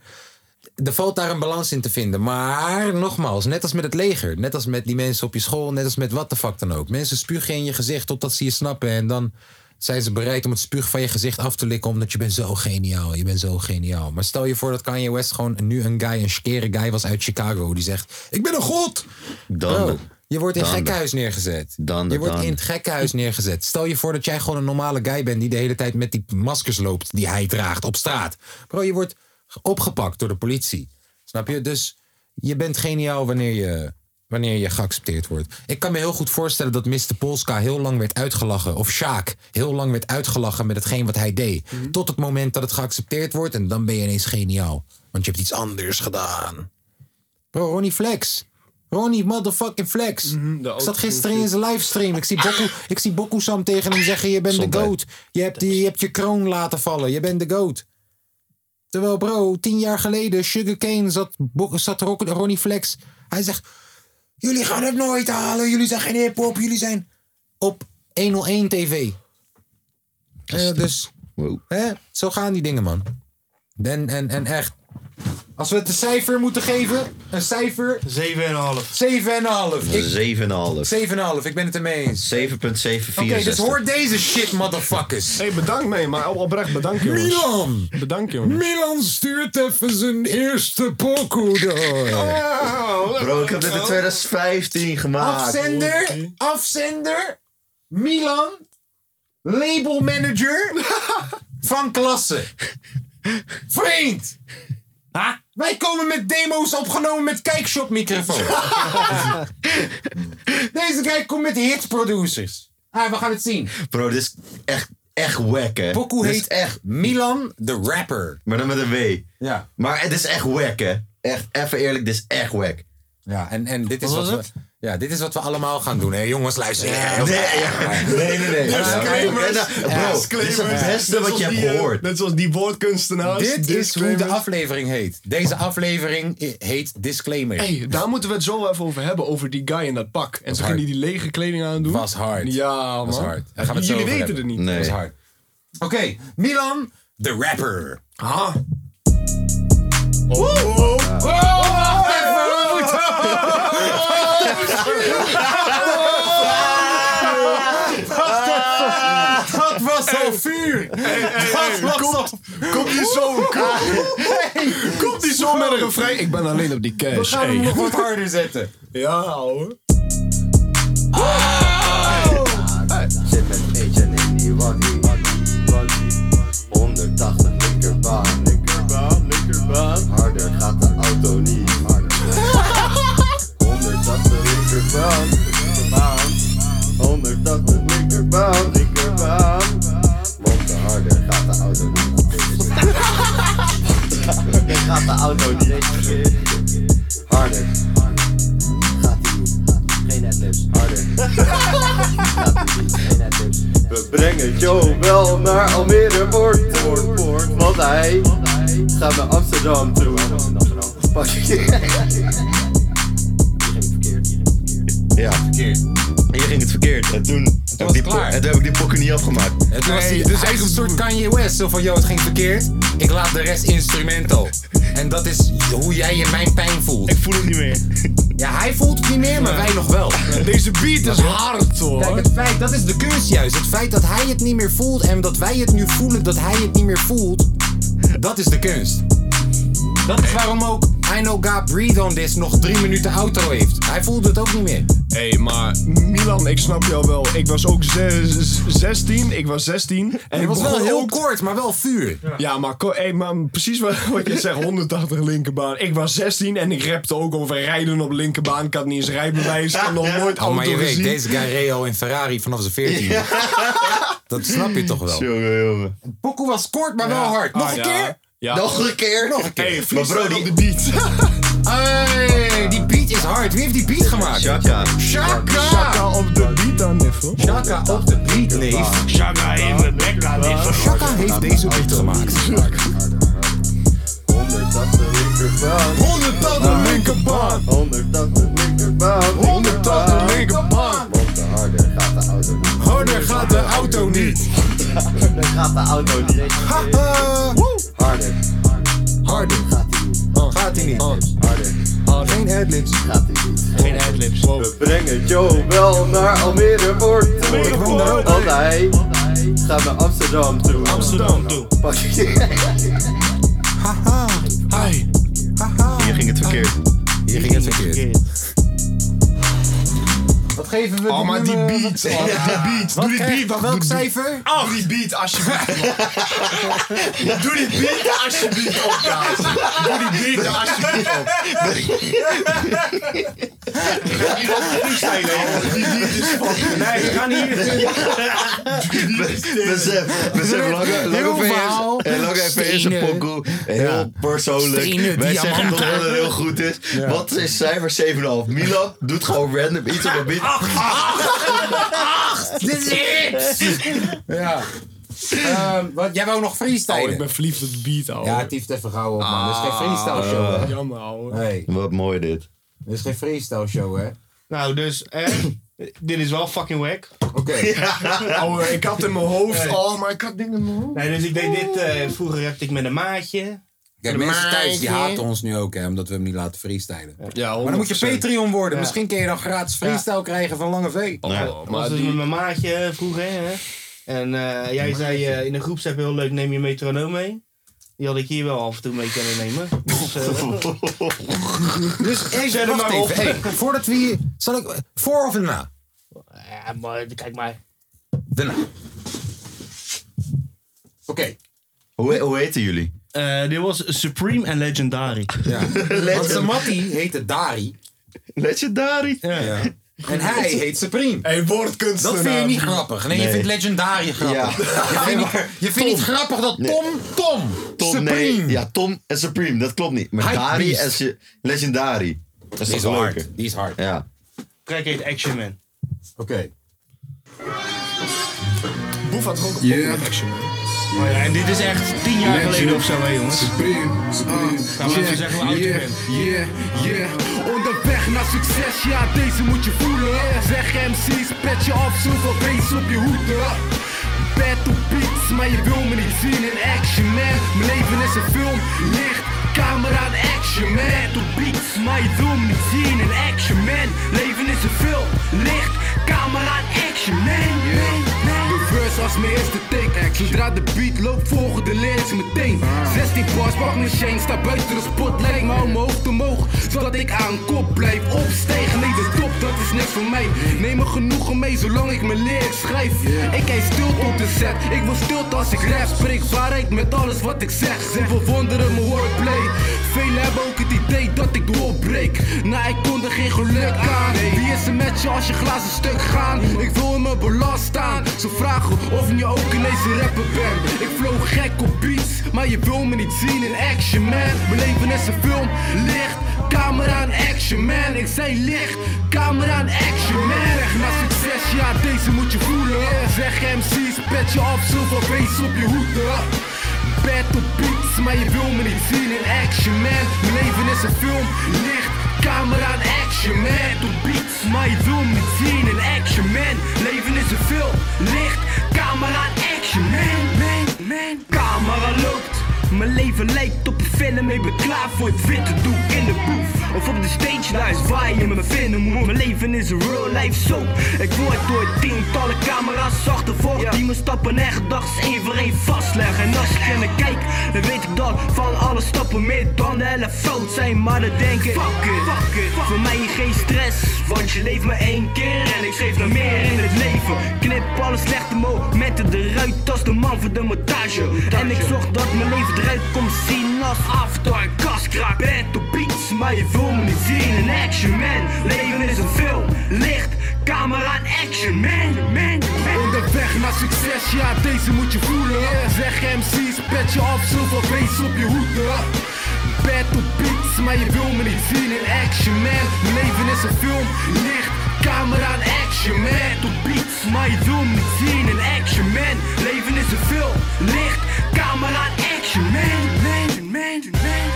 Speaker 1: Er valt daar een balans in te vinden. Maar nogmaals, net als met het leger. Net als met die mensen op je school. Net als met wat de fuck dan ook. Mensen spugen in je gezicht totdat ze je snappen. En dan zijn ze bereid om het spuug van je gezicht af te likken. Omdat je bent zo geniaal. Je bent zo geniaal. Maar stel je voor dat Kanye West gewoon nu een guy, een skere guy was uit Chicago. Die zegt, ik ben een god.
Speaker 7: Dan.
Speaker 1: Bro, Oh, je wordt in
Speaker 7: Dan.
Speaker 1: gekhuis neergezet.
Speaker 7: Dan,
Speaker 1: je wordt
Speaker 7: dan.
Speaker 1: in het gekhuis neergezet. Stel je voor dat jij gewoon een normale guy bent die de hele tijd met die maskers loopt die hij draagt op straat. Bro, je wordt opgepakt door de politie. Snap je? Dus je bent geniaal wanneer je, wanneer je geaccepteerd wordt. Ik kan me heel goed voorstellen dat Mr. Polska heel lang werd uitgelachen. Of Sjaak heel lang werd uitgelachen met hetgeen wat hij deed. Tot het moment dat het geaccepteerd wordt en dan ben je ineens geniaal. Want je hebt iets anders gedaan. Bro, Ronnie Flex. Ronnie motherfucking Flex. ik zat gisteren in zijn livestream. Ik zie, Boku, ik zie Bokusam tegen hem zeggen... je bent de
Speaker 7: Gezondheid.
Speaker 1: goat. Je hebt, die- je hebt je kroon laten vallen. Je bent de goat. Terwijl bro, tien jaar geleden... Sugarcane zat, Bo- zat Ro- Ronnie Flex. Hij zegt... Jullie gaan het nooit halen. Jullie zijn geen hip-hop. Jullie zijn op 101 TV. Eh, dus hè, zo gaan die dingen, man. En, en, en echt. Als we het een cijfer moeten geven, een cijfer. 7,5. 7,5. 7,5.
Speaker 7: 7,5.
Speaker 1: 7,5, ik ben het ermee eens.
Speaker 7: 7,764.
Speaker 1: Oké, dus hoor deze shit, motherfuckers.
Speaker 6: hey, bedankt mee, maar oprecht bedankt, jongens.
Speaker 1: Milan!
Speaker 6: Bedankt, jongens.
Speaker 1: Milan stuurt even zijn eerste pokoe door.
Speaker 6: Oh,
Speaker 7: Bro, ik heb dit in 2015 gemaakt.
Speaker 1: Afzender, afzender, Milan, labelmanager van klasse. Vriend! Wij komen met demo's opgenomen met kijkshopmicrofoon. Deze guy komt met hitproducers. Ah, we gaan het zien.
Speaker 7: Bro, dit is echt, echt wack, hè.
Speaker 1: Pokoe
Speaker 7: Dit is
Speaker 1: heet
Speaker 7: echt...
Speaker 1: Milan de rapper.
Speaker 7: Maar dan met een W.
Speaker 1: Ja.
Speaker 7: Maar het is echt wack, hè. Echt, even eerlijk, dit is echt wack.
Speaker 1: Ja, en, en dit, is wat we, ja, dit is wat we allemaal gaan doen. Hé, jongens, luister.
Speaker 7: Nee, ja. nee, nee. nee.
Speaker 6: Disclaimers.
Speaker 7: Ja, nou, Bro, dit is het beste wat je hebt gehoord.
Speaker 6: Net zoals die woordkunstenaars.
Speaker 1: Dit is hoe de
Speaker 6: Disclaimers.
Speaker 1: aflevering heet. Deze aflevering i- heet Disclaimer.
Speaker 6: Hey, daar moeten we het zo even over hebben, over die guy in dat pak. En ze
Speaker 1: hard.
Speaker 6: gingen die lege kleding aandoen.
Speaker 1: Was hard.
Speaker 6: Ja, man.
Speaker 1: Was hard. Daar gaan we het zo
Speaker 6: Jullie
Speaker 1: over
Speaker 6: weten het
Speaker 1: hebben.
Speaker 6: niet.
Speaker 7: Nee.
Speaker 1: Was hard. Oké, Milan, de rapper.
Speaker 6: Ah.
Speaker 7: Ah,
Speaker 1: Dat was al vuur!
Speaker 6: Komt die zo, komt die zo met een refrein? Ik ben alleen op die cash.
Speaker 1: We gaan hem nog wat harder zetten.
Speaker 6: Ja, hoor.
Speaker 7: Zit met eentje en in die waggie. 180 linkerbaan. Linkerbaan, linkerbaan. Harder gaat de auto niet. Harder. 180 linkerbaan. Linkerbaan. 180 linkerbaan. Linkerbaan. Want de harder gaat de auto niet. Harder gaat de auto niet. Harder. Gaat die niet. Geen adlibs. Harder. We brengen Joe wel naar Almere Poort, poort, poort, want hij gaat naar Amsterdam toe. Pak Ja, verkeerd. Hier ging het verkeerd. En toen, heb, ik die
Speaker 1: klaar.
Speaker 7: po- en toen heb ik die pokken niet afgemaakt.
Speaker 1: Het was die- dus eigenlijk een soort Kanye West. Zo van, joh, het ging verkeerd. Ik laat de rest instrumental. En dat is hoe jij je mijn pijn voelt.
Speaker 11: Ik voel het niet meer.
Speaker 1: Ja, hij voelt het niet meer, maar wij nog wel.
Speaker 6: Deze beat is hard,
Speaker 1: Kijk,
Speaker 6: hoor.
Speaker 1: het feit, dat is de kunst juist. Het feit dat hij het niet meer voelt en dat wij het nu voelen dat hij het niet meer voelt, dat is de kunst. Dat is waarom ook I Know God Breathe On This nog drie minuten auto heeft. Hij voelde het ook niet meer.
Speaker 6: Hé, hey, maar Milan, ik snap jou wel. Ik was ook ze- z- 16. Ik was 16. En
Speaker 1: Het
Speaker 6: ik
Speaker 1: was wel
Speaker 6: begon
Speaker 1: heel
Speaker 6: ook-
Speaker 1: kort, maar wel vuur.
Speaker 6: Ja, maar, ko- hey, maar precies wat, wat je zegt, 180 linkerbaan. Ik was 16 en ik rapte ook over rijden op linkerbaan. Ik had niet eens rijbewijs, ik had nog nooit
Speaker 1: Oh,
Speaker 6: auto
Speaker 1: maar je weet,
Speaker 6: gezien.
Speaker 1: deze guy reed al in Ferrari vanaf zijn 14. Dat snap je toch wel?
Speaker 5: Jongen, jongen.
Speaker 1: Pokoe was kort, maar wel hard. Nog een keer?
Speaker 6: Ah, Ja.
Speaker 5: Nog een keer. Nog een keer.
Speaker 6: Hey,
Speaker 5: maar
Speaker 6: freestyle
Speaker 5: bro,
Speaker 6: op
Speaker 5: die...
Speaker 6: de beat.
Speaker 1: Hey, die beat is hard. Wie heeft die beat gemaakt?
Speaker 5: Shaka.
Speaker 1: Shaka!
Speaker 6: Chaka op de beat dan, Niffel.
Speaker 1: Shaka op de beat, leef.
Speaker 4: Shaka heeft mijn bek aan liggen.
Speaker 1: Shaka heeft deze beat gemaakt.
Speaker 6: 180 linkerbaan. 180 linkerbaan. Harder gaat de auto niet.
Speaker 1: Haha.
Speaker 5: Harder.
Speaker 1: Harder. Gaat hij niet. Geen adlibs.
Speaker 4: Geen adlibs.
Speaker 5: Brengen Joe wel naar Almere wordt.
Speaker 1: Ik woon daar ook.
Speaker 5: Want hij gaat naar Amsterdam toe.
Speaker 4: Amsterdam toe.
Speaker 5: Pak Hier ging het verkeerd.
Speaker 1: Hier Ah. ging het verkeerd. Wat geven we
Speaker 6: Oh, maar die beat. Oh, die beat. Doe die beat. Wacht,
Speaker 1: Welk
Speaker 6: doe die-
Speaker 1: cijfer?
Speaker 6: Doe die beat alsjeblieft. Doe die beat alsjeblieft op, guys. Doe die beat alsjeblieft op.
Speaker 4: Nee, we gaan hier.
Speaker 5: Besef, besef, Lange,
Speaker 1: Heel
Speaker 5: lange
Speaker 1: verhaal.
Speaker 5: VS, eh, lange VS een
Speaker 1: Stenen.
Speaker 5: pokoe. Heel
Speaker 1: Ja.
Speaker 5: persoonlijk.
Speaker 1: Stenen,
Speaker 5: Wij zeggen
Speaker 1: diamanten.
Speaker 5: dat het heel goed is. Wat is cijfer 7,5? Milan doet gewoon random iets op een beat.
Speaker 1: Dit is het! Ja. Ehm, wat, jij wou nog
Speaker 6: Oh, ik
Speaker 1: freestylen?
Speaker 6: ben verliefd op de beat, ouwe.
Speaker 1: Ja, tief even gauw op, man. Dit is geen
Speaker 5: Ah.
Speaker 1: freestyle show, hè?
Speaker 6: Oh, Jammer, ouwe.
Speaker 1: Nee,
Speaker 5: Wat mooi dit.
Speaker 1: dit is geen freestyle show, hè?
Speaker 4: Nou, dus, eh, dit is wel fucking wack.
Speaker 1: Oké.
Speaker 6: Ouwe, Oh, eh, ik had in mijn hoofd. Oh, maar ik had dingen in mijn hoofd.
Speaker 4: Nee, dus ik deed dit. eh, vroeger rapte ik met een maatje.
Speaker 1: Kijk, mensen thuis die haten ons nu ook, hè, omdat we hem niet laten freestylen.
Speaker 6: Ja,
Speaker 1: Maar dan moet je Patreon worden. Misschien kun je dan gratis freestyle krijgen van Lange V.
Speaker 6: Oh,
Speaker 4: Dat was
Speaker 6: maar
Speaker 4: dus
Speaker 6: die...
Speaker 4: met mijn maatje eh, vroeger. Hè? En eh, jij zei eh, in de groepsapp heel leuk, neem je metronoom mee. Die had ik hier wel af en toe mee kunnen nemen. Dus, eh,
Speaker 1: Dus even, wacht
Speaker 4: maar op.
Speaker 1: even. Hey, voordat we hier... Zal ik... Voor of na?
Speaker 4: ja, maar kijk maar.
Speaker 1: Daarna. Oké.
Speaker 5: Hoe, hoe heten jullie?
Speaker 4: Eh, dit was Supreme en Legendary.
Speaker 1: Ja. Want zijn mattie heette Dari.
Speaker 5: Legendary.
Speaker 1: Ja. En hij heet Supreme.
Speaker 6: Hey, woordkunstenaar.
Speaker 1: Dat vind je niet grappig. Nee, je
Speaker 5: Nee.
Speaker 1: vindt Legendary grappig. Je vindt, niet, je vindt niet grappig dat Tom, Tom,
Speaker 5: Tom,
Speaker 1: Supreme.
Speaker 5: nee. Ja, Tom en Supreme, dat klopt niet. Maar
Speaker 1: Hype
Speaker 5: Dari
Speaker 1: beast.
Speaker 5: en Su- Legendary. Dat is
Speaker 1: Die is
Speaker 5: toch
Speaker 1: hard.
Speaker 5: leuker?
Speaker 1: Die is hard.
Speaker 5: Ja.
Speaker 4: Kijk, heet Action Man.
Speaker 1: Oké.
Speaker 6: Boef had ook een Pokémon action.
Speaker 4: Oh ja, en dit is echt tien jaar geleden of zo, hè, jongens. Ah, Gaan we even zeggen hoe oud je bent.
Speaker 13: Yeah, yeah. Onderweg naar succes, ja, deze moet je voelen. Zeg MC's, pet je af, zoveel beest op je hoeden. Battle beats, maar je wil me niet zien in action, man. Mijn leven is een film, licht, camera en action, man. Battle beats, maar je wil me niet zien in action, man. Leven is een film, licht, camera en action, man. man, man. De verse was mijn eerste take, action. Zodra de beat loopt, volgen de lyrics meteen. 16 bars, pak mijn chain, sta buiten de spotlight. Maar hou mijn hoofd omhoog, zodat ik aan kop blijf opstijgen. Nee, de top, dat is niks voor mij. Neem me genoegen mee, zolang ik mijn lyrics schrijf. Ik kijk stil op de set, ik wil stilte als ik rap. Spreek waarheid met alles wat ik zeg. Ze verwonderen mijn wordplay. Velen hebben ook het idee dat ik doorbreek. Nou, ik kon er geen geluk aan. Wie is er met je als je glazen stuk gaan? Ik wil in mijn belast staan. Ze vragen of je ook in deze rapper bent. Ik vloog gek op beats, maar je wil me niet zien in action, man. Mijn leven is een film, licht, camera en action, man. Ik zei licht, camera en action, man. Weg naar succes, ja, deze moet je voelen. Zeg MC's, pet je af, zoveel beest op je hoeden. Battle beats, maar je wil me niet zien in action, man. Mijn leven is een film, licht, camera en action, man. Battle beats, maar je wil me niet zien in action, man. Leven is een film, licht, camera en action, man. man, man. Camera loopt, mijn leven lijkt op een film. Ik
Speaker 14: mee beklaagd voor het witte doek in de booth. Of op de stage, daar is waar je me vinden moet. Mijn leven is een real life soap. Ik word door tientallen camera's achtervolgd. Die mijn stappen en gedachten één voor één vastleggen. En als ik er naar kijk, dan weet ik dat van alle stappen meer dan de helft fout zijn. Maar dan denk ik, fuck it, fuck it. Voor mij geen stress, want je leeft maar één keer. En ik schreef nog meer in het leven. Knip alle slechte momenten eruit als de man voor de montage. En ik zorg dat mijn leven eruit komt zien als after. Kaskraak, bent op beats, maar je wil me niet zien. Een action man, leven is een film. Licht, camera en action man, man, man.
Speaker 13: Onderweg naar succes, ja deze moet je voelen Zeg MC's, pet je af, zoveel beest op je hoede Battle beats, maar je wil me niet zien in action man Mijn leven is een film, licht, camera en action man
Speaker 14: Battle beats, maar je wil me niet zien. Een action man, leven is een film. Licht, camera en action man, man, man, man.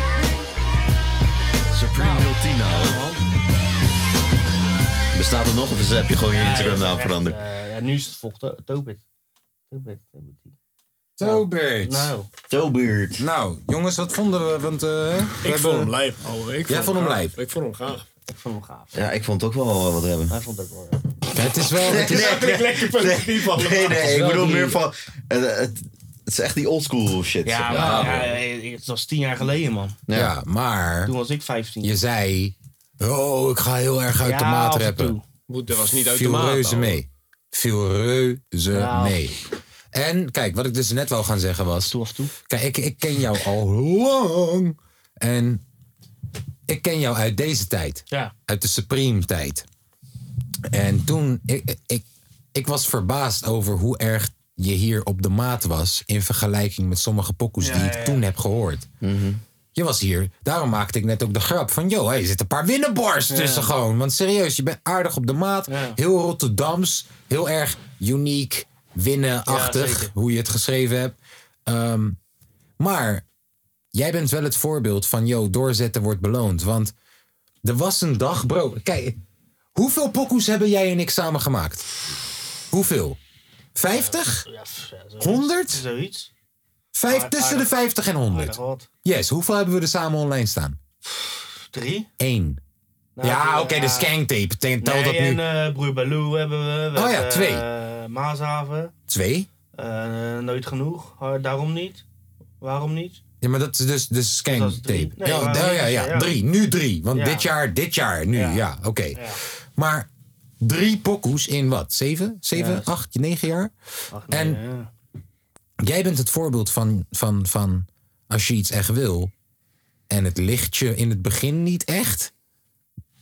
Speaker 5: Supreme Multina.
Speaker 1: nou.
Speaker 5: Bestaat er nog of heb je gewoon je Instagram naam veranderd?
Speaker 4: Eh, ja, nu is het volgt Tobit. Tobit, Tobit.
Speaker 1: Tobert. Nou.
Speaker 5: Tobert.
Speaker 1: Nou, jongens, wat vonden we? Want,
Speaker 4: Ik vond hem
Speaker 1: lijp.
Speaker 4: ouwe.
Speaker 1: Jij vond hem lijp.
Speaker 9: Ik vond hem gaaf.
Speaker 4: Ik vond hem gaaf.
Speaker 5: Ja, ik vond het ook wel eh, wat hebben.
Speaker 4: Hij vond het ook wel.
Speaker 1: Het is wel.
Speaker 5: Nee,
Speaker 1: Het is
Speaker 5: nee, nee, nee, nee, nee, ik bedoel meer van. eh, Het het is echt die oldschool shit. zeg
Speaker 4: Ja,
Speaker 5: maar.
Speaker 4: maar, ja, eh, het was tien jaar geleden, man.
Speaker 1: Ja, maar.
Speaker 4: Toen was ik 15.
Speaker 1: Je zei. Oh, ik ga heel erg uit
Speaker 4: Ja,
Speaker 1: de maat
Speaker 4: af en
Speaker 1: rappen.
Speaker 4: toe. Moet- dat was niet uit de
Speaker 1: Viel
Speaker 4: maat, Nou.
Speaker 1: reuze
Speaker 4: ouwe.
Speaker 1: mee. Viel reuze
Speaker 4: Ja.
Speaker 1: mee. En kijk, wat ik dus net wou gaan zeggen was. Kijk, ik, ik ken jou al lang. En ik ken jou uit deze tijd.
Speaker 4: Ja.
Speaker 1: Uit de Supreme tijd. En toen, ik, ik, ik was verbaasd over hoe erg je hier op de maat was. In vergelijking met sommige pokoes die ik toen heb gehoord. Je was hier. Daarom maakte ik net ook de grap van... joh, hey, er zitten een paar winnenbars
Speaker 2: Ja.
Speaker 1: tussen gewoon. Want serieus, je bent aardig op de maat. Heel Rotterdams. Heel erg uniek, winnenachtig.
Speaker 2: zeker.
Speaker 1: hoe je het geschreven hebt. Ehm, maar jij bent wel het voorbeeld van... joh, doorzetten wordt beloond. Want er was een dag, bro. Kijk, hoeveel pokoes hebben jij en ik samen gemaakt? Hoeveel? 50? 100?
Speaker 4: Zoiets.
Speaker 1: Vijf,
Speaker 4: Aard-
Speaker 1: tussen de
Speaker 4: aardig.
Speaker 1: 50 en 100.
Speaker 4: Aardig wat.
Speaker 1: Yes, hoeveel hebben we er samen online staan?
Speaker 4: Drie?
Speaker 1: Eén.
Speaker 4: Nou,
Speaker 1: ja, oké,
Speaker 4: eh,
Speaker 1: de skank-tape. Tel tel
Speaker 4: nee,
Speaker 1: dat nu.
Speaker 4: en eh, Broer Baloo hebben we. we
Speaker 1: Oh ja,
Speaker 4: hebben,
Speaker 1: twee.
Speaker 4: eh, Maashaven.
Speaker 1: Twee?
Speaker 4: Eh, nooit genoeg. Har- Daarom niet. Waarom niet?
Speaker 1: Ja, maar dat is dus de skank-tape.
Speaker 4: Nee,
Speaker 1: ja,
Speaker 4: maar-
Speaker 1: ja, ja, ja,
Speaker 4: ja.
Speaker 1: drie. Nu drie. Want
Speaker 4: Ja.
Speaker 1: dit jaar, dit jaar, nu. Ja, oké. Maar drie pokoes in wat? Zeven? Zeven,
Speaker 2: Ja.
Speaker 1: acht, negen jaar? en
Speaker 2: negen,
Speaker 1: jij bent het voorbeeld van, van, van als je iets echt wil... en het ligt je in het begin niet echt...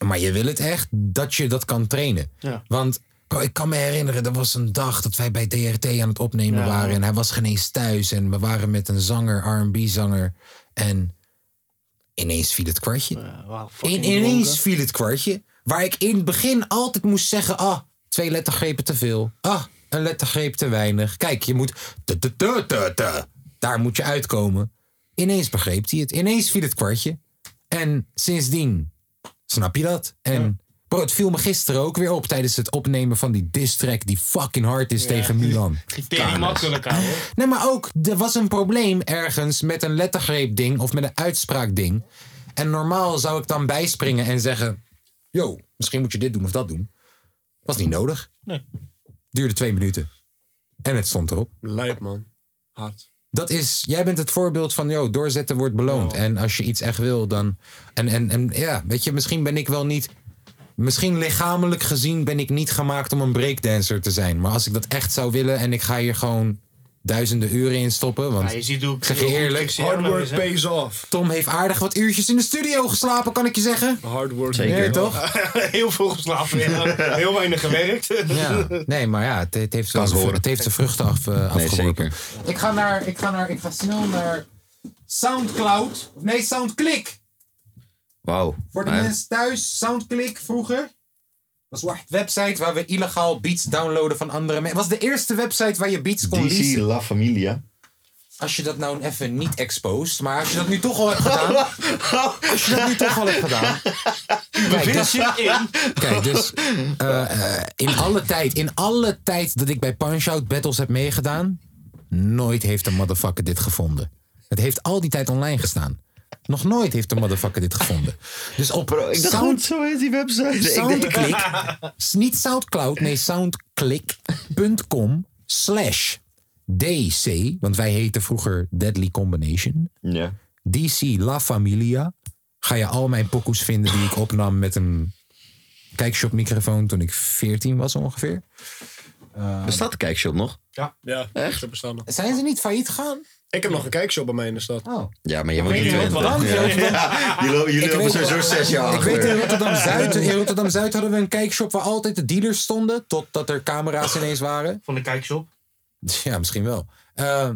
Speaker 1: maar je wil het echt, dat je dat kan trainen.
Speaker 2: Ja.
Speaker 1: Want bro, ik kan me herinneren, er was een dag dat wij bij DRT aan het opnemen
Speaker 2: Ja.
Speaker 1: waren... en hij was geen eens thuis en we waren met een zanger, R&B-zanger... en ineens viel het kwartje. In, ineens viel het kwartje. Waar ik in het begin altijd moest zeggen: ah, twee lettergrepen te veel. Ah, een lettergreep te weinig. Kijk, je moet. te, te, te, te, te. Daar moet je uitkomen. Ineens begreep hij het. Ineens viel het kwartje. En sindsdien snap je dat. En bro, het viel me gisteren ook weer op tijdens het opnemen van die diss track die fucking hard is tegen Milan.
Speaker 9: Tering makkelijk, ouwe.
Speaker 1: Nee, maar ook, er was een probleem ergens met een lettergreepding of met een uitspraakding. En normaal zou ik dan bijspringen en zeggen: Yo, misschien moet je dit doen of dat doen. Was niet nodig.
Speaker 4: Nee.
Speaker 1: Duurde twee minuten. En het stond erop. Lijp, man. Hard. Dat is, jij bent het voorbeeld van, yo, doorzetten wordt beloond. En als je iets echt wil, dan. En, en, en ja, weet je, misschien ben ik wel niet. Misschien lichamelijk gezien ben ik niet gemaakt om een breakdancer te zijn. Maar als ik dat echt zou willen en ik ga hier gewoon duizenden uren in stoppen. Want
Speaker 4: Ja, je ziet hoe-
Speaker 1: ik zeg je
Speaker 4: hoe goed
Speaker 1: eerlijk,
Speaker 4: ik hard work is, hè? pays
Speaker 1: off. Tom heeft aardig wat uurtjes in de studio geslapen, kan ik je zeggen.
Speaker 6: Hard work
Speaker 1: Zeker. Nee, toch?
Speaker 4: Heel veel geslapen. ja. Heel weinig gewerkt.
Speaker 1: Ja, nee, maar ja, het, het heeft,
Speaker 4: Kan
Speaker 1: zijn vru-
Speaker 4: horen.
Speaker 1: het heeft zijn vruchten af, eh, afgeworpen.
Speaker 2: Ik ga naar, ik ga naar, ik ga snel naar Soundcloud. Of nee, Soundclick.
Speaker 5: Wauw.
Speaker 1: Voor de
Speaker 5: Nou ja.
Speaker 1: mensen thuis, Soundclick vroeger. was een website waar we illegaal beats downloaden van andere mensen. was de eerste website waar je beats kon
Speaker 5: DC
Speaker 1: leasen.
Speaker 5: La Familia.
Speaker 1: Als je dat nou even niet exposed, maar als je dat nu toch al hebt gedaan. Als je dat nu toch al hebt gedaan. Kijk, dus, kijk, dus eh, eh, in alle tijd, in alle tijd dat ik bij Punch-Out Battles heb meegedaan, nooit heeft een motherfucker dit gevonden. Het heeft al die tijd online gestaan. Nog nooit heeft de motherfucker dit gevonden. Dus op
Speaker 5: Ik dacht goed, zo heet die website.
Speaker 1: Soundclick. S- Niet Soundcloud, nee, soundclick.com slash DC. Want wij heten vroeger Deadly Combination.
Speaker 5: Ja.
Speaker 1: DC La Familia. Ga je al mijn pokoes vinden die ik opnam met een kijkshop microfoon toen ik 14 was ongeveer. Uh,
Speaker 5: Bestaat de kijkshop nog?
Speaker 1: Ja.
Speaker 6: Ja, echt? Ze bestaan nog.
Speaker 1: Zijn ze niet failliet gegaan?
Speaker 6: Ik heb nog een kijkshop bij mij in de stad.
Speaker 1: Oh.
Speaker 5: Ja, maar je
Speaker 6: Ik
Speaker 5: woont
Speaker 6: weet
Speaker 5: in
Speaker 6: niet
Speaker 5: Twente.
Speaker 6: wat dan.
Speaker 5: Ja. Ja, jullie lopen- jullie
Speaker 1: Ik
Speaker 5: lopen
Speaker 1: weet-
Speaker 5: sowieso zes jaar
Speaker 1: Ik
Speaker 5: achter.
Speaker 1: weet in Rotterdam-Zuid in Rotterdam-Zuid hadden we een kijkshop waar altijd de dealers stonden. Totdat er camera's ineens waren.
Speaker 4: Van de kijkshop?
Speaker 1: Ja, misschien wel. Eh,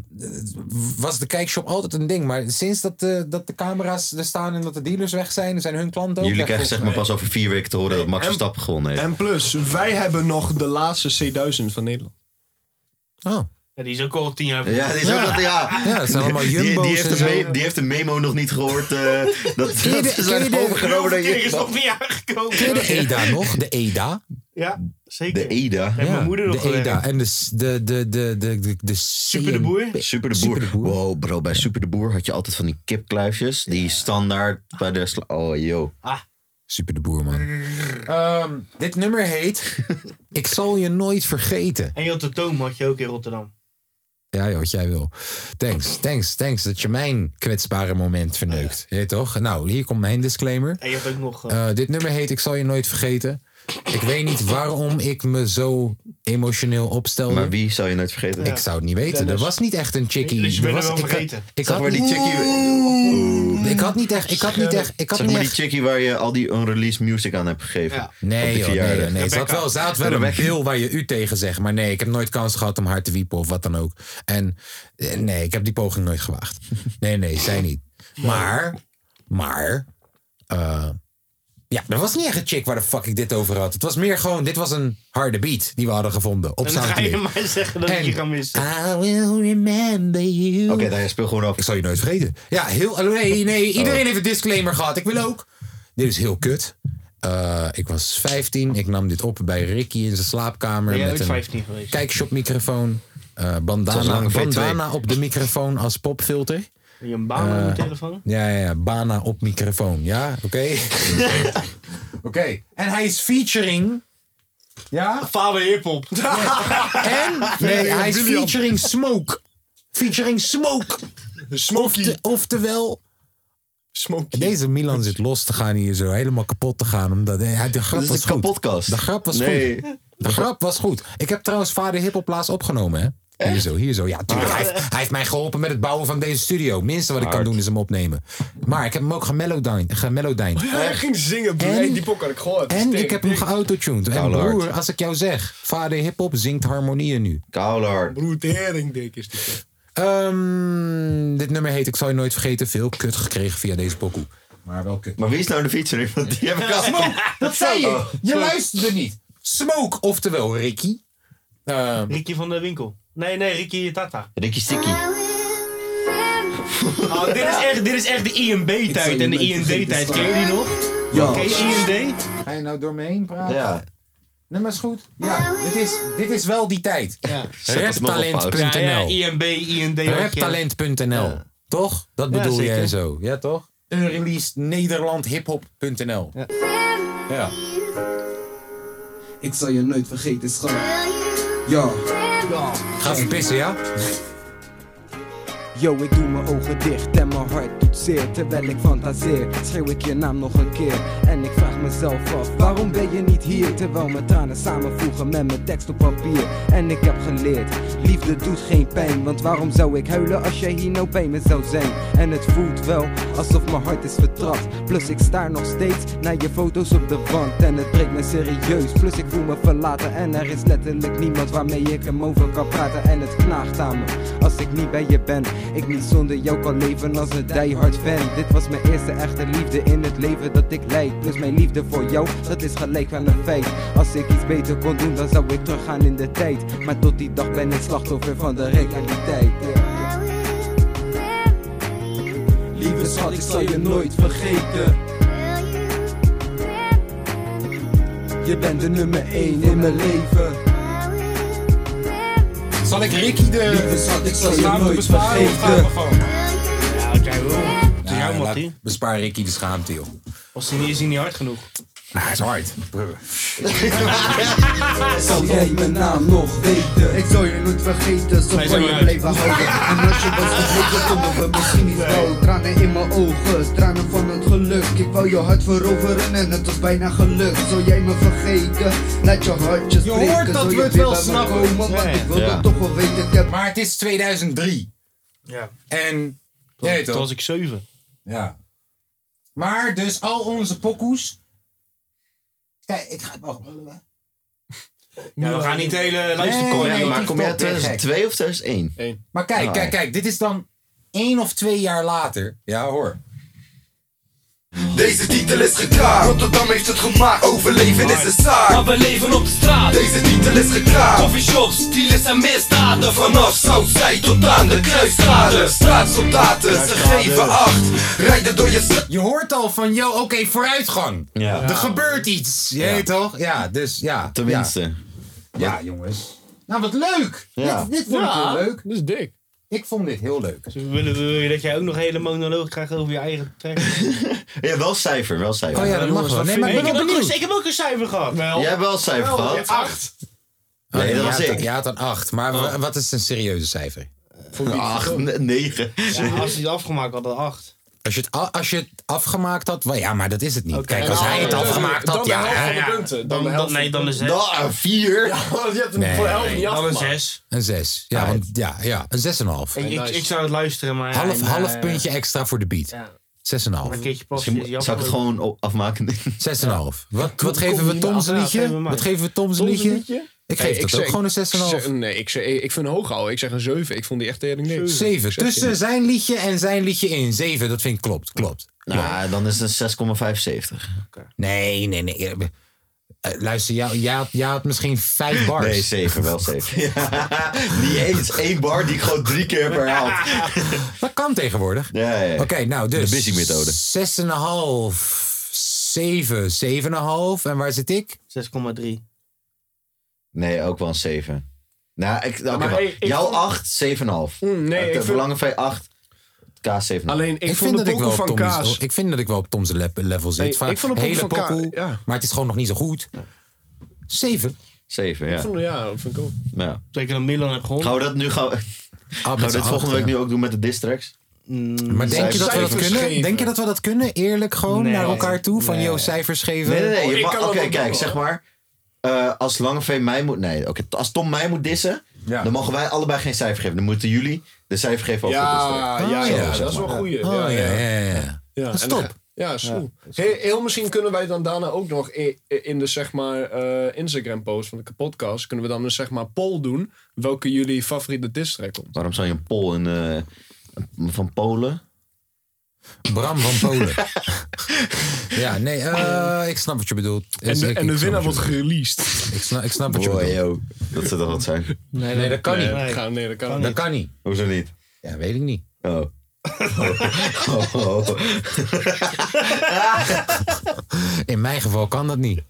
Speaker 1: was de kijkshop altijd een ding. Maar sinds dat de, dat de camera's er staan en dat de dealers weg zijn, zijn hun klanten ook
Speaker 5: Jullie
Speaker 1: weg,
Speaker 5: krijgen zeg maar
Speaker 1: volgens
Speaker 5: pas over vier weken te horen dat Max Verstappen gewonnen heeft.
Speaker 6: En plus, wij hebben nog de laatste C1000 van Nederland.
Speaker 4: Ja, die is ook al tien jaar.
Speaker 5: Ja, die is ook dat, ja. Die- die, heeft de me- die heeft de memo nog niet gehoord. eh dat dat
Speaker 1: Ken je de-
Speaker 5: ze
Speaker 1: ken je
Speaker 5: zijn
Speaker 1: de-
Speaker 5: overgenomen door
Speaker 1: Die is
Speaker 5: Jumbo.
Speaker 1: nog
Speaker 4: niet aangekomen.
Speaker 1: mij. Ken je de EDA nog? De EDA?
Speaker 4: Ja, zeker.
Speaker 5: De EDA.
Speaker 4: Heeft
Speaker 1: Ja,
Speaker 4: mijn moeder nog
Speaker 1: De EDA.
Speaker 4: gewerkt.
Speaker 1: En de, s- de, de, de, de, de, de Super
Speaker 4: de Boer?
Speaker 5: Super de Boer. Wow, bro, bij Super de Boer had je altijd van die kipkluifjes. Die standaard bij de... sla- Oh, yo.
Speaker 1: Super de Boer, man. Ehm, dit nummer heet Ik zal je nooit vergeten.
Speaker 4: En je had de toom had je ook in Rotterdam.
Speaker 1: Ja, joh, wat jij wil. Thanks, thanks, thanks dat je mijn kwetsbare moment verneukt. Je weet toch? Nou, hier komt mijn disclaimer.
Speaker 4: En je hebt ook nog... eh,
Speaker 1: Eh, dit nummer heet Ik zal je nooit vergeten. Ik weet niet waarom ik me zo emotioneel opstelde.
Speaker 5: Maar wie zou je nooit vergeten?
Speaker 1: Ik zou het niet weten.
Speaker 5: Dennis.
Speaker 1: Er was niet echt een chickie.
Speaker 5: Dus je
Speaker 1: er
Speaker 5: bent
Speaker 1: was,
Speaker 5: hem wel
Speaker 1: ik-
Speaker 5: vergeten.
Speaker 1: Ik
Speaker 5: Zeg
Speaker 1: had
Speaker 5: maar die chickie- Oeh.
Speaker 1: Ik had niet echt. Ik had niet echt. Ik had
Speaker 5: zeg
Speaker 1: niet
Speaker 5: maar
Speaker 1: echt.
Speaker 5: die chickie waar je al die unreleased music aan hebt gegeven.
Speaker 1: Ja. Nee, joh, nee, nee, nee. Ze had wel, ze had wel een bil waar je u tegen zegt. Maar nee, ik heb nooit kans gehad om haar te wiepen of wat dan ook. En eh, nee, ik heb die poging nooit gewaagd. Nee, nee, zij niet. Maar, maar, eh, ja, er was niet echt een chick waar de fuck ik dit over had. Het was meer gewoon, dit was een harde beat die we hadden gevonden op
Speaker 4: en dan ga je
Speaker 1: Soundcloud.
Speaker 4: mij zeggen dat ik je ga missen.
Speaker 1: I will remember you. Oké,
Speaker 5: daar speel gewoon op.
Speaker 1: Ik zal je nooit vergeten. Ja, heel. oh, Nee, nee iedereen heeft een disclaimer gehad. Ik wil ook. Dit is heel kut. Eh, ik was 15. Ik nam dit op bij Ricky in zijn slaapkamer.
Speaker 4: Ben jij
Speaker 1: met
Speaker 4: ooit
Speaker 1: een
Speaker 4: 15 geweest?
Speaker 1: kijkshopmicrofoon. eh,
Speaker 4: Zoals
Speaker 1: bandana,
Speaker 4: lange V2.
Speaker 1: bandana op de microfoon als popfilter.
Speaker 4: Heb je een baan op
Speaker 1: Eh,
Speaker 4: je telefoon?
Speaker 1: Ja, ja, ja, Bana op microfoon. Ja, oké. Oké. En hij is featuring. Ja?
Speaker 4: Vader Hiphop.
Speaker 1: En? Nee, hij is
Speaker 6: William.
Speaker 1: featuring Smoke. Featuring Smoke. Smokey. oftewel.
Speaker 6: Smokey.
Speaker 1: Deze Milan zit los te gaan hier zo. Helemaal kapot te gaan. Omdat, nee, hij- de grap
Speaker 5: Dit is
Speaker 1: was
Speaker 5: een
Speaker 1: goed.
Speaker 5: kapotkast.
Speaker 1: De grap was
Speaker 5: Nee.
Speaker 1: goed. De grap was goed. Ik heb trouwens Vader Hiphop laatst opgenomen, hè? Hier zo, hier zo. Ja,
Speaker 5: Ah.
Speaker 1: tuurlijk. Hij, heeft, hij heeft mij geholpen met het bouwen van deze studio. Het minste wat ik kan doen is hem opnemen. Maar ik heb hem ook gemellowdined. gemellowdined.
Speaker 6: Hij ging zingen, broer.
Speaker 1: Oh, En-
Speaker 6: Hey, die pok had ik gehoord.
Speaker 1: En ik heb hem geautotuned. En
Speaker 6: Koude hart.
Speaker 1: broer, als ik jou zeg, vader hiphop zingt harmonieën nu.
Speaker 5: Kouder.
Speaker 6: Broer, teringdik is die pok.
Speaker 1: Ehm, dit nummer heet Ik zal je nooit vergeten. Veel kut gekregen via deze pokoe. Maar wel kut.
Speaker 5: Maar wie is nou de featuring? Want die heb ik al.
Speaker 1: Smoke, dat zei je.
Speaker 5: Oh.
Speaker 1: Je luisterde niet. Smoke, oftewel Ricky. Ehm,
Speaker 4: Ricky van de winkel. Nee, nee, Ricky Tata.
Speaker 5: Ricky Sticky.
Speaker 4: Oh, dit, is echt, dit is echt de E IMB-tijd en de E IND-tijd. Ken je die nog?
Speaker 1: Ja.
Speaker 4: Ken je E IND?
Speaker 1: Ga je nou door me heen praten?
Speaker 4: Ja.
Speaker 1: Nee, maar is goed. Ja, dit is, dit is wel die tijd. Ja.
Speaker 4: Ja, ja,
Speaker 1: Reptalent.nl.
Speaker 4: IMB, IND. had je.
Speaker 1: Reptalent.nl. Toch? Dat
Speaker 4: Ja,
Speaker 1: bedoel je
Speaker 4: zeker.
Speaker 1: en zo. Ja, toch? Unreleased Nederland hiphop.nl. Ja.
Speaker 12: Ik zal je nooit vergeten, schat. Ja.
Speaker 1: Ga even pissen, ja?
Speaker 12: Yo, ik doe mijn ogen dicht en mijn hart doet zeer Terwijl ik fantaseer, schreeuw ik je naam nog een keer En ik vraag mezelf af, waarom ben je niet hier? Terwijl mijn tranen samenvoegen met mijn tekst op papier En ik heb geleerd, liefde doet geen pijn Want waarom zou ik huilen als jij hier nou bij me zou zijn? En het voelt wel, alsof mijn hart is vertrapt Plus ik staar nog steeds naar je foto's op de wand En het breekt me serieus, plus ik voel me verlaten En er is letterlijk niemand waarmee ik hem over kan praten En het knaagt aan me, als ik niet bij je ben Ik niet zonder jou kan leven als een diehard fan Dit was mijn eerste echte liefde in het leven dat ik leid Plus mijn liefde voor jou, dat is gelijk aan een feit Als ik iets beter kon doen, dan zou ik teruggaan in de tijd Maar tot die dag ben ik slachtoffer van de realiteit Lieve schat, ik zal je nooit vergeten Je bent de nummer 1 in mijn leven.
Speaker 1: Zal ik Ricky de
Speaker 12: Lieve schat, ik zal je
Speaker 1: Gaan we
Speaker 12: nooit
Speaker 1: besparen of gaan we
Speaker 12: vergeten.
Speaker 1: gewoon?
Speaker 4: Ja, kijk wel.
Speaker 1: Ja,
Speaker 4: Ja,
Speaker 1: laat-
Speaker 4: Mattie.
Speaker 1: bespaar Ricky de schaamte, joh.
Speaker 4: Was hij niet, is hij niet hard genoeg?
Speaker 1: Nou, hij is hard.
Speaker 12: Zal jij mijn naam nog weten? Ik zal je nooit vergeten,
Speaker 13: Wij
Speaker 12: zo
Speaker 13: zijn
Speaker 12: van je
Speaker 13: eruit.
Speaker 12: blijven houden. En als je was vergeten, konden we misschien niet wel. Tranen in mijn ogen, tranen van het geluk. Ik wou je hart veroveren en het was bijna gelukt. Zal jij me vergeten? Laat je hartje spreken.
Speaker 1: hoort dat
Speaker 12: Zal
Speaker 1: we
Speaker 12: je
Speaker 1: het
Speaker 12: weer
Speaker 1: wel
Speaker 12: bij me
Speaker 1: snappen.
Speaker 12: komen? Want
Speaker 1: Ja.
Speaker 12: ik wil
Speaker 1: Ja.
Speaker 12: dat toch wel weten. Ik heb
Speaker 1: Maar het is 2003.
Speaker 4: Ja.
Speaker 1: En.
Speaker 4: Toen-
Speaker 1: jij weet
Speaker 4: toen
Speaker 1: toch?
Speaker 4: was ik zeven.
Speaker 1: Ja. Maar dus al onze pokoes. Kijk, ik ga het wel.
Speaker 4: Ja, we gaan niet de hele
Speaker 1: Nee,
Speaker 4: luisterkooi
Speaker 1: nee,
Speaker 4: hebben,
Speaker 1: het
Speaker 4: maar
Speaker 1: is
Speaker 4: kom je
Speaker 1: wel
Speaker 4: uit
Speaker 1: te gek.
Speaker 5: 2002 of 2001?
Speaker 1: Maar kijk,
Speaker 5: Ah.
Speaker 1: kijk, kijk, dit is dan één of twee jaar later. Ja, hoor.
Speaker 13: Deze titel is geklaard, Rotterdam heeft het gemaakt. Overleven is een zaak.
Speaker 15: Maar we leven op de straat.
Speaker 13: Deze titel is geklaard.
Speaker 15: Coffeeshops, dealers en misdaden.
Speaker 13: Vanaf Southside tot aan de kruisstraten. Straatsoldaten, ze geven acht. Rijden door je stad.
Speaker 1: Je hoort al van, yo, oké, vooruitgang.
Speaker 5: Ja.
Speaker 1: Er gebeurt iets, je weet toch? Ja, dus ja.
Speaker 5: Tenminste.
Speaker 1: Ja, jongens. Nou, wat leuk!
Speaker 5: Ja.
Speaker 1: Dit, dit vond ik
Speaker 4: Ja,
Speaker 1: heel leuk. Dat is dik. Ik vond dit heel leuk.
Speaker 4: Dus willen we wil je dat jij ook nog een hele monoloog krijgt over je eigen track?
Speaker 5: Ja, wel cijfer, wel cijfer.
Speaker 4: Oh ja, dat mag wel. Nee, maar ik ben wel benieuwd. Ik heb ook een cijfer gehad.
Speaker 5: Jij hebt wel een cijfer
Speaker 4: Wel,
Speaker 5: gehad.
Speaker 4: je hebt Acht.
Speaker 5: Nee, dat was
Speaker 1: jij
Speaker 5: ik.
Speaker 1: Oh,
Speaker 5: Oh.
Speaker 1: Had, jij had een 8, maar wa- wat is een serieuze cijfer?
Speaker 5: Acht, ne- negen.
Speaker 4: Ja, als hij het afgemaakt had, dan acht.
Speaker 1: Als je, het, a- als je het afgemaakt had, wel, ja, maar dat is het niet. Kijk,
Speaker 4: En
Speaker 1: als
Speaker 4: dan-
Speaker 1: hij het
Speaker 4: dan-
Speaker 1: afgemaakt had,
Speaker 4: dan
Speaker 1: ja.
Speaker 4: de helft
Speaker 1: ja,
Speaker 4: van de
Speaker 1: ja.
Speaker 4: punten. Dan de Dan- helft dan- nee, van de dan punten. een zes.
Speaker 5: Nou,
Speaker 1: Dan een 4. Ja, je hebt
Speaker 4: hem voor de helft niet Dan een afgemaakt. zes.
Speaker 1: Een 6. Ja, want, ja, ja, een 6,5.
Speaker 4: Ik, ik, ik zou het luisteren, maar...
Speaker 1: half,
Speaker 4: en, eh,
Speaker 1: half puntje extra voor de beat. 6,5.
Speaker 4: Een keertje passen is jammer.
Speaker 5: Zou ik het gewoon o- afmaken?
Speaker 1: 6,5. Wat, wat geven we Tom zijn liedje? Wat geven we Tom zijn liedje? Ik geef dat ook gewoon een 6,5.
Speaker 6: Nee, ik, zeg, ik vind een hoog houden. Ik zeg een 7. Ik vond die echt tering niks.
Speaker 1: 7. Tussen zijn liedje en zijn liedje in. 7, dat vind ik klopt. Klopt.
Speaker 5: Nou, dan is het een 6,75.
Speaker 1: Nee, nee, nee. Eh, eh, luister, jij, jij, had, jij had misschien 5 bars.
Speaker 5: Nee, 7, wel e- 7. Ja, niet eens één bar die ik gewoon drie keer heb herhaald.
Speaker 1: Dat kan tegenwoordig.
Speaker 5: Ja, ja.
Speaker 1: Oké, nou dus.
Speaker 5: De busy methode.
Speaker 1: 6,5, 7, 7,5. En waar zit ik?
Speaker 4: 6,3.
Speaker 5: Nee, ook wel een 7. Nou, ik, oké,
Speaker 6: Maar
Speaker 5: wel.
Speaker 6: hey, ik
Speaker 5: jouw
Speaker 6: vond-
Speaker 5: 8, 7,5.
Speaker 6: Mm, nee, ik
Speaker 5: Nou, de
Speaker 6: vind-
Speaker 5: Verlangen van 8, K
Speaker 1: Nou,
Speaker 5: 7,5.
Speaker 6: Alleen, ik, vond de pokoe van
Speaker 1: Tom's-
Speaker 6: Kaas...
Speaker 1: Ik vind dat ik wel op Tom's le- level zit.
Speaker 6: Nee,
Speaker 1: Vaak
Speaker 6: ik vond de pokoe
Speaker 1: hele
Speaker 6: van Kaas-
Speaker 1: pokoe,
Speaker 6: ja.
Speaker 1: maar het is gewoon nog niet zo goed. 7.
Speaker 5: 7,
Speaker 6: Ik
Speaker 5: ja.
Speaker 6: vond, ja, dat vind ik ook.
Speaker 5: ja.
Speaker 4: Zeker dat Milan heb gewonnen.
Speaker 5: Gaan we dat nu gaan, we- gaan we
Speaker 1: Ah, z'n
Speaker 5: dit volgende
Speaker 1: achten.
Speaker 5: week nu ook doen met de distracks?
Speaker 1: Maar denk je, dat we dat kunnen? denk je dat we dat kunnen? Eerlijk gewoon
Speaker 5: Nee.
Speaker 1: naar elkaar toe? Van, yo, cijfers geven?
Speaker 5: Nee, nee,
Speaker 6: Oh,
Speaker 5: nee. je mag- Oké, kijk, zeg maar. eh, als Langeveen mij moet. Nee, oké. t- als Tom mij moet dissen, dan mogen wij allebei geen cijfer geven. Dan moeten jullie de cijfer geven over
Speaker 6: Ja,
Speaker 5: de distract.
Speaker 6: ja,
Speaker 5: Zo,
Speaker 6: ja,
Speaker 5: zeg
Speaker 6: dat is wel
Speaker 5: maar.
Speaker 6: een goeie.
Speaker 5: Oh,
Speaker 6: Ja, ja,
Speaker 5: ja,
Speaker 1: ja,
Speaker 6: Ja,
Speaker 5: Dat is
Speaker 6: en dan-
Speaker 5: top.
Speaker 6: Ja, zo. Heel, heel misschien kunnen wij dan daarna ook nog i- i- in de zeg maar, eh, Instagram-post van de podcast... kunnen we dan een zeg maar, poll doen welke jullie favoriete distrack komt.
Speaker 5: Waarom zou je een Pol in, eh, van Polen?
Speaker 1: Bram van Polen. ja, nee, eh, ik snap wat je bedoelt.
Speaker 6: En de- en de winnaar wordt
Speaker 1: gereleased. Ik snap, ik snap wat je
Speaker 5: Boy,
Speaker 1: bedoelt.
Speaker 5: yo. Dat zou toch wat zijn?
Speaker 1: Nee, dat kan niet.
Speaker 6: ga- nee, dat kan,
Speaker 1: dat
Speaker 6: niet.
Speaker 1: kan niet.
Speaker 5: Hoezo niet?
Speaker 1: Ja, weet ik niet.
Speaker 5: Oh. Oh, oh.
Speaker 1: In mijn geval kan dat niet.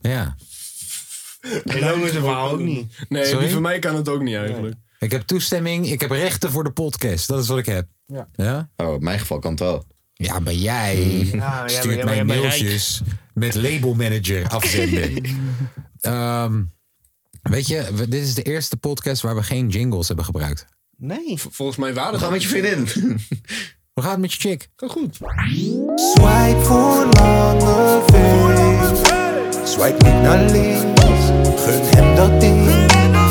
Speaker 1: Ja.
Speaker 4: En dan is het verhaal ook niet.
Speaker 6: Nee,
Speaker 1: Sorry?
Speaker 6: die van mij kan het ook niet eigenlijk.
Speaker 1: Ik heb toestemming, ik heb rechten voor de podcast. Dat is wat ik heb.
Speaker 6: Ja.
Speaker 5: Oh, in mijn geval kan het wel.
Speaker 1: Ja, maar jij
Speaker 4: maar jij
Speaker 1: stuurt
Speaker 4: bent- jij
Speaker 1: mijn
Speaker 4: bent
Speaker 1: mailtjes met labelmanager afzenden. Ehm, weet je, we- dit is de eerste podcast waar we geen jingles hebben gebruikt.
Speaker 4: Nee.
Speaker 6: volgens mij waren
Speaker 5: Ga met je vriendin.
Speaker 1: Hoe gaat het met je chick?
Speaker 6: Gaat goed.
Speaker 13: Swipe voor Langeveen. Swipe niet naar links. Gun hem dat ding.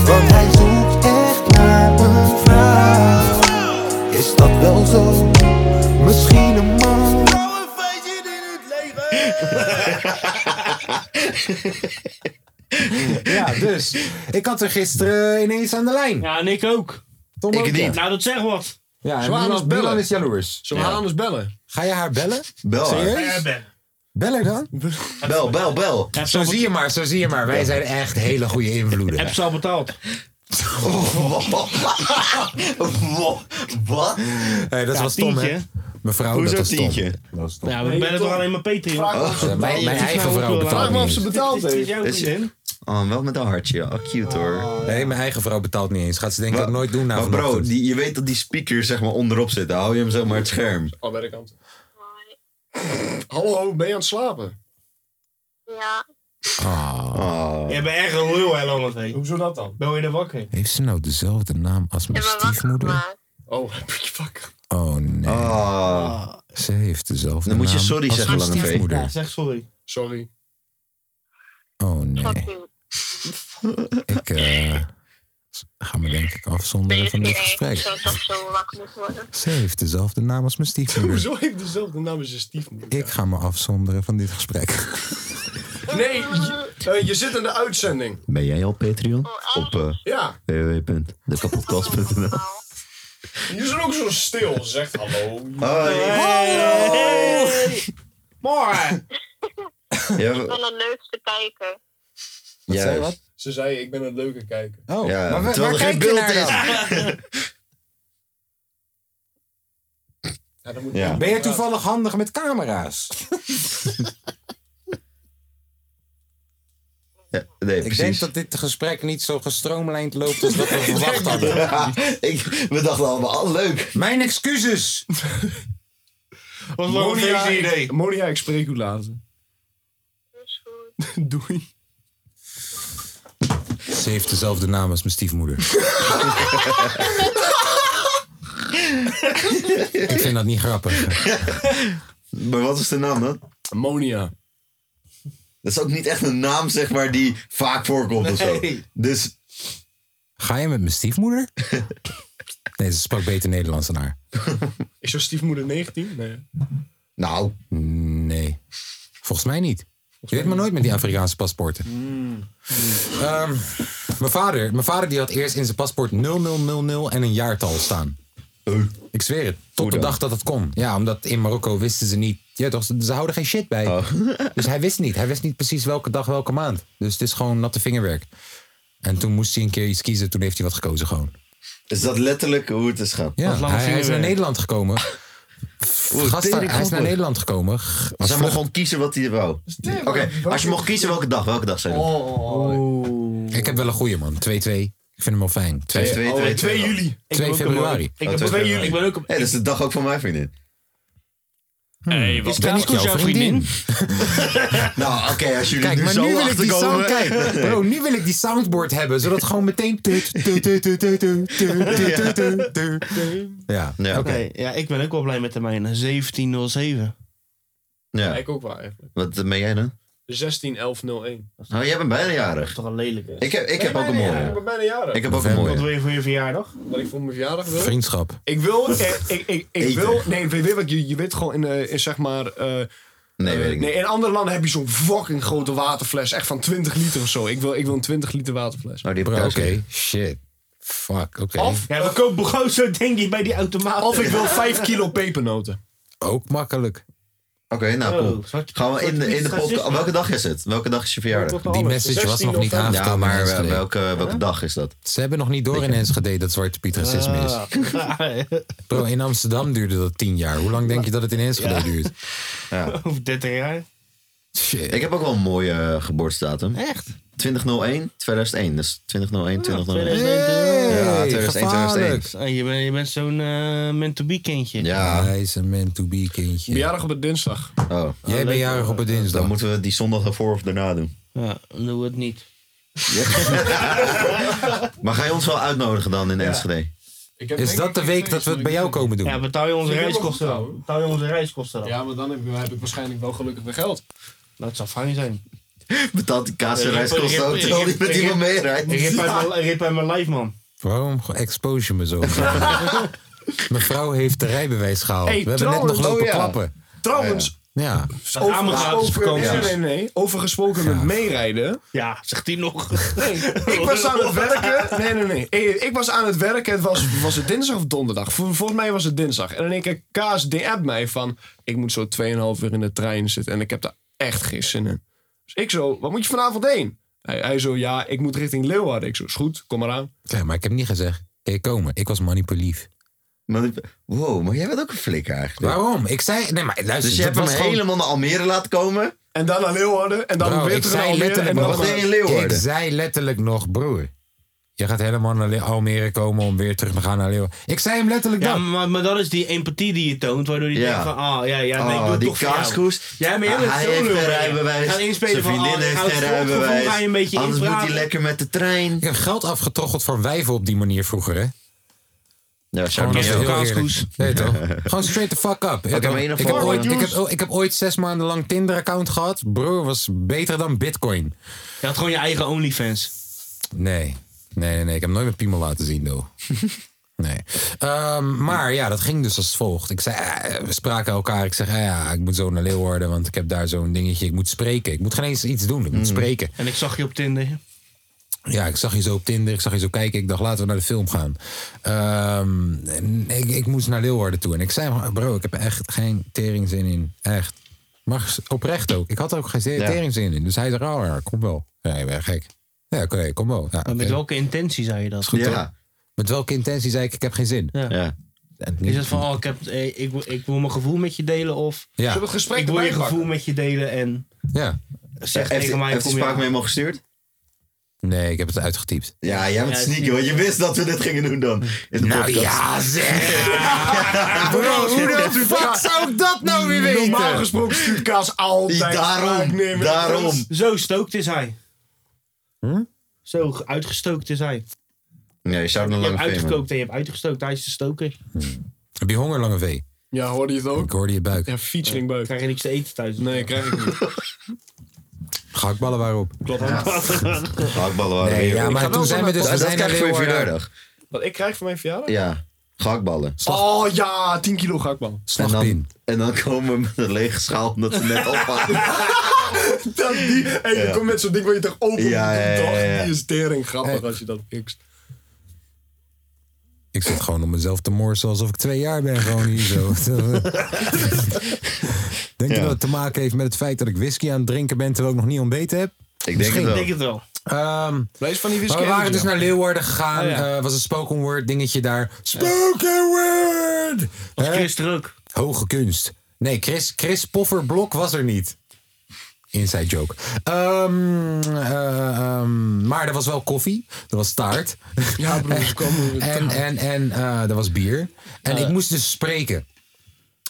Speaker 13: Want hij zoekt echt naar een vrouw. Is dat wel zo? Misschien een man.
Speaker 1: Ja, dus. Ik had er gisteren ineens aan de lijn.
Speaker 4: Ja, en ik ook.
Speaker 1: Tom ook, ja.
Speaker 4: Nou, dat zegt wat.
Speaker 1: Ja,
Speaker 4: Zullen
Speaker 1: en
Speaker 4: we
Speaker 1: Milan-
Speaker 4: anders bellen?
Speaker 1: Milan is jaloers.
Speaker 6: Zullen we haar anders bellen?
Speaker 1: Ga je haar bellen?
Speaker 5: Bel haar.
Speaker 1: Serieus? Bel haar dan?
Speaker 5: Bel, bel, bel.
Speaker 1: Zo zie je maar, zo zie je maar. Wij zijn echt hele goede invloeden.
Speaker 4: Heb ze al betaald?
Speaker 5: Wat?
Speaker 1: Hey, dat
Speaker 4: Ja,
Speaker 1: was Tom, hè?
Speaker 4: tientje.
Speaker 1: Mevrouw,
Speaker 4: Hoezo
Speaker 1: dat was Tom.
Speaker 5: tientje?
Speaker 1: Dat was Tom.
Speaker 4: Ja, we bellen toch alleen maar Patreon?
Speaker 1: Vraag me of ze Ja, mijn- betaald mijn heeft. eigen vrouw betaalt
Speaker 4: Dit is
Speaker 1: heeft.
Speaker 4: jouw
Speaker 1: Is-
Speaker 4: vriendin.
Speaker 5: Oh, wel met een hartje. Oh, cute hoor.
Speaker 1: Nee, mijn eigen vrouw betaalt niet eens. Gaat ze denk ik ook nooit doen na
Speaker 5: Maar bro,
Speaker 1: vanochtend.
Speaker 5: die, je weet dat die speaker zeg maar onderop zit. Dan hou je hem zeg maar het scherm.
Speaker 6: Al bij de kant. Hallo, ben je aan het slapen?
Speaker 7: Ja.
Speaker 1: Ah.
Speaker 5: Ah.
Speaker 4: Je bent echt een lul, hè, Lommervee. Hoezo dat dan? Ben je er wakker?
Speaker 1: Heeft ze nou dezelfde naam als mijn stiefmoeder?
Speaker 4: Oh, heb je wakker?
Speaker 1: Oh nee. Ze heeft dezelfde
Speaker 5: Ah. Dan
Speaker 1: naam
Speaker 5: moet je sorry
Speaker 1: als
Speaker 5: zeggen,
Speaker 1: mijn
Speaker 5: Lange V.
Speaker 1: stiefmoeder.
Speaker 4: Ja, zeg sorry. Sorry.
Speaker 1: Oh nee. Ik eh, ga me denk ik afzonderen van dit gesprek.
Speaker 7: toch zo wakker moeten worden.
Speaker 1: Ze heeft dezelfde naam als mijn stiefmoeder.
Speaker 6: Hoezo heeft dezelfde naam als je stiefmoeder?
Speaker 1: Ik ga me afzonderen van dit gesprek.
Speaker 6: Nee, je, eh, je zit in de uitzending.
Speaker 5: Ben jij al Patreon? Op eh
Speaker 6: Ja.
Speaker 5: www.dekapodcast.nl
Speaker 6: Je zit ook zo stil. Zeg hallo.
Speaker 4: Morgen.
Speaker 5: Ja,
Speaker 7: Ik ben de leukste kijker.
Speaker 5: Wat zei je, wat?
Speaker 6: Ze zei, ik ben een leuke kijker.
Speaker 1: Oh,
Speaker 5: Ja, maar waar- terwijl er waar geen kijk je beeld naar
Speaker 6: Ja, dan moet
Speaker 1: Ja. Ben jij toevallig handig met camera's?
Speaker 5: nee,
Speaker 1: ik denk dat dit gesprek niet zo gestroomlijnd loopt als dat we verwacht hadden.
Speaker 5: Ja, ik, we dachten allemaal, al leuk.
Speaker 1: Mijn excuses.
Speaker 6: Wat
Speaker 1: Monia,
Speaker 6: Monia,
Speaker 1: ik-
Speaker 6: idee. Monia, ik spreek u later. Doei.
Speaker 1: Ze heeft dezelfde naam als mijn stiefmoeder. ik vind dat niet grappig.
Speaker 5: Maar wat is de naam dan?
Speaker 6: Monia.
Speaker 5: Dat is ook niet echt een naam, zeg maar, die vaak voorkomt of zo. Dus
Speaker 1: Ga je met mijn stiefmoeder? Nee, ze sprak beter Nederlands dan haar.
Speaker 6: Is jouw stiefmoeder 19? Nee.
Speaker 5: Nou.
Speaker 1: Nee. Volgens mij niet. Je weet maar nooit met die Afrikaanse paspoorten. Ehm, mijn vader, mijn vader die had eerst in zijn paspoort 0000 en een jaartal staan. Ik zweer het. Tot de dag dat het kon. Ja, omdat in Marokko wisten ze niet. Ja, toch, ze ze houden geen shit bij. Dus hij wist niet. Hij wist niet precies welke dag, welke maand. Dus het is gewoon natte vingerwerk. En toen moest hij een keer iets kiezen. Toen heeft hij wat gekozen gewoon.
Speaker 5: is dat letterlijk hoe het is gaan.
Speaker 1: Ja, hij, hij is naar Nederland gekomen. Gast,
Speaker 5: tering
Speaker 1: hij is naar
Speaker 5: grappig.
Speaker 1: Nederland gekomen.
Speaker 5: Als hij mocht gewoon kiezen wat hij wou. Oké, als je mocht kiezen welke dag, welke dag zou je doen?
Speaker 1: Oh, Ik heb wel een goeie man. 2-2. Ik vind hem wel fijn.
Speaker 5: 2, 2,
Speaker 1: Oh,
Speaker 5: 2, 2 juli.
Speaker 1: 2 februari.
Speaker 5: Oh, Ik ben ook op... Hey, dat is de dag ook van mijn vriendin.
Speaker 1: Hey, wat ben ik jouw vriendin?
Speaker 5: nou, oké, als jullie
Speaker 1: Kijk,
Speaker 5: nu
Speaker 1: maar
Speaker 5: zo
Speaker 1: nu wil ik die
Speaker 5: achterkomen-
Speaker 1: sound, kijk, bro, nu wil ik die soundboard hebben, zodat gewoon meteen... tut, tut, tut, tut, tut, tut, tut, tut, tut, tut. Ja,
Speaker 5: ja
Speaker 4: oké. Ja, ik ben ook wel blij met de mijne. 1707.
Speaker 5: Ja.
Speaker 6: Ik ook wel eigenlijk.
Speaker 5: Wat ben jij dan?
Speaker 6: 16 11 01.
Speaker 5: Oh, jij bent bijna jarig.
Speaker 4: Toch een lelijke.
Speaker 5: Ik heb, ik
Speaker 6: Ben
Speaker 5: heb
Speaker 6: je
Speaker 5: ook een
Speaker 6: bijna
Speaker 5: mooie.
Speaker 6: jarig? Ik ben bijna jarig.
Speaker 5: Ik heb ook een mooie.
Speaker 4: Wat wil je voor je verjaardag?
Speaker 6: Wat ik voor mijn verjaardag wil.
Speaker 1: Vriendschap.
Speaker 6: Ik wil, eh, ik, ik, ik
Speaker 5: Eten.
Speaker 6: wil, nee, weet je wat, je, je weet gewoon in, eh, in zeg maar, eh,
Speaker 5: Nee, weet ik niet.
Speaker 6: nee, in andere landen heb je zo'n fucking grote waterfles, echt van 20 liter of zo. Ik wil, ik wil een 20 liter waterfles.
Speaker 5: Oh, die
Speaker 1: Bro, oké. Shit. Fuck, oké.
Speaker 6: Of,
Speaker 4: Ja, we kopen gewoon zo, denk ik, bij die automaat.
Speaker 6: of ik wil 5 kilo pepernoten.
Speaker 1: Ook makkelijk.
Speaker 5: Oké, nou cool.
Speaker 4: Oh,
Speaker 5: Gaan we in de, in de
Speaker 1: Zwarte-
Speaker 5: podcast... Welke dag is het? Welke dag is je verjaardag?
Speaker 1: Die
Speaker 4: oh,
Speaker 1: message was nog niet aangekomen.
Speaker 5: Ja, maar eh,
Speaker 1: mensen.
Speaker 5: welke, welke dag is dat?
Speaker 1: Ze hebben nog niet door in Enschede dat Zwarte Piet racisme is.
Speaker 4: Ah,
Speaker 1: Bro, in Amsterdam duurde dat 10 jaar. Hoe lang denk je dat het in Enschede duurt?
Speaker 5: Ja.
Speaker 4: Over 30 jaar.
Speaker 5: Ik heb ook wel een mooie eh, geboortedatum.
Speaker 4: Echt?
Speaker 5: 2001, 2001. Dus 2001, 2001. Ja, 2001, 2001.
Speaker 1: gevaarlijk.
Speaker 4: Ah, je, bent, je bent zo'n eh man-to-be kindje.
Speaker 5: Ja.
Speaker 1: Hij is een man-to-be kindje.
Speaker 6: Verjaardag op het dinsdag.
Speaker 5: Oh.
Speaker 1: Jij bent jarig op een dinsdag.
Speaker 5: Dan moeten we die zondag ervoor of daarna doen.
Speaker 4: Ja, dan doen we het niet.
Speaker 5: Maar ga je ons wel uitnodigen dan in Enschede?
Speaker 1: Is dat de week dat we het bij jou komen doen?
Speaker 4: Ja, betaal je onze
Speaker 6: Vind ik
Speaker 4: reiskosten
Speaker 6: wel goed,
Speaker 4: dan? Betaal je onze reiskosten dan?
Speaker 6: Ja, maar dan heb, heb ik waarschijnlijk wel gelukkig weer geld.
Speaker 4: Dat zou fijn zijn.
Speaker 5: Betaalt die kaas en
Speaker 4: Ik heb-
Speaker 5: reiskosten
Speaker 4: ik
Speaker 5: ook,
Speaker 4: heb-
Speaker 5: terwijl
Speaker 4: ik
Speaker 5: die
Speaker 4: heb-
Speaker 5: met
Speaker 4: ik
Speaker 5: iemand
Speaker 4: heb-
Speaker 5: meerijdt?
Speaker 4: Ik rip uit
Speaker 5: Ja.
Speaker 4: mijn- ik rip uit mijn lijf, man.
Speaker 1: Waarom expose je me zo? Mevrouw heeft de rijbewijs gehaald.
Speaker 6: Hey,
Speaker 1: we hebben net nog
Speaker 6: trouwens-
Speaker 1: lopen
Speaker 6: oh ja.
Speaker 1: klappen.
Speaker 5: Oh
Speaker 6: Trouwens,
Speaker 1: Ja.
Speaker 6: nee, nee, nee. Overgesproken met meerijden.
Speaker 4: Ja, zegt hij nog.
Speaker 6: Ik was aan het werken. Nee, nee, nee. Ik, ik was aan het werken. Het was, was het dinsdag of donderdag? Vol- volgens mij was het dinsdag. En in één keer Kaas DM mij van... Ik moet zo 2,5 uur in de trein zitten. En ik heb daar echt geen zin in. Dus ik zo... Wat moet je vanavond heen? Hij, hij zo... Ja, ik moet richting Leeuwarden. Ik zo... Is goed, kom maar aan.
Speaker 1: Ja, maar ik heb niet gezegd. Kun je komen? Ik was manipulief.
Speaker 5: Manip- Wow, maar jij bent ook een flikker eigenlijk.
Speaker 1: Waarom? Ik zei... Nee, maar luister.
Speaker 5: Dus je hebt hem helemaal naar Almere laten komen?
Speaker 6: En dan naar Leeuwarden. En dan
Speaker 1: Bro,
Speaker 6: weer
Speaker 1: ik
Speaker 6: terug naar
Speaker 1: zei
Speaker 6: Almere.
Speaker 1: letterlijk
Speaker 6: en dan
Speaker 1: nog,
Speaker 6: naar-
Speaker 1: ik zei letterlijk nog, broer. Je gaat helemaal naar Le- Almere komen om weer terug te gaan naar Leeuwarden. Ik zei hem letterlijk
Speaker 4: Ja,
Speaker 1: dat.
Speaker 4: maar, maar dat is die empathie die je toont, waardoor je
Speaker 1: Ja.
Speaker 4: denkt van, ah, ja, ja, nee, ik
Speaker 1: Ah,
Speaker 4: doe het
Speaker 1: die
Speaker 4: toch voor jou.
Speaker 1: kaaskoes.
Speaker 4: Ja, maar jij
Speaker 1: Ah,
Speaker 4: bent
Speaker 1: hij
Speaker 4: zo
Speaker 1: heeft
Speaker 4: lul,
Speaker 1: geen
Speaker 4: hè.
Speaker 1: rijbewijs.
Speaker 4: Gaan inspelen
Speaker 1: Zijn
Speaker 4: van, ah,
Speaker 1: vriendin
Speaker 4: ik
Speaker 1: heeft
Speaker 4: ga
Speaker 1: geen
Speaker 4: het sportgevoel
Speaker 1: rijbewijs.
Speaker 4: ga je een beetje
Speaker 1: Anders moet hij
Speaker 4: inpraten.
Speaker 1: lekker
Speaker 5: met de trein.
Speaker 1: Ik heb geld afgetroggeld voor wijven op die manier vroeger, hè?
Speaker 5: Ja,
Speaker 1: Gewoon
Speaker 5: zou
Speaker 1: als
Speaker 5: ik
Speaker 1: heel
Speaker 5: niet doen.
Speaker 1: eerlijk.
Speaker 5: Kaaskoes.
Speaker 1: Nee, toch? Gewoon straight the fuck up.
Speaker 5: Pak
Speaker 1: Ik,
Speaker 5: hem
Speaker 1: heb,
Speaker 5: in of
Speaker 1: ik, heb
Speaker 5: voor,
Speaker 1: ooit, ik,
Speaker 5: jongens.
Speaker 1: heb, oh, ik heb ooit zes maanden lang Tinder-account gehad. Broer, was beter dan Bitcoin.
Speaker 4: Je had gewoon je eigen OnlyFans.
Speaker 1: Nee. Nee, nee, nee. Ik heb nooit mijn piemel laten zien, doe. Nee. Ehm, maar ja, dat ging dus als volgt. Ik zei, eh, we spraken elkaar. Ik zeg, eh, ja, ik moet zo naar Leeuwarden, want ik heb daar zo'n dingetje. Ik moet spreken. Ik moet geen eens iets doen. Ik moet spreken.
Speaker 4: Mm. En ik zag je op Tinder.
Speaker 1: Ja, ik zag je zo op Tinder, ik zag je zo kijken. Ik dacht, laten we naar de film gaan. Ehm, en ik, ik moest naar Leeuwarden toe. En ik zei, maar, bro, ik heb echt geen teringzin in. Echt. Maar oprecht ook. Ik had er ook geen ze-
Speaker 4: Ja.
Speaker 1: teringzin in. Dus hij zei, oh ja, kom wel. Ja, je bent gek. Ja, oké, kom wel. Ja,
Speaker 4: Maar met
Speaker 1: oké.
Speaker 4: welke intentie zei je dat?
Speaker 1: Is goed, toch? Met welke intentie zei ik, ik heb geen zin.
Speaker 4: Ja.
Speaker 1: En-
Speaker 4: Is het van, oh, ik, heb, eh, ik, wil- ik wil mijn gevoel met je delen of
Speaker 1: Ja. Zullen we het gesprek
Speaker 4: ik wil je
Speaker 1: erbij pakken?
Speaker 4: gevoel met je delen en
Speaker 1: Ja.
Speaker 4: zeg
Speaker 5: Heeft-
Speaker 4: tegen mij...
Speaker 5: heeft
Speaker 4: kom
Speaker 5: die
Speaker 4: je
Speaker 5: spraak
Speaker 4: aan.
Speaker 5: memo gestuurd?
Speaker 1: Nee, ik heb het uitgetypt.
Speaker 5: Ja, jij bent
Speaker 4: Ja,
Speaker 5: sneaky,
Speaker 4: sneaky.
Speaker 5: want je wist dat we dit gingen doen dan. In de
Speaker 1: Nou
Speaker 5: podcast.
Speaker 1: ja, zeg! Bro, hoe de fuck zou ik dat nou weer weten?
Speaker 4: eh.
Speaker 6: Normaal gesproken stuurt Kaas altijd. spraak nemen.
Speaker 4: Zo stookt is hij.
Speaker 1: Hm?
Speaker 4: Zo uitgestookt is hij.
Speaker 5: Nee, je zou
Speaker 4: Je
Speaker 5: nog
Speaker 4: hebt
Speaker 5: lang
Speaker 4: uitgekookt en je hebt uitgestookt. Hij is de stoker.
Speaker 1: Heb je honger, lange V?
Speaker 6: Ja, hoorde je het ook?
Speaker 1: Ik hoorde je buik.
Speaker 6: Ja, featuring buik.
Speaker 4: Krijg je niks te eten thuis? dus
Speaker 6: Nee, krijg ik niet.
Speaker 1: Gehaktballen waren op.
Speaker 6: Klopt.
Speaker 1: Ja.
Speaker 5: Gehaktballen waren
Speaker 1: Nee,
Speaker 5: weer
Speaker 1: ja,
Speaker 5: op. Ik
Speaker 1: maar
Speaker 5: ga
Speaker 1: toen
Speaker 5: wel
Speaker 1: zijn
Speaker 5: naar
Speaker 1: we dus...
Speaker 5: Dat-
Speaker 1: we
Speaker 5: dat
Speaker 1: zijn
Speaker 5: krijg
Speaker 1: naar
Speaker 5: je voor je
Speaker 1: Leeuwarden.
Speaker 5: verjaardag.
Speaker 6: Wat ik krijg voor mijn verjaardag?
Speaker 5: Ja, gehaktballen.
Speaker 6: Oh ja, 10 kilo gakbal.
Speaker 5: En dan, en dan komen we met een lege schaal omdat we net ophalen.
Speaker 6: Dat die, en je
Speaker 5: Ja.
Speaker 6: komt met zo'n ding waar je toch open
Speaker 5: Ja,
Speaker 6: moet doen,
Speaker 5: ja, ja,
Speaker 6: toch?
Speaker 5: ja.
Speaker 6: Die is tering grappig als je dat pikt.
Speaker 1: Ik zit gewoon om mezelf te morsen alsof ik twee jaar ben, gewoon hier zo. denk je dat het te maken heeft met het feit dat ik whisky aan het drinken ben terwijl ik nog niet ontbeten heb? Misschien.
Speaker 4: wel.
Speaker 1: Ehm,
Speaker 6: Lees van die
Speaker 1: Maar
Speaker 6: whisky.
Speaker 1: we waren dus
Speaker 6: energy.
Speaker 1: naar Leeuwarden gegaan.
Speaker 6: Oh, ja.
Speaker 1: eh, was een spoken word dingetje daar. Spoken word! Was Chris
Speaker 4: druk?
Speaker 1: Hoge kunst. Nee, Chris, Chris Pofferblok was er niet. Inside joke. Ehm, eh, ehm, maar er was wel koffie. Er was taart.
Speaker 6: Ja, broer, kom.
Speaker 1: En, en, en eh, er was bier. En ik moest dus spreken.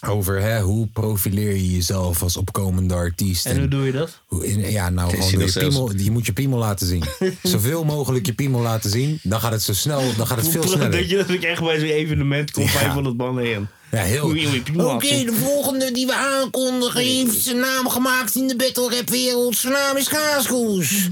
Speaker 1: Over hè, hoe profileer je jezelf als opkomende artiest.
Speaker 4: En hoe doe je dat?
Speaker 1: Hoe- Ja, nou,
Speaker 4: Is
Speaker 1: gewoon
Speaker 4: hij
Speaker 1: door je,
Speaker 4: nog zelfs-
Speaker 1: piemel, je moet je piemel laten zien. Zoveel mogelijk je piemel laten zien. Dan gaat het zo snel, dan gaat het
Speaker 4: Hoe
Speaker 1: veel
Speaker 4: prachtig
Speaker 1: sneller.
Speaker 4: dat je dat ik echt bij zo'n evenement kom, 500 man heen.
Speaker 1: Ja, heel-
Speaker 4: Hoe je- hoe je piemel
Speaker 1: Oké,
Speaker 4: afzet.
Speaker 1: de volgende die we aankondigen heeft zijn naam gemaakt in de battle rap wereld. Zijn naam is Kaaskoes.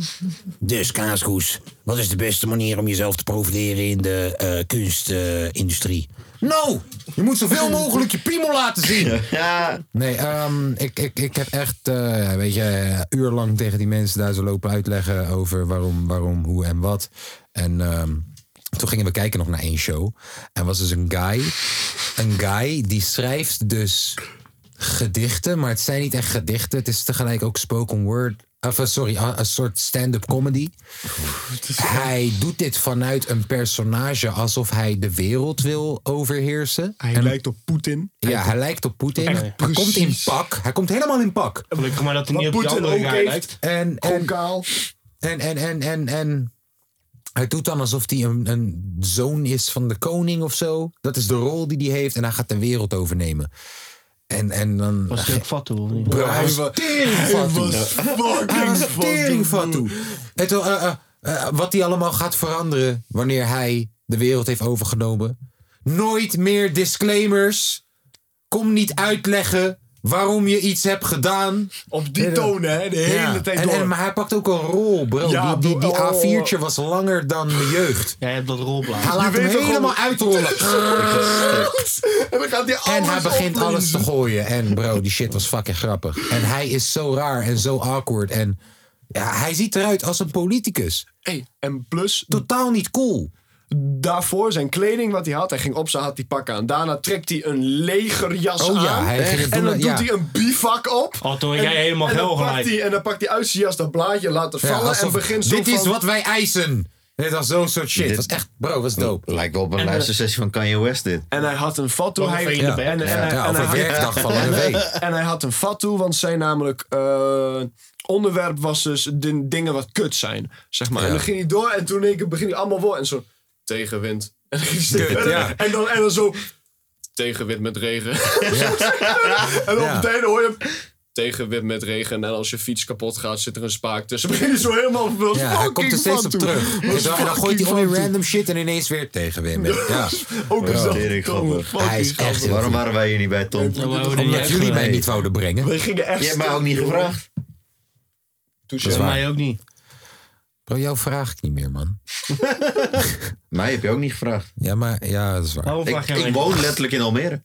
Speaker 1: Dus Kaaskoes, wat is de beste manier om jezelf te profileren in de eh, kunstindustrie? no! Je moet zoveel mogelijk je piemel laten zien.
Speaker 5: Ja.
Speaker 1: Nee, ehm, ik, ik, ik heb echt, eh, weet je, eh, urenlang tegen die mensen daar zo lopen uitleggen over waarom, waarom, hoe en wat. En ehm, toen gingen we kijken nog naar één show. En was dus een guy, een guy die schrijft dus gedichten, maar het zijn niet echt gedichten. Het is tegelijk ook spoken word, of eh, sorry, a- een soort stand-up comedy. Hij doet dit vanuit een personage alsof hij de wereld wil overheersen.
Speaker 6: Hij lijkt op Poetin.
Speaker 1: Ja, hij lijkt op Poetin.
Speaker 6: Echt
Speaker 1: Hij
Speaker 6: precies.
Speaker 1: komt in pak. Hij komt helemaal in pak.
Speaker 4: Gelukkig maar dat hij
Speaker 6: Wat
Speaker 4: niet op die
Speaker 6: Poetin
Speaker 4: andere
Speaker 6: ook
Speaker 4: guy
Speaker 6: heeft.
Speaker 4: lijkt.
Speaker 1: En, en, en, en, en, en, en hij doet dan alsof hij een, een zoon is van de koning of zo. Dat is de rol die hij heeft en hij gaat de wereld overnemen. En, en dan...
Speaker 4: Was hij ook fatsoe of niet?
Speaker 1: Bro, hij was
Speaker 4: Hij
Speaker 1: teringfatsoe.
Speaker 4: was
Speaker 1: Hij was
Speaker 4: fucking
Speaker 1: teringfatsoe. En toen, eh, eh, eh, wat hij allemaal gaat veranderen wanneer hij de wereld heeft overgenomen. Nooit meer disclaimers. Kom niet uitleggen waarom je iets hebt gedaan.
Speaker 6: Op die toon, hè, de hele tijd
Speaker 1: en,
Speaker 6: door.
Speaker 1: en- maar hij pakt ook een rol, bro.
Speaker 6: Ja,
Speaker 1: die die, die
Speaker 6: bro. Oh.
Speaker 1: A4'tje was langer dan mijn jeugd.
Speaker 4: Ja, je hebt dat rolblaad.
Speaker 1: Hij
Speaker 6: Je
Speaker 1: laat hem
Speaker 6: weet toch
Speaker 1: helemaal
Speaker 6: gewoon-
Speaker 1: uitrollen.
Speaker 6: en dan gaat hij alles
Speaker 1: En hij begint
Speaker 6: oplezen.
Speaker 1: alles te gooien. En bro, die shit was fucking grappig. En hij is zo raar en zo awkward. En ja, hij ziet eruit als een politicus.
Speaker 6: Hey, en plus...
Speaker 1: Totaal niet cool.
Speaker 6: Daarvoor zijn kleding wat hij had. Hij ging op, ze had die pak aan. Daarna trekt hij een legerjas
Speaker 1: Oh ja,
Speaker 6: aan.
Speaker 1: hij ging het
Speaker 6: en
Speaker 1: doen,
Speaker 6: dan
Speaker 1: ja.
Speaker 6: doet hij een bivak op.
Speaker 4: Oh, toen werd
Speaker 6: En-
Speaker 4: jij helemaal
Speaker 6: en dan
Speaker 4: geel
Speaker 6: pakt
Speaker 4: gelijk.
Speaker 6: hij- En dan pakt hij uit zijn jas dat blaadje, laat het
Speaker 1: Ja,
Speaker 6: vallen
Speaker 1: alsof-
Speaker 6: en begint zo
Speaker 1: dit is
Speaker 6: van-
Speaker 1: wat wij eisen. Dit was zo'n soort shit. Het was echt, bro, was dope.
Speaker 5: Lijkt wel op een
Speaker 1: En, eh,
Speaker 5: luistersessie van Kanye West dit.
Speaker 6: En hij had een fatu.
Speaker 5: Of een
Speaker 6: Hij,
Speaker 5: vee in de bek.
Speaker 6: en, en,
Speaker 5: Ja,
Speaker 6: en-
Speaker 5: of
Speaker 6: en
Speaker 5: een
Speaker 6: hij-
Speaker 5: werkdag van een week.
Speaker 6: En hij had een fatu, want zijn namelijk eh, onderwerp was dus de dingen wat kut zijn. Zeg maar. En
Speaker 7: Ja.
Speaker 6: dan ging hij door en toen in één keer begin hij allemaal voor en zo tegenwind. En dan, ging hij
Speaker 7: Kut,
Speaker 6: stil.
Speaker 7: ja.
Speaker 6: en, dan, en dan zo tegenwind met regen. en op
Speaker 7: Ja.
Speaker 6: het einde hoor je hem, tegenwind met regen. En als je fiets kapot gaat, zit er een spaak tussen. Begin je zo helemaal van
Speaker 1: Ja, hij komt er steeds op terug.
Speaker 6: En
Speaker 1: En dan, en dan gooit hij gewoon weer random shit en ineens weer tegenwind. met- Ja.
Speaker 6: Ook
Speaker 1: Bro.
Speaker 5: Tering grappig.
Speaker 1: Hij is echt heel
Speaker 5: Waarom
Speaker 1: goed.
Speaker 5: waren wij hier niet bij, Tom?
Speaker 1: Omdat jullie mij niet wouden brengen.
Speaker 5: We gingen echt Je hebt mij ook niet
Speaker 1: stuk,
Speaker 5: gevraagd.
Speaker 1: Dat is
Speaker 5: Ja,
Speaker 1: waar.
Speaker 5: mij ook niet.
Speaker 1: Bro, jou vraag ik niet meer, man.
Speaker 5: Mij heb je ook niet gevraagd.
Speaker 1: Ja, maar ja, dat is waar.
Speaker 5: Ik, ik woon letterlijk in Almere.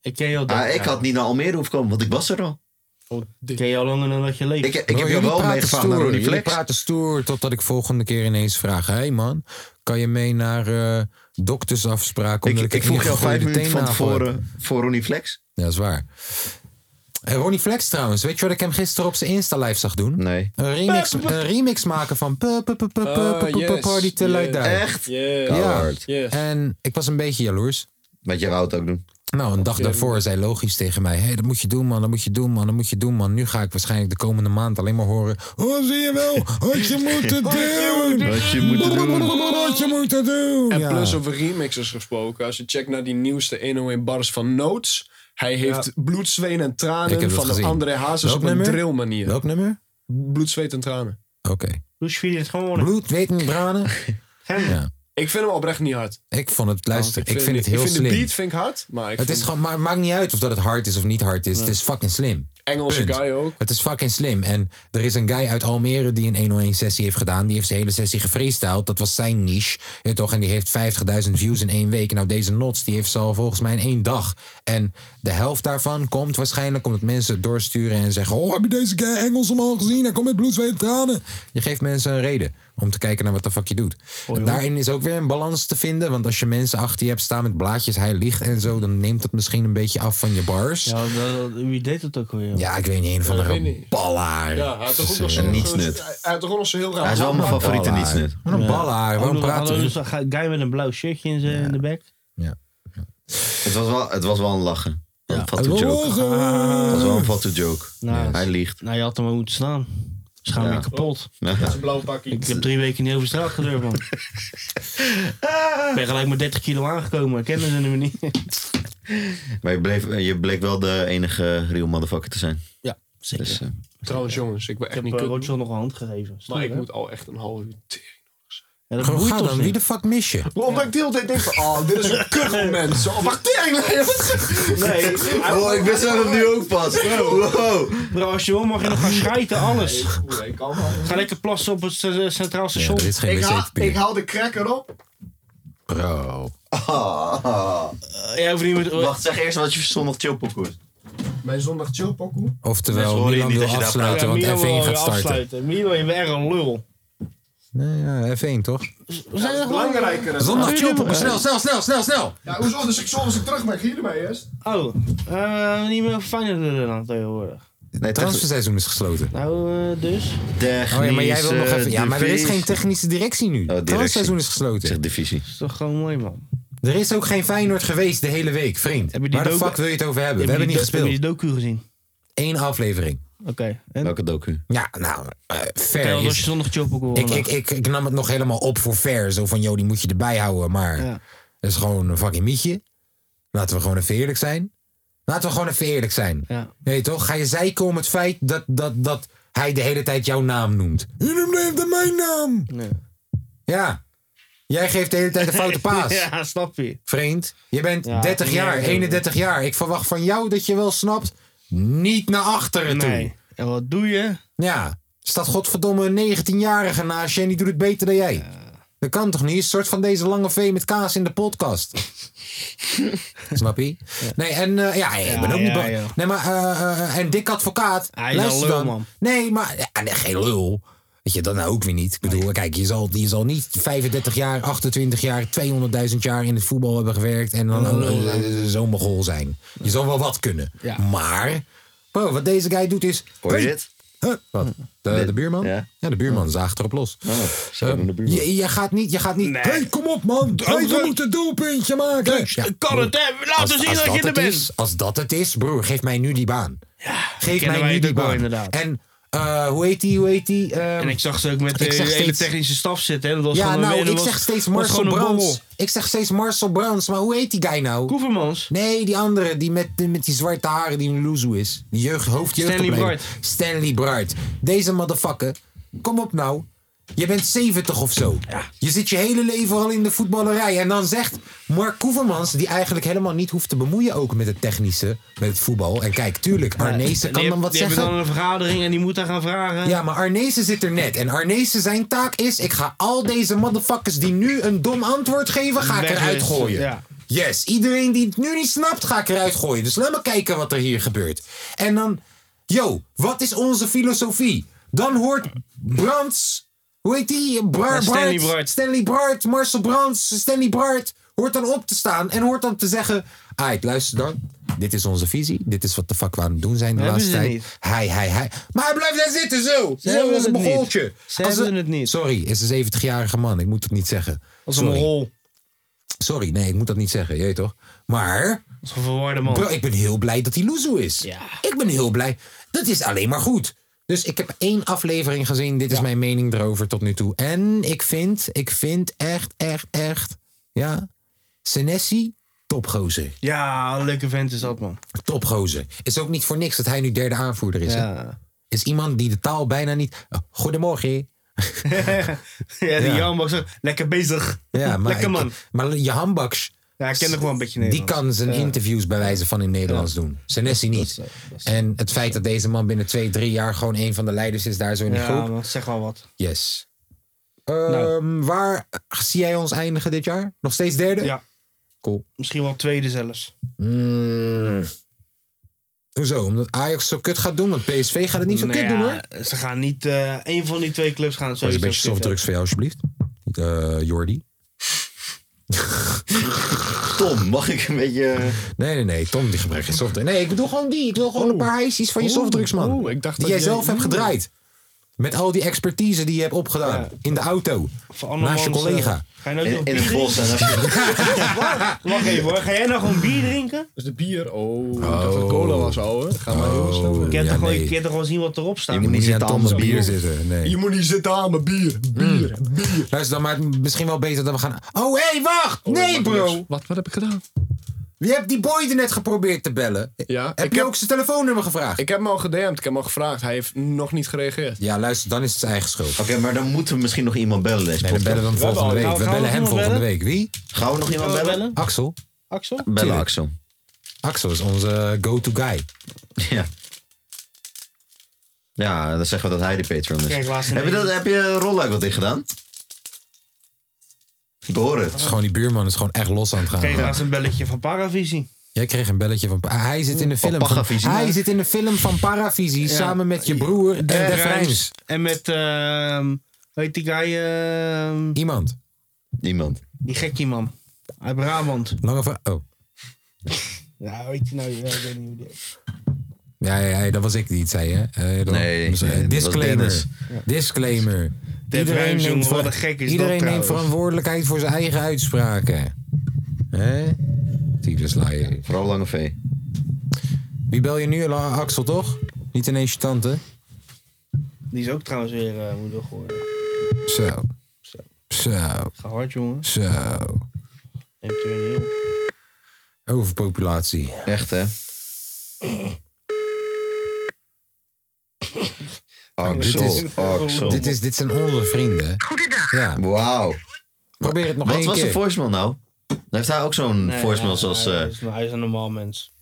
Speaker 4: Ik ken je al
Speaker 5: Ah, ik had niet naar Almere hoeven komen, want ik was er al.
Speaker 4: Oh, Ken je al langer dan dat je leeft?
Speaker 5: Ik,
Speaker 1: Oh,
Speaker 5: ik heb je wel meegevraagd naar Ronnie
Speaker 1: Jullie
Speaker 5: Flex.
Speaker 1: praten stoer totdat ik volgende keer ineens vraag... Hé hey man, kan je mee naar eh doktersafspraak?
Speaker 5: Ik,
Speaker 1: Omdat
Speaker 5: ik, vroeg jou vijf minuten van
Speaker 1: voor.
Speaker 5: tevoren voor Ronnie Flex.
Speaker 1: Ja, dat is waar. En Ronnie Flex trouwens, weet je wat ik hem gisteren op zijn Insta-live zag doen?
Speaker 5: Nee.
Speaker 1: Een remix, een remix maken van... pu- pu- pu- pu- pu-
Speaker 7: Oh,
Speaker 6: Ah,
Speaker 1: pu- pu-
Speaker 7: yes,
Speaker 1: Party Till I
Speaker 7: yes.
Speaker 1: Die.
Speaker 7: Echt? Yes.
Speaker 1: Ja.
Speaker 7: Hard. Yes.
Speaker 1: En ik was een beetje jaloers.
Speaker 5: Wat jij wou het ook doen.
Speaker 1: Nou, een dag
Speaker 5: je-
Speaker 1: daarvoor zei logisch tegen mij... hé, dat moet je doen, man, dat moet je doen, man, dat moet je doen, man. Nu ga ik waarschijnlijk de komende maand alleen maar horen... Oh, zie je wel, wat je
Speaker 6: Oh,
Speaker 1: moet doen!
Speaker 5: Wat je moet doen.
Speaker 1: Wat je moet doen.
Speaker 6: En
Speaker 1: ja.
Speaker 6: plus over remixes gesproken. Als je checkt naar die nieuwste 101 bars van Notes. Hij heeft bloed, zweet en
Speaker 1: Ik heb
Speaker 6: tranen
Speaker 1: dat
Speaker 6: van
Speaker 1: gezien.
Speaker 6: André Hazes
Speaker 1: Welk
Speaker 6: op een
Speaker 1: nummer?
Speaker 6: drill manier.
Speaker 1: Welk nummer?
Speaker 6: Bloed, zweet en tranen.
Speaker 1: Oké.
Speaker 4: Dus vind je het gewoon...
Speaker 1: Bloed, weet en tranen. Ja.
Speaker 6: Ik vind hem oprecht niet hard.
Speaker 1: Ik vond het, luister, ik, vind, het
Speaker 6: ik
Speaker 1: heel
Speaker 6: vind
Speaker 1: slim.
Speaker 6: de beat vind ik hard, maar ik
Speaker 1: het
Speaker 6: vind
Speaker 1: is gewoon, maar maakt niet uit of dat het hard is of niet hard is.
Speaker 6: Ja.
Speaker 1: Het is fucking slim.
Speaker 6: Engelse
Speaker 1: Punt.
Speaker 6: guy ook.
Speaker 1: Het is fucking slim. En er is een guy uit Almere die een 101 sessie heeft gedaan. Die heeft zijn hele sessie gefreestyled. Dat was zijn niche. Ja, toch? En die heeft 50.000 views in één week. Nou, deze Nots die heeft ze al volgens mij in één dag. En de helft daarvan komt waarschijnlijk omdat mensen het doorsturen en zeggen... Oh, heb je deze guy Engels al gezien? Hij komt met bloed, zweet en tranen. Je geeft mensen een reden om te kijken naar wat de fuck je doet. En daarin is ook weer een balans te vinden. Want als je mensen achter je hebt staan met blaadjes, hij ligt en zo... dan neemt dat misschien een beetje af van je bars.
Speaker 4: Ja, dat- wie deed dat ook alweer?
Speaker 1: Ja, ik weet niet, een of
Speaker 4: Ik weet
Speaker 1: andere
Speaker 4: niet.
Speaker 1: ballaar.
Speaker 6: Ja, hij had toch ook nog zo'n... Hij hij had toch ook nog zo'n heel raar...
Speaker 1: Ballaar. Wat een ballaar, waarom praten we?
Speaker 4: Een guy met een blauw shirtje in zijn in de bek.
Speaker 5: Het was wel, het was wel een lachen. Een fatu
Speaker 4: Lachen.
Speaker 5: joke.
Speaker 1: eh.
Speaker 5: Het was wel een fatu joke.
Speaker 4: Nou,
Speaker 5: Hij liegt.
Speaker 4: Nou, je had hem maar moeten slaan. Schaam
Speaker 5: Ja.
Speaker 4: je kapot.
Speaker 5: Ja. Met zijn
Speaker 6: blauw pakje.
Speaker 4: Ik heb drie weken in Hilversstraat gedurfd, man. Ik ben gelijk met 30 kilo aangekomen. Kennen ze hem niet.
Speaker 5: Maar je bleef, je bleek wel de enige real motherfucker te zijn.
Speaker 4: Ja, zeker.
Speaker 5: Dus, eh,
Speaker 6: Trouwens jongens, ik ben echt
Speaker 4: heb
Speaker 6: niet
Speaker 4: eh,
Speaker 6: kut.
Speaker 4: Rotjoch nog een hand gegeven.
Speaker 6: Maar ik moet al echt een half uur tering.
Speaker 4: Ja, dat
Speaker 1: Gewoon
Speaker 4: boeit
Speaker 1: ga
Speaker 4: ons
Speaker 1: dan,
Speaker 4: niet.
Speaker 1: wie de fuck mis je?
Speaker 6: Omdat ik de hele tijd denk van, oh, dit is een kutmoment. Zo, wacht, tering!
Speaker 5: Oh, ik wist dat het nu ook pas. Wow.
Speaker 4: Bro, als je wil mag je nog gaan schijten, alles.
Speaker 6: ik kan wel.
Speaker 4: Ga lekker plassen op het eh, Centraal Station.
Speaker 1: er is geen Ik wc haal- papier. ik
Speaker 6: de cracker op.
Speaker 1: Bro.
Speaker 4: Eh, Jij hoeft niet met...
Speaker 5: Wacht, zeg eerst wat je zondag chillpokoe is.
Speaker 6: Mijn zondag chillpokoe.
Speaker 5: Mensen
Speaker 1: Oftewel,
Speaker 5: horen
Speaker 1: Milan
Speaker 5: niet
Speaker 1: wil
Speaker 5: dat je daar
Speaker 1: afsluiten,
Speaker 5: praat.
Speaker 1: want
Speaker 5: Ja, Milan
Speaker 1: F1
Speaker 5: wil
Speaker 1: gaat
Speaker 5: weer
Speaker 1: starten.
Speaker 4: Sluiten. Milo, je bent echt een lul.
Speaker 1: Nee, ja, F1 toch?
Speaker 4: We zijn echt
Speaker 6: belangrijker.
Speaker 1: Zondag chillpokoe, snel, snel, snel, snel, snel!
Speaker 6: Ja, hoezo? Dus ik zorg als ik terug ben, hier ermee eerst.
Speaker 4: Oh, eh, niet meer Feyenoord dan tegenwoordig.
Speaker 5: Nee,
Speaker 1: het transferseizoen is gesloten.
Speaker 4: Nou, eh, dus?
Speaker 1: Oh ja, maar jij wil nog
Speaker 4: eh,
Speaker 1: even...
Speaker 5: eh,
Speaker 1: Ja, maar er is geen
Speaker 5: techniek.
Speaker 1: technische directie nu. Het transferseizoen is gesloten.
Speaker 5: Oh, Zeg divisie.
Speaker 4: is toch gewoon mooi, man.
Speaker 1: Er is ook geen Feyenoord geweest de hele week, vriend.
Speaker 4: Heb je die
Speaker 1: Waar de
Speaker 4: docu-
Speaker 1: fuck wil je het over
Speaker 4: Heb
Speaker 1: hebben? We
Speaker 4: je
Speaker 1: hebben
Speaker 4: die
Speaker 1: niet
Speaker 4: do- Heb je
Speaker 1: gespeeld.
Speaker 4: die docu gezien?
Speaker 1: Eén aflevering.
Speaker 4: Oké. en?
Speaker 5: Welke docu?
Speaker 1: Ja, nou, eh,
Speaker 4: Oké,
Speaker 1: ver
Speaker 4: want als je
Speaker 1: is...
Speaker 4: zondag Chopokoe
Speaker 1: Ik, ik, ik, ik nam het nog helemaal op voor ver. Zo van, joh, die moet je erbij houden. Maar het is gewoon een fucking mietje. Laten we gewoon even eerlijk zijn. Laten we gewoon even eerlijk zijn. Nee, toch? Ga je zeiken om het feit dat, dat, dat hij de hele tijd jouw naam noemt? Jullie blijven mijn naam! Ja. Jij geeft de hele tijd een foute paas.
Speaker 4: ja, snap je.
Speaker 1: Vriend, je bent
Speaker 4: Ja,
Speaker 1: 30 jaar,
Speaker 4: nee.
Speaker 1: 31 jaar. Ik verwacht van jou dat je wel snapt. Niet naar achteren toe.
Speaker 4: Nee. En wat doe je?
Speaker 1: Ja. Er staat godverdomme een 19-jarige naast je en die doet het beter dan jij. Dat kan toch niet? Een soort van deze lange vee met kaas in de podcast. Snap je? Nee, en eh, ja, ik ben ook niet
Speaker 4: ja,
Speaker 1: bang.
Speaker 4: ja. Ah,
Speaker 1: Nee, maar, eh, eh, en Dick Advocaat.
Speaker 4: Hij is
Speaker 1: luister
Speaker 4: een lul,
Speaker 1: dan.
Speaker 4: man.
Speaker 1: Nee, maar ja, nee, geen lul. Weet je, dat nou ook weer niet. Ik bedoel, kijk, je zal, je zal niet 35 jaar, 28 jaar, 200.000 jaar in het voetbal hebben gewerkt. En dan eh, eh, zo'n mogol zijn. Je zal wel wat kunnen. Maar, bro, wat deze guy doet is...
Speaker 5: Hoor je
Speaker 1: Hey,
Speaker 5: dit? Hm.
Speaker 1: Huh, wat? De, de buurman? Ja. de buurman zaagt erop los.
Speaker 5: Oh,
Speaker 1: Ehm, je, je gaat niet, je gaat niet. hey, kom op man, hey, we moeten een doelpuntje maken. Ja,
Speaker 4: kan het,
Speaker 1: broer.
Speaker 4: hè? Laten
Speaker 1: Als-
Speaker 4: zien
Speaker 1: als
Speaker 4: dat je
Speaker 1: het
Speaker 4: er bent.
Speaker 1: is, Als dat het is, broer, geef mij nu die baan. geef
Speaker 4: kennen
Speaker 1: mij
Speaker 4: wij
Speaker 1: nu
Speaker 4: het
Speaker 1: die
Speaker 4: ook wel,
Speaker 1: baan.
Speaker 4: inderdaad.
Speaker 1: En eh, hoe heet die, hoe heet die? ehm,
Speaker 4: En ik zag ze ook met de
Speaker 1: Ik zag
Speaker 4: hele
Speaker 1: steeds-
Speaker 4: technische staf zitten. Hè? Dat was
Speaker 1: ja,
Speaker 4: gewoon een-
Speaker 1: nou,
Speaker 4: dat
Speaker 1: ik
Speaker 4: was-
Speaker 1: zeg steeds
Speaker 4: was
Speaker 1: Marcel
Speaker 4: gewoon een borrel.
Speaker 1: Brands. Ik zeg steeds Marcel Brands, maar hoe heet die guy nou?
Speaker 4: Koevermans?
Speaker 1: Nee, die andere, die met, die met die zwarte haren die een loezoe is. Die jeugd, hoofd, jeugdopleiding. Stanley Bright. Deze motherfucker, kom op nou. Je bent 70 of zo. Je zit je hele leven al in de voetballerij. En dan zegt Mark Koevermans, die eigenlijk helemaal niet hoeft te bemoeien ook met het technische, met het voetbal. En kijk, tuurlijk, Arnezen
Speaker 4: Die
Speaker 1: kan dan
Speaker 4: heb-
Speaker 1: wat
Speaker 4: die
Speaker 1: zeggen.
Speaker 4: hebben dan een vergadering en die moet daar gaan vragen.
Speaker 1: Ja, maar Arnezen zit er net. En Arnezen zijn taak is, ik ga al deze motherfuckers die nu een dom antwoord geven, ga ik
Speaker 4: Weg
Speaker 1: eruit
Speaker 4: is,
Speaker 1: gooien.
Speaker 4: ja.
Speaker 1: Yes, iedereen die het nu niet snapt, ga ik eruit gooien. Dus laat maar kijken wat er hier gebeurt. En dan, yo, wat is onze filosofie? Dan hoort Brands, hoe heet die? Bra-
Speaker 4: Ja, Stanley
Speaker 1: Bart,
Speaker 4: Bart.
Speaker 1: Stanley Bart, Marcel Brands, Stanley Bart, hoort dan op te staan en hoort dan te zeggen, Ait, luister dan. Dit is onze visie. Dit is wat de fuck we aan het doen zijn de
Speaker 4: Hebben
Speaker 1: laatste
Speaker 4: ze
Speaker 1: tijd.
Speaker 4: niet.
Speaker 1: Hij, hij, hij. Maar hij blijft daar zitten zo.
Speaker 4: Ze
Speaker 1: Zo
Speaker 4: hebben
Speaker 1: als een
Speaker 4: het niet.
Speaker 1: mogoltje.
Speaker 4: Ze
Speaker 1: Als
Speaker 4: hebben
Speaker 1: een-
Speaker 4: het niet.
Speaker 1: Sorry, is een 70-jarige man. Ik moet het niet zeggen.
Speaker 4: Als een
Speaker 1: Sorry.
Speaker 4: rol.
Speaker 1: Sorry, nee, ik moet dat niet zeggen. Je weet toch? Maar...
Speaker 4: Als een verwarde man.
Speaker 1: Bro, ik ben heel blij dat hij Loezoe is. Ik ben heel blij. Dat is alleen maar goed. Dus ik heb één aflevering gezien. Dit is mijn mening erover tot nu toe. En ik vind, ik vind echt, echt, echt... Ja, Senesi, topgozer.
Speaker 4: Ja, een leuke vent is dat, man.
Speaker 1: Topgozer. Is ook niet voor niks dat hij nu derde aanvoerder is. hè?
Speaker 4: Ja.
Speaker 1: Is iemand die de taal bijna niet. Oh, Goedemorgen. hè?
Speaker 4: Ja, die
Speaker 1: Ja.
Speaker 4: Jan was ook lekker bezig.
Speaker 1: Ja, maar,
Speaker 4: lekker man.
Speaker 1: maar je handbaks.
Speaker 4: Ja, ik ken nog wel een beetje
Speaker 1: Die
Speaker 4: Nederlands.
Speaker 1: kan zijn
Speaker 4: Ja.
Speaker 1: interviews bij wijze van in Nederlands doen. Senesi niet. en het feit dat deze man binnen twee, drie jaar gewoon een van de leiders is daar zo in die
Speaker 4: Ja,
Speaker 1: groep.
Speaker 4: man, zeg wel wat. Nou.
Speaker 1: Yes. Ehm, Waar zie jij ons eindigen dit jaar? Nog steeds derde?
Speaker 4: Ja.
Speaker 1: Cool.
Speaker 4: Misschien wel tweede zelfs.
Speaker 1: Mm. Hoezo? Omdat Ajax zo kut gaat doen? Want PSV gaat het niet zo
Speaker 4: Nou
Speaker 1: kut doen
Speaker 4: ja,
Speaker 1: hoor.
Speaker 4: Ze gaan niet, eh één van die twee clubs gaan het
Speaker 1: Dat is een
Speaker 4: sowieso
Speaker 1: beetje
Speaker 4: zitten.
Speaker 1: softdrugs voor jou alsjeblieft. Eh Jordi.
Speaker 5: Tom, mag ik een beetje...
Speaker 1: Nee, nee, nee. Tom die gebruikt geen softdrugs. Nee, ik bedoel gewoon die. Ik wil gewoon een paar hijsjes van je softdrugs, man.
Speaker 6: ik dacht
Speaker 1: die
Speaker 6: dat
Speaker 1: jij Hmm.
Speaker 6: jij-
Speaker 1: zelf hebt
Speaker 6: Oeh.
Speaker 1: gedraaid. Met al die expertise die je hebt opgedaan. In de auto. Naast je
Speaker 4: Andermans,
Speaker 1: collega.
Speaker 4: eh, ga je nou ook nog bier drinken? Wacht, Wacht even hoor, ga jij nou gewoon bier drinken?
Speaker 6: Dus de bier, oh, ik dacht dat het cola was, ouwe. Ga maar heel snel.
Speaker 4: Je hebt
Speaker 6: ja,
Speaker 4: toch wel-
Speaker 6: nee.
Speaker 4: je hebt toch wel zien wat erop staat?
Speaker 6: Je moet niet zitten aan mijn bier. Bier.
Speaker 1: Hmm. Luister dan, maar het- misschien wel beter dat we gaan... Oh, hé, wacht! nee, bro!
Speaker 6: Wat, wat heb ik gedaan?
Speaker 1: Je hebt die boy er net geprobeerd te bellen.
Speaker 6: Ja,
Speaker 1: heb je ook zijn telefoonnummer gevraagd?
Speaker 6: Ik heb hem al gedM'd, ik heb hem al gevraagd. Hij heeft nog niet gereageerd.
Speaker 1: Ja, luister, dan is het zijn eigen schuld.
Speaker 5: Oké, maar dan moeten we misschien nog iemand bellen. Deze
Speaker 1: Nee, we bellen hem volgende week. we bellen hem volgende week. Wie?
Speaker 5: Gaan we nog iemand
Speaker 1: Gaan we
Speaker 5: bellen?
Speaker 1: Axel.
Speaker 4: Axel?
Speaker 5: Bellen
Speaker 1: Tuurlijk.
Speaker 5: Axel.
Speaker 1: Axel is onze eh, go-to guy.
Speaker 5: Ja. Ja, dan zeggen we dat hij de Patreon is.
Speaker 1: Kijk, laatst in
Speaker 5: heb, je
Speaker 1: één.
Speaker 5: dat, heb je Rolluik wat in gedaan? Ik hoor het.
Speaker 1: Het is gewoon die buurman is gewoon echt los aan het gaan.
Speaker 4: Kreeg laatst een belletje van Paravisie.
Speaker 1: Jij kreeg een belletje van. Ah, Hij zit in de
Speaker 4: Van
Speaker 1: film. Van,
Speaker 4: Pagavisie.
Speaker 1: hij zit in de film van Paravisie
Speaker 4: Ja.
Speaker 1: samen met je broer en
Speaker 4: Eh,
Speaker 1: Def
Speaker 4: Rijms.
Speaker 1: Rijms.
Speaker 4: En met, ehm hoe heet die guy? ehm,
Speaker 1: Iemand.
Speaker 5: Iemand.
Speaker 4: Die gekkie man. Uit Brabant.
Speaker 1: Lange va- Oh.
Speaker 4: Ja, hoe heet die nou? Ja, ik weet niet hoe die is.
Speaker 1: Ja, ja, ja, dat was ik die het zei, hè? Eh, dan-
Speaker 5: Nee,
Speaker 1: dus, eh,
Speaker 5: nee, dat was Dennis.
Speaker 1: disclaimer. Disclaimer.
Speaker 4: Def Rijms, jongen,
Speaker 1: ver-
Speaker 4: wat een gek is dat
Speaker 1: iedereen neemt
Speaker 4: trouwens.
Speaker 1: verantwoordelijkheid voor zijn eigen uitspraken. Hè? Tyfus laaien.
Speaker 5: Vooral Lange V.
Speaker 1: Wie bel je nu, La- Axel, toch? Niet ineens je tante.
Speaker 4: Die is ook trouwens weer eh moeder geworden.
Speaker 1: Zo. Zo.
Speaker 4: Ga hard, jongen.
Speaker 1: Zo.
Speaker 4: Neemt er weer niet op.
Speaker 1: Overpopulatie.
Speaker 5: Echt, hè?
Speaker 1: Oh, dit,
Speaker 5: Axel.
Speaker 1: is,
Speaker 5: Axel.
Speaker 1: dit, is, dit zijn onze vrienden.
Speaker 5: Goedendag.
Speaker 1: Ja.
Speaker 5: Wauw.
Speaker 1: Probeer het nog
Speaker 5: Wat
Speaker 1: één
Speaker 5: was
Speaker 1: keer.
Speaker 5: de voicemail nou? Dan heeft hij ook zo'n
Speaker 4: Nee,
Speaker 5: voicemail
Speaker 4: ja, dus-
Speaker 5: zoals...
Speaker 4: Hij
Speaker 5: eh
Speaker 4: is, hij is een normaal mens.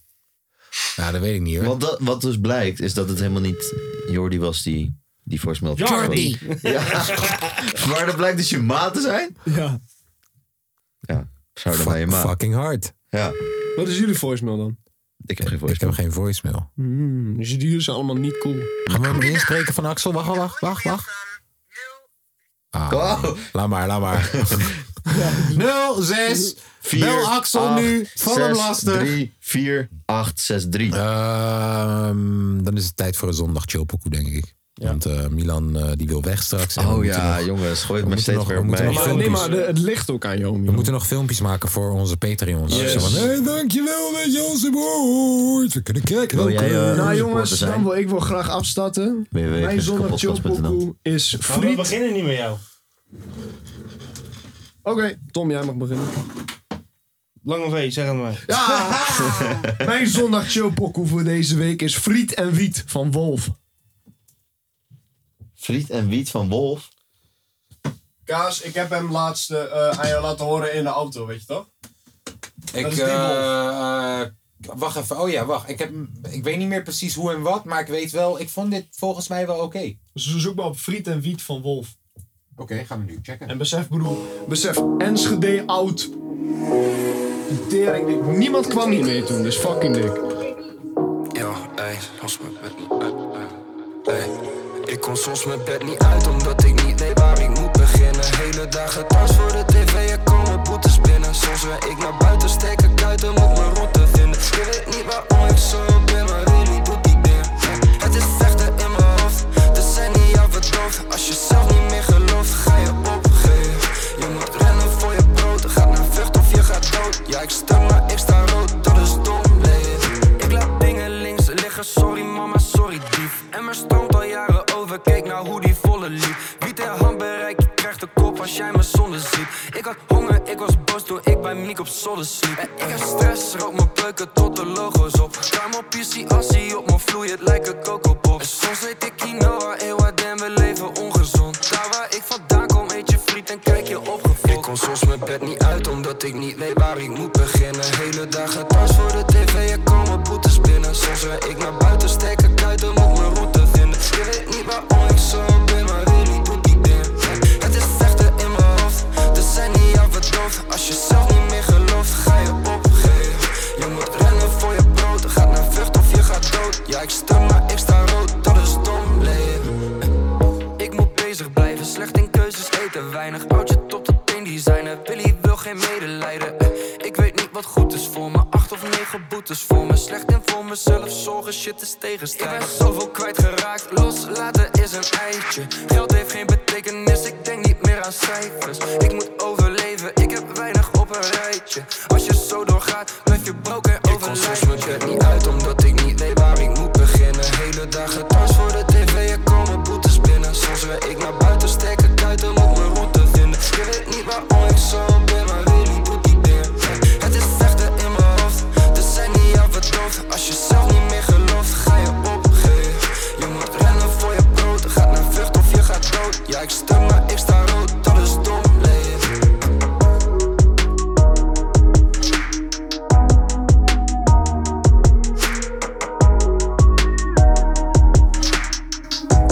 Speaker 1: Ja, dat weet ik niet hoor.
Speaker 5: Wat, dat, wat dus blijkt, is dat het helemaal niet Jordi was die die voicemail...
Speaker 4: Jordi!
Speaker 5: Ja. maar dat blijkt dus je maat te zijn?
Speaker 6: Ja.
Speaker 5: Ja, zou dan bij je maat.
Speaker 1: Fucking hard.
Speaker 5: Ja.
Speaker 6: Wat is jullie voicemail dan?
Speaker 5: Ik heb geen voicemail. Ik
Speaker 1: heb geen voicemail.
Speaker 6: Hmm, dus jullie zijn allemaal niet cool.
Speaker 1: Gaan we hem inspreken van Axel? Wacht, wacht, wacht, wacht. Ah,
Speaker 5: Oh.
Speaker 1: Laat maar, laat maar. 06. Bel Axel nu. Val hem lastig.
Speaker 5: 3, 4, 8, 6, 3.
Speaker 1: Ehm, dan is het tijd voor een zondag chillpokoe, denk ik. Want eh, Milan eh, die wil weg straks. En we
Speaker 5: Oh
Speaker 1: moeten
Speaker 5: ja, jongens, gooi het maar
Speaker 1: we moeten
Speaker 5: steeds
Speaker 1: nog- we
Speaker 5: weer op
Speaker 1: moeten
Speaker 5: mij.
Speaker 1: nog
Speaker 5: Maar nee,
Speaker 1: filmpjes-
Speaker 5: maar de- het
Speaker 6: ligt ook aan jou.
Speaker 1: We moeten nog filmpjes maken voor onze Patreons.
Speaker 6: Yes.
Speaker 1: Zo van, hey, dankjewel dat je ons behoort. We kunnen kijken. welke-
Speaker 6: nou jongens, dan wil, ik wil graag afstarten. Mijn zonder Chopoku is
Speaker 4: Maar Nou, we
Speaker 6: friet. Oké,
Speaker 4: beginnen niet met jou.
Speaker 6: Tom, jij mag beginnen.
Speaker 4: Lange V, zeg het maar.
Speaker 6: Mijn zondag chillpokoe voor deze week is Friet en Wiet van Wolf.
Speaker 5: Friet en wiet van Wolf.
Speaker 6: Kaas, ik heb hem laatst eh, aan je laten horen in de auto, weet je toch?
Speaker 1: Ik,
Speaker 6: Dat is die
Speaker 1: eh,
Speaker 6: wolf.
Speaker 1: eh, wacht even. Oh ja, wacht. Ik, heb, ik weet niet meer precies hoe en wat, maar ik weet wel, ik vond dit volgens mij wel oké.
Speaker 6: Dus zoek maar op Friet en Wiet van Wolf.
Speaker 1: Oké, gaan we nu checken.
Speaker 6: En besef, broer, besef, Enschede oud. Die Tering, dik. niemand kwam niet mee toen, dus fucking dik.
Speaker 16: Ja, ey, soms mijn bed niet uit. ey. Ey, ik kon soms mijn bed niet uit omdat ik niet weet waar ik moet beginnen. Hele dagen thuis voor de tv, er komen boetes binnen. Soms wil ik naar buiten steken, kuiten om op mijn route vinden. Ik weet niet waarom ik zo ben, maar really doet die dingen. Het is vechten in mijn hoofd, dus zijn niet aan verdoof. Als je zelf niet meer gelooft, ga je opgeven. Je moet rennen voor je brood, gaat naar vlucht of je gaat dood. Ja, ik stem, maar ik sta rood, dat is dom leven. Ik laat dingen links liggen, sorry mama, sorry dief. En er stond al jaren over, kijk nou hoe die volle liep. Wie ter hand bereikt, je krijgt de kop als jij me zonde ziet. Ik had honger, ik was boos toen ik bij Miek op zolder sliep. En ik heb stress, rook mijn peuken tot de logo's op. Ruim op PC, assie op mijn vloei, het lijkt een kokopop. En soms weet ik quinoa, eeuw, en we leven ongezond. Daar waar ik vandaan kom, eet je friet en kijk je opgefokt. Ik kon soms mijn bed niet uit, omdat ik niet weet waar ik moet beginnen. Hele dagen thuis voor de tv, er komen boetes binnen. Soms wil ik naar buiten steken, kuiten op mijn route vinden. Je weet niet waarom ik zo ben, maar really doet die dingen. Het is vechten in mijn hoofd, dus zijn niet aan verdoof. Als je zelf niet meer gelooft, ga je opgeven. Je moet rennen voor je brood, gaat naar vlucht of je gaat dood. Ja, ik stem, maar ik sta rood, dat is dom leven. Ik moet bezig blijven, slecht in keuzes, eten weinig. Oudje top tot teen designer, Willy wil geen medelijden. Eh, Ik weet niet wat goed is voor me, acht of negen boetes voor me. Slecht en voor mezelf, zorgen, shit is tegenstrijdig. Ik ben zoveel kwijtgeraakt, loslaten is een eitje. Geld heeft geen betekenis, ik denk niet meer aan cijfers. Ik moet overleven, ik heb weinig op een rijtje. Als je zo doorgaat, blijf je broken en overlijden. Ik kon soms mijn bed niet uit, omdat ik niet weet waar ik moet beginnen. Hele dagen thuis voor de tv, er komen boetes binnen. Soms wil ik naar buiten steken, kuiten op mijn route vinden. Je weet niet waarom ik zo ben, maar really doet die dingen. Het is vechten in mijn hoofd, dus zijn niet aan verdoof. Als je zelf niet meer gelooft, ga je opgeven. Je moet rennen voor je brood, gaat naar vlucht of je gaat dood. Ja, ik stem, maar ik sta rood, dat is dom leven.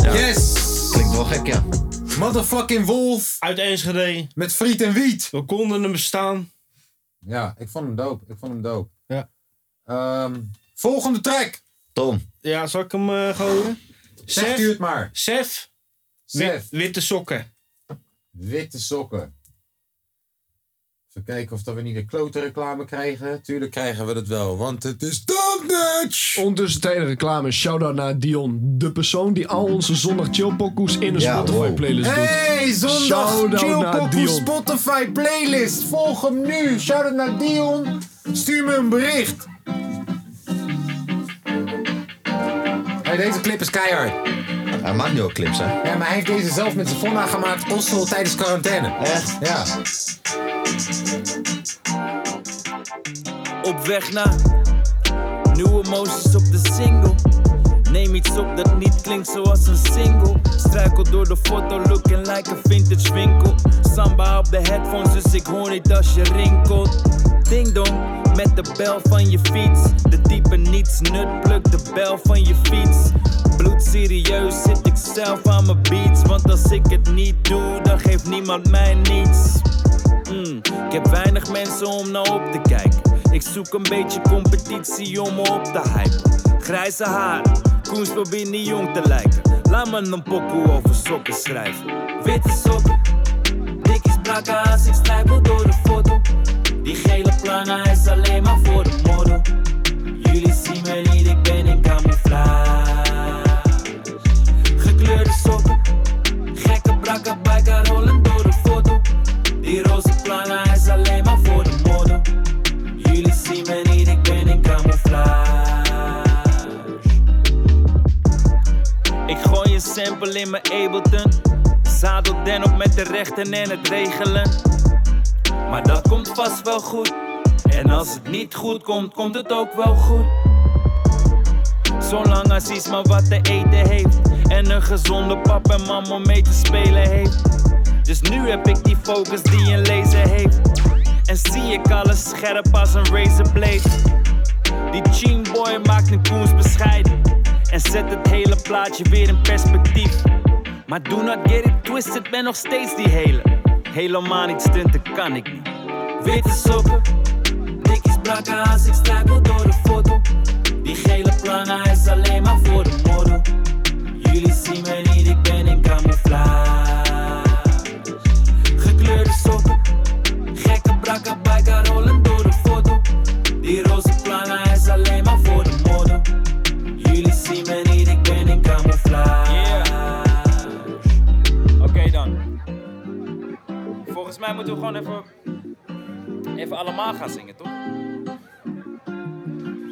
Speaker 1: Yes!
Speaker 5: Klinkt wel gek, ja.
Speaker 1: Motherfucking Wolf.
Speaker 4: Uit Enschede.
Speaker 1: Met friet en wiet.
Speaker 4: We konden hem bestaan.
Speaker 1: Ja, ik vond hem dope. Ik vond hem dope. Ja. volgende track.
Speaker 5: Tom.
Speaker 4: Ja, zal ik hem eh, gooien?
Speaker 1: Zegt
Speaker 4: Sef.
Speaker 1: u het maar.
Speaker 4: Sef.
Speaker 1: Sef.
Speaker 4: Wit- witte sokken.
Speaker 1: Witte sokken. Even kijken of dat we niet de klote reclame krijgen. Tuurlijk krijgen we dat wel, want het is Dognuts!
Speaker 6: Ondertussen tijdens de reclame, shout-out naar Dion. De persoon die al onze zondag chillpokoes in de
Speaker 1: Ja,
Speaker 6: Spotify playlist doet.
Speaker 1: Hey, zondag
Speaker 6: Shout-out naar
Speaker 1: Chillpokoe
Speaker 6: Dion.
Speaker 1: Spotify playlist. Volg hem nu. Shout out naar Dion. Stuur me een bericht. Hey, deze clip is keihard.
Speaker 5: Hij maakt nu ook clips, hè?
Speaker 1: Ja, maar hij heeft deze zelf met zijn vonna gemaakt. Oslo tijdens quarantaine.
Speaker 5: Echt?
Speaker 1: Ja.
Speaker 17: Op weg naar nieuwe emoties op de single. Neem iets op dat niet klinkt zoals een single. Struikel door de foto, looking like a vintage winkel. Samba op de headphones, dus ik hoor niet als je rinkelt. Ding dong, met de bel van je fiets. De diepe niets nut, pluk de bel van je fiets. Bloed serieus zit ik zelf aan mijn beats. Want als ik het niet doe, dan geeft niemand mij niets. Mm, ik heb weinig mensen om naar op te kijken. Ik zoek een beetje competitie om me op te hypen. Grijze haren, Koens probeert niet jong te lijken. Laat me een pokoe over sokken schrijven. Witte sokken, dikkies brakken als ik struikel door de foto. Die gele plannen is alleen maar voor de model. Jullie zien me niet, ik ben in camouflage. Gekleurde plan hij is alleen maar voor de model. Jullie zien me niet, ik ben in camouflage. Ik gooi een sample in mijn Ableton. Zadel den op met de rechten en het regelen. Maar dat komt vast wel goed. En als het niet goed komt, komt het ook wel goed. Zolang als iets maar wat te eten heeft. En een gezonde pap en mam om mee te spelen heeft. Dus nu heb ik die focus die een laser heeft. En zie ik alles scherp als een razorblade. Die Ching boy maakt een koens bescheiden. En zet het hele plaatje weer in perspectief. Maar do not get it twisted, ben nog steeds die hele. Helemaal niet stunten kan ik niet. Witte sokken, dikkies brakken als ik struikel door de foto. Die gele plana is alleen maar voor de model. Jullie zien me niet, ik ben in camouflage. Gekleurde sokken, gekke brakken, biker rollen door de foto. Die roze plana is alleen maar voor de model. Jullie zien me niet, ik ben in camouflage. Oké dan. Volgens mij moeten we gewoon even, even allemaal gaan zingen, toch?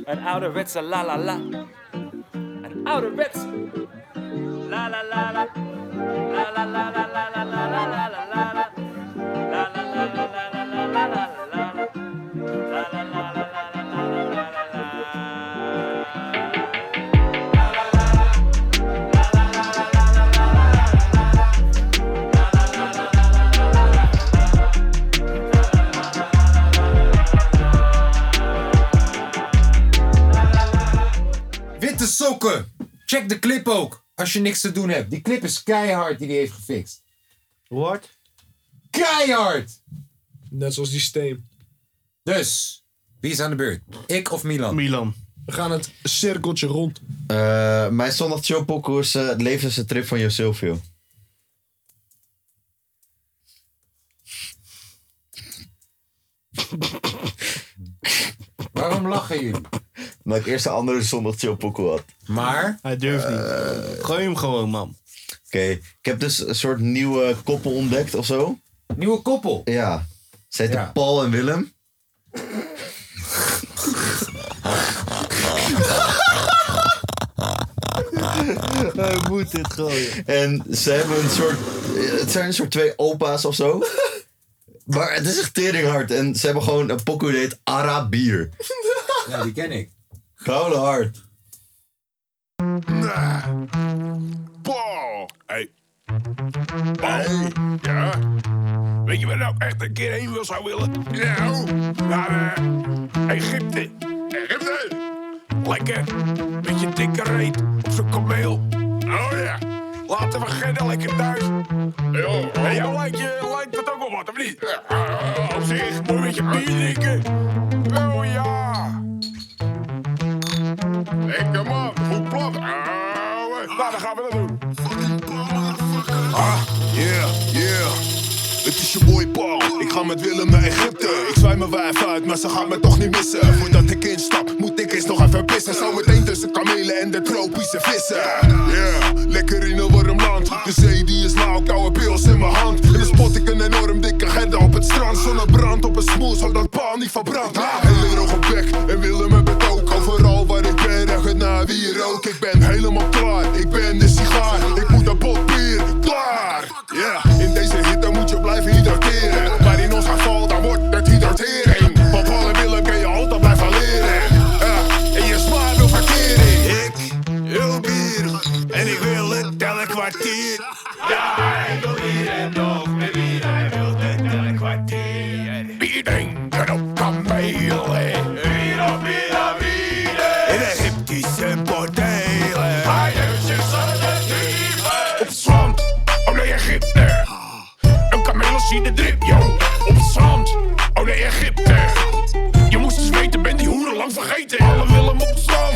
Speaker 17: Een ouderwetse la la la. Een ouderwetse. La la la la. La la la la la la la la la la la la. La la la la la la la la la la la. La la la la la la la la la la
Speaker 1: Witte sokken. Check de clip ook. Als je niks te doen hebt. Die clip is keihard die die heeft gefixt.
Speaker 4: Wat?
Speaker 1: Keihard! Net zoals die steen. Dus, wie is aan de beurt? Ik of Milan?
Speaker 4: Milan.
Speaker 1: We gaan het cirkeltje rond.
Speaker 5: Eh, mijn zondag chillpokoe is eh, het levenste trip van Jo Silvio.
Speaker 1: Waarom lachen jullie?
Speaker 5: Omdat ik eerst een andere zondag chillpokoe had. Eh.
Speaker 1: Maar?
Speaker 4: Hij durft niet. Gooi hem gewoon, man.
Speaker 5: Oké, ik heb dus een soort nieuwe koppel ontdekt of zo.
Speaker 1: Nieuwe koppel?
Speaker 5: Ja. Ze heten Paul en Willem.
Speaker 4: Hij moet dit gooien.
Speaker 5: En ze hebben een soort. Het zijn een soort twee opa's of zo. Maar het is echt teringhard. En ze hebben gewoon een pokoe die heet Arabier.
Speaker 1: Ja, die ken ik.
Speaker 5: Koude hard.
Speaker 18: Paul. Hey. Paul. Ja? Weet je waar nou echt een keer heen wil zou willen? Nou, naar eh, Egypte. Egypte? Lekker. Beetje dikke reet op zo'n kameel. Oh ja. Laten we gillen lekker thuis. Yo, en jou lijkt, je, lijkt dat ook wel wat, of niet? Ja, eh, op zich. Moet je een beetje bier drinken? Oh ja. Hey, kom op. Goed plat. Ouwe. Nou, dan gaan we dat doen. Ah, yeah, yeah. Het is je boy Paul. Ik ga met Willem naar Egypte. Ik zwaai mijn wijf uit, maar ze gaan me toch niet missen. Voordat ik instap, moet ik eens nog even pissen. Zo meteen tussen kamelen en de tropische vissen. Yeah, lekker in een warm land. De zee die is lauw, koude pils in mijn hand. En dan spot ik een enorm dikke herder op het strand. Zonnebrand op een smoel, zodat Paul niet verbrandt. Hele droge bek en Willem hebben het ook. Overal waar ik ben, ruik het naar wie rook. Ik ben helemaal klaar, ik ben de sigaar. Ik moet een pot bier, klaar. Yeah, in deze hitte moet je blijven hydrateren. Maar in ons geval, dan wordt het hydratering. Van Paul en Willem kun je altijd blijven leren. Ja, en je smaak wil verkering. Ik wil bier en ik wil het tellen kwartier. Ja, ik wil bier en nog meer bier. Hij wil het tellen kwartier. Wie denkt er op kamelen? Bier op bier op bier. In Egyptische bordelen. Hij heeft zichzelf bedreven. Op het strand, oh nee Egypte. Een kameel zie de drip, yo. Op het strand, oh nee Egypte. Je moest eens weten, ben die hoeren lang vergeten. Alle Willem op stand.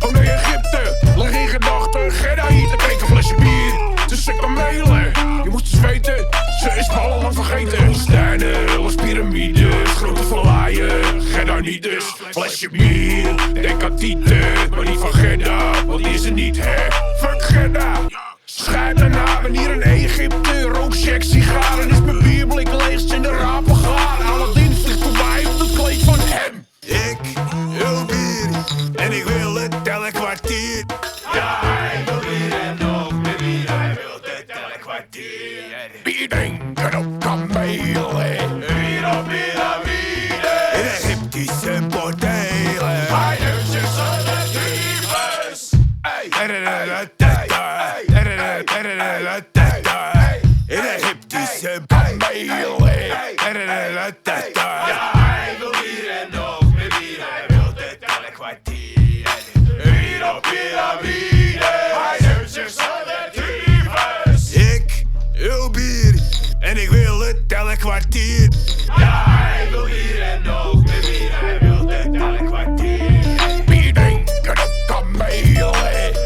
Speaker 18: Oh nee, Egypte. Leg in gedachten. Gerda hier te drinken, flesje bier. Tussen kamelen. Je moest eens weten, ze is me al lang vergeten. Woestijnen, alles piramides. Grote verlaaien. Gerda niet dus. Flesje bier. Denk aan Tieten, maar niet van Gerda. Want die is er niet, hè? Fuck Gerda. Schijt mijn naam en hier in Egypte. Rook, check, sigaren. Is mijn bierblik leeg, zijn de rapen gaar.
Speaker 19: Ja, hij wil bier en nog meer bier. Hij wil het alle kwartier. Hier op piramide. Hij neemt zichzelf de tyfus. Ik wil bier. En ik wil het tellen kwartier. Ja, hij wil bier en nog meer bier. Hij wil het tellen kwartier. Wie denkt dat het kan meelen?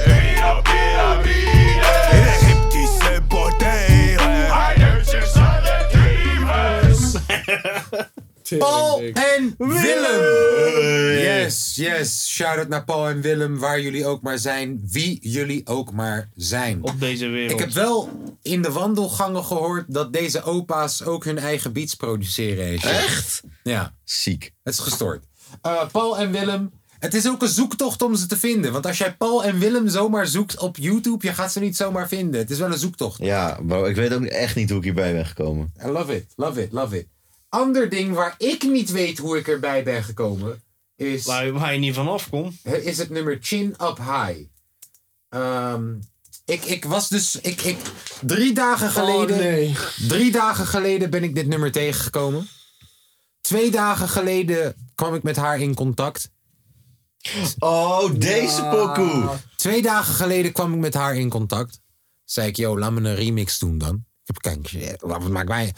Speaker 19: Hier op piramide. In Egyptische bordelen. Hij neemt zichzelf de tyfus.
Speaker 1: Paul en Willem. Yes, yes. Shout-out naar Paul en Willem, waar jullie ook maar zijn. Wie jullie ook maar zijn.
Speaker 4: Op deze wereld.
Speaker 1: Ik heb wel in de wandelgangen gehoord dat deze opa's ook hun eigen beats produceren. Echt? Ja.
Speaker 5: Ziek.
Speaker 1: Het is gestoord. Eh, Paul en Willem. Het is ook een zoektocht om ze te vinden. Want als jij Paul en Willem zomaar zoekt op YouTube, je gaat ze niet zomaar vinden. Het is wel een zoektocht.
Speaker 5: Ja, bro, ik weet ook echt niet hoe ik hierbij ben gekomen.
Speaker 1: I love it, love it, love it. Ander ding waar ik niet weet hoe ik erbij ben gekomen, is... Waar, je niet vanaf komt. Is het nummer Chin Up High. Ehm, ik, ik was dus... Ik, ik, drie dagen geleden... Drie dagen geleden ben ik dit nummer tegengekomen. Twee dagen geleden kwam ik met haar in contact.
Speaker 5: Oh, deze pokoe.
Speaker 1: Twee dagen geleden kwam ik met haar in contact. Zei ik, yo, laat me een remix doen dan. Ik heb kijk, shit, wat maakt mij...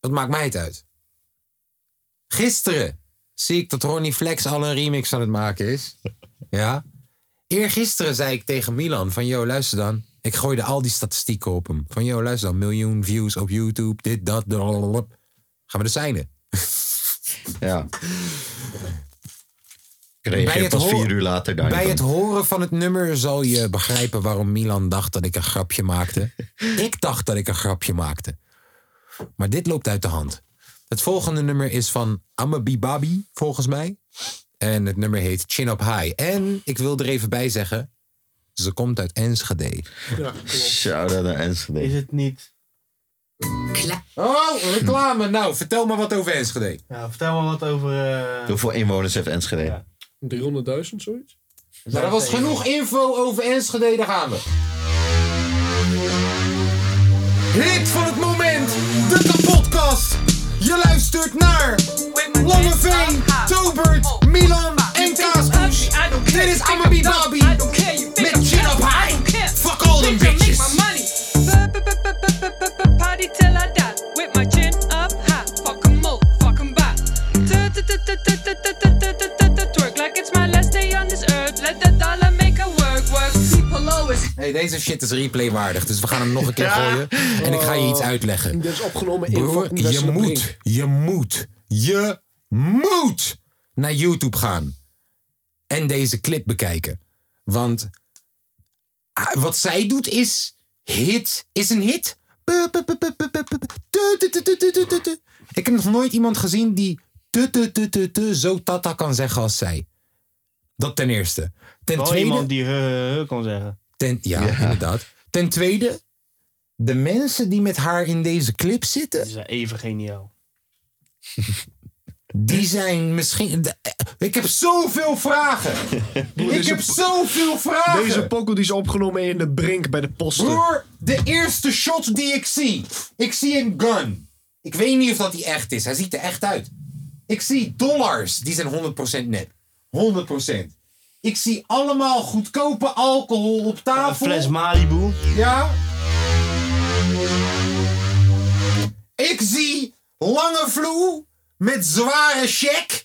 Speaker 1: Wat maakt mij het uit? Gisteren zie ik dat Ronnie Flex al een remix aan het maken is. Ja? Eergisteren zei ik tegen Milan van, yo, luister dan. Ik gooide al die statistieken op hem. Van, yo, luister dan, miljoen views op YouTube, dit, dat, blablabla. Gaan we de zijne.
Speaker 5: Ja. Ik
Speaker 1: Bij
Speaker 5: reageer
Speaker 1: het
Speaker 5: pas
Speaker 1: hoor-
Speaker 5: vier uur later daar.
Speaker 1: Bij het horen van het nummer zal je begrijpen waarom Milan dacht dat ik een grapje maakte. Ik dacht dat ik een grapje maakte. Maar dit loopt uit de hand. Het volgende nummer is van Amabi Babi, volgens mij. En het nummer heet Chin Up High. En ik wil er even bij zeggen, ze komt uit Enschede.
Speaker 4: Ja.
Speaker 5: Shout-out naar Enschede.
Speaker 4: Is het niet?
Speaker 1: Oh, reclame. Nou, vertel me wat over Enschede.
Speaker 4: Ja, vertel me wat over... eh,
Speaker 5: Hoeveel inwoners heeft Enschede?
Speaker 6: 300.000 zoiets?
Speaker 1: Maar er was genoeg info over Enschede, daar gaan we. Hit van het moment, de kapotkast. Je luistert naar Langeveen, Tobert, Milan en Kaaskoes. Dit is Amabi Babi met Chin Up High. Fuck all them bitches.
Speaker 20: Party till I die with my chin up high. Fuck 'em all, fuck 'em back. Twerk like it's my last day on this earth. Let the dollar make her work, work. People always
Speaker 1: Hey, deze shit is replaywaardig, dus we gaan hem nog een keer gooien. En ik ga je iets uitleggen.
Speaker 6: Dit is opgenomen in
Speaker 1: Broer,
Speaker 6: fucking
Speaker 1: je
Speaker 6: Westerbrink.
Speaker 1: moet, je moet, je moet naar YouTube gaan. En deze clip bekijken. Want ah, wat zij doet is, hit is een hit. Bu- bu- bu- bu- bu- bu- bu- tu- tu- tu- tu- tu- tu- tu- tu. Ik heb nog nooit iemand gezien die tu- tu- tu- tu- tu zo tata kan zeggen als zij. Dat ten eerste. Ten
Speaker 4: wel
Speaker 1: tweede,
Speaker 4: iemand die he, he, he kan zeggen.
Speaker 1: Ten, ja,
Speaker 4: Ja.
Speaker 1: inderdaad. Ten tweede, de mensen die met haar in deze clip zitten,
Speaker 4: Ze zijn even geniaal.
Speaker 1: die zijn misschien. de- eh, Ik heb zoveel vragen. Ik
Speaker 6: deze
Speaker 1: heb
Speaker 6: po-
Speaker 1: zoveel vragen.
Speaker 6: Deze pokkel die is opgenomen in de brink bij de posten.
Speaker 1: Broer, de eerste shot die ik zie. Ik zie een gun. Ik weet niet of dat die echt is. Hij ziet er echt uit. Ik zie dollars. Die zijn 100% net. 100%. Ik zie allemaal goedkope alcohol op tafel.
Speaker 4: Fles Malibu.
Speaker 1: Ja. Ik zie lange vloe met zware check.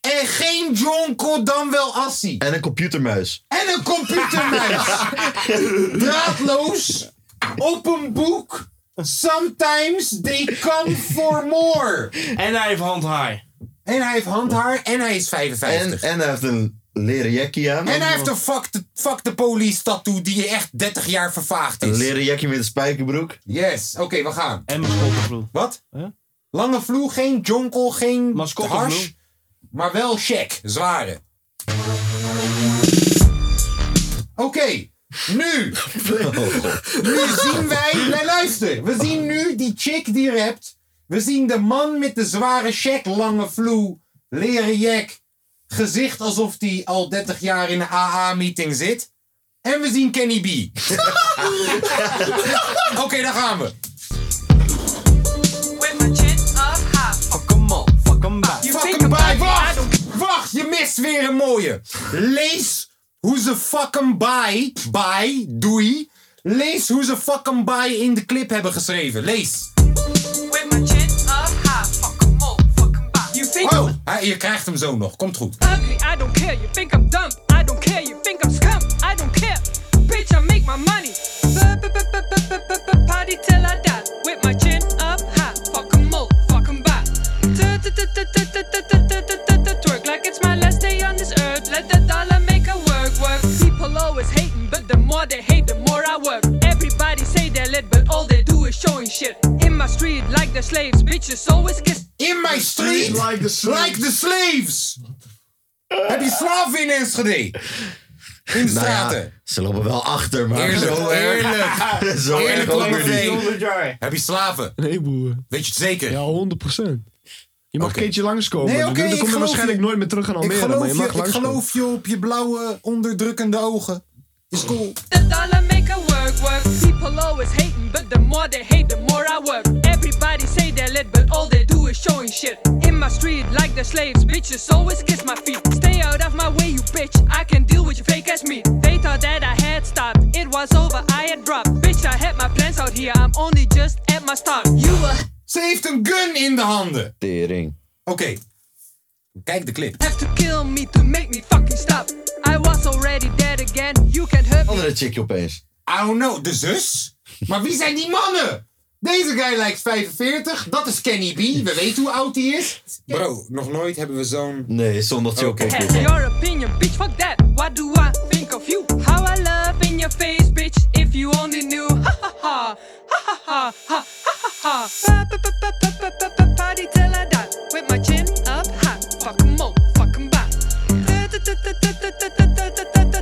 Speaker 1: En geen Jonko dan wel Assi.
Speaker 5: En een computermuis.
Speaker 1: En een computermuis. Draadloos. Op een boek. Sometimes they come for more.
Speaker 4: En hij heeft handhaar.
Speaker 1: En hij heeft handhaar en hij is 55.
Speaker 5: En hij heeft een leren jackie aan.
Speaker 1: En hij heeft een fuck de, fuck de police tattoo die je echt 30 jaar vervaagd
Speaker 5: Een
Speaker 1: is.
Speaker 5: leren jackie met een spijkerbroek.
Speaker 1: Yes, oké, we gaan.
Speaker 4: En mascottenvloer.
Speaker 1: Wat? Lange vloer, geen jonkel, geen hars. Maar wel check, zware. Oké, nu. oh. nu zien wij... Nee, luister. We zien nu die chick die rapt. We zien de man met de zware check, lange vloer, leren jack. Gezicht alsof hij al 30 jaar in een AA-meeting zit. En we zien Kenny B. Oké, daar gaan we.
Speaker 20: with my chin up high. Fuck 'em
Speaker 1: weer een mooie. Lees hoe ze fucking bye, bye, doei. Lees hoe ze fucking bye in de clip hebben geschreven. Lees.
Speaker 20: With my chin up high, fuck 'em all, fuck 'em bye. You think
Speaker 1: Oh,
Speaker 20: I'm
Speaker 1: hij- je krijgt hem zo nog. Komt goed.
Speaker 20: ugly? I don't care. You think I'm dumb? I don't care. You think I'm scum? I don't care. Bitch, I make my money. Party till I die. With my chin up high, fuck 'em all, fuck 'em bye. Twerk like it's my last day on this earth. Let the dollar make a work work. People always hating, but the more they hate, the more I work. Everybody say they're lit, but all they do is showing shit. In my street, like the slaves, bitches always kiss.
Speaker 1: In my street, like the slaves. Like the slaves. Heb je slaven in Enschede? In de
Speaker 5: Nou ja,
Speaker 1: straten.
Speaker 5: ze lopen wel achter, maar
Speaker 1: Eerlijk,
Speaker 5: zo
Speaker 1: eerlijk.
Speaker 5: erg. zo
Speaker 1: Eerlijk
Speaker 5: erg ook
Speaker 1: onbevredigd.
Speaker 5: weer niet.
Speaker 1: Heb je slaven?
Speaker 7: Nee, boer.
Speaker 1: Weet je het zeker?
Speaker 7: Ja, 100%. Je mag
Speaker 1: Oké.
Speaker 7: een keertje langskomen.
Speaker 1: Nee,
Speaker 7: Nee,
Speaker 1: oké,
Speaker 7: dan
Speaker 1: ik
Speaker 7: kom je
Speaker 1: geloof
Speaker 7: waarschijnlijk
Speaker 1: je.
Speaker 7: nooit meer terug in
Speaker 1: Ik
Speaker 7: Almere, maar
Speaker 1: geloof,
Speaker 7: je mag
Speaker 1: je, ik
Speaker 7: langskomen.
Speaker 1: geloof je op je blauwe, onderdrukkende ogen. Is cool.
Speaker 20: The dollar make a work work. People always hating, but the more they hate, the more I work. Everybody say they're lit, but all they do is showing shit. In my street, like the slaves, bitches always kiss my feet. Stay out of my way, you bitch. I can deal with your fake ass meat. They thought that I had stopped. It was over, I had dropped. Bitch, I had my plans out here. I'm only just at my start. You will
Speaker 1: Ze heeft een gun in de handen.
Speaker 5: Tering.
Speaker 1: Oké. Kijk de clip.
Speaker 20: have to kill me to make me fucking stop. I was already dead again. You can hurt me.
Speaker 5: Andere chickie opeens.
Speaker 1: I don't know, de zus? Maar wie zijn die mannen? Deze guy lijkt 45, dat is Kenny B, we weten hoe oud hij is. Bro, nog nooit hebben we zo'n... Oh.
Speaker 5: Nee, zondag ook.
Speaker 20: Hey, your opinion, bitch, fuck that. What do I think of you? How I love in your face, bitch, if you only knew. Ha ha ha, ha ha ha, ha ha ha ha. Party till I die, with my chin up high. Fuck 'em all, fuck 'em bye.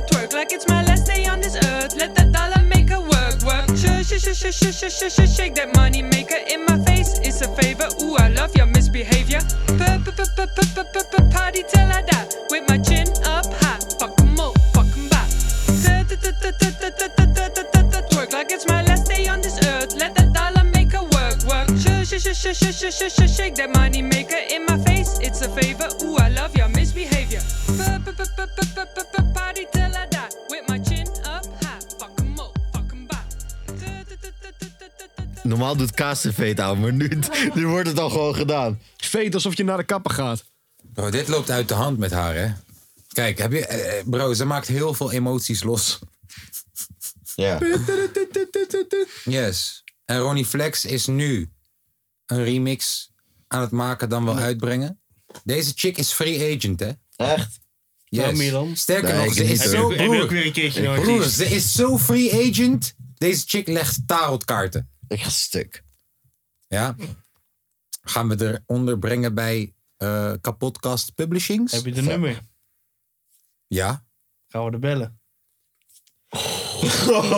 Speaker 20: Twerk like it's my last day on this earth. Let that dollar make her work, work. Sh- sh- sh- sh- sh- sh- sh- sh- Shake that money maker in my face. It's a favor, ooh, I love your misbehavior. Party till I die, with my chin up high. Fuck 'em all, fuck 'em bye. Twerk like it's my last day on this earth. Let that dollar make her work, work. Sh- sh- sh- sh- sh- sh- sh- sh- Shake that money maker in my face. It's a favor, ooh, I love your misbehavior. Party till I die, with my chin up high. Fuck 'em all, fuck 'em bye.
Speaker 5: Normaal doet Kaas de veet aan, maar nu, nu wordt het al gewoon gedaan.
Speaker 7: Veet alsof je naar de kapper gaat.
Speaker 1: Bro, Oh, dit loopt uit de hand met haar, hè? Kijk, heb je... eh, eh, bro, ze maakt heel veel emoties los.
Speaker 5: Ja.
Speaker 1: Yes. En Ronnie Flex is nu een remix aan het maken, dan wel uitbrengen. Deze chick is free agent, hè?
Speaker 5: Echt?
Speaker 1: Yes.
Speaker 4: Nou, Milan.
Speaker 1: Sterker
Speaker 4: Nee,
Speaker 1: nog,
Speaker 4: ik
Speaker 1: ze
Speaker 4: niet.
Speaker 1: is
Speaker 4: Heb je
Speaker 1: zo...
Speaker 4: ook- heb je
Speaker 1: broer,
Speaker 4: ook weer een keertje een
Speaker 1: broer,
Speaker 4: artiest?
Speaker 1: ze is zo free agent. Deze chick legt tarotkaarten.
Speaker 5: Ik ga stuk.
Speaker 1: Ja. Gaan we eronder brengen bij eh Kapotkast Publishings?
Speaker 4: Heb je de nummer?
Speaker 1: Ja.
Speaker 4: Gaan we er bellen?
Speaker 5: Oh,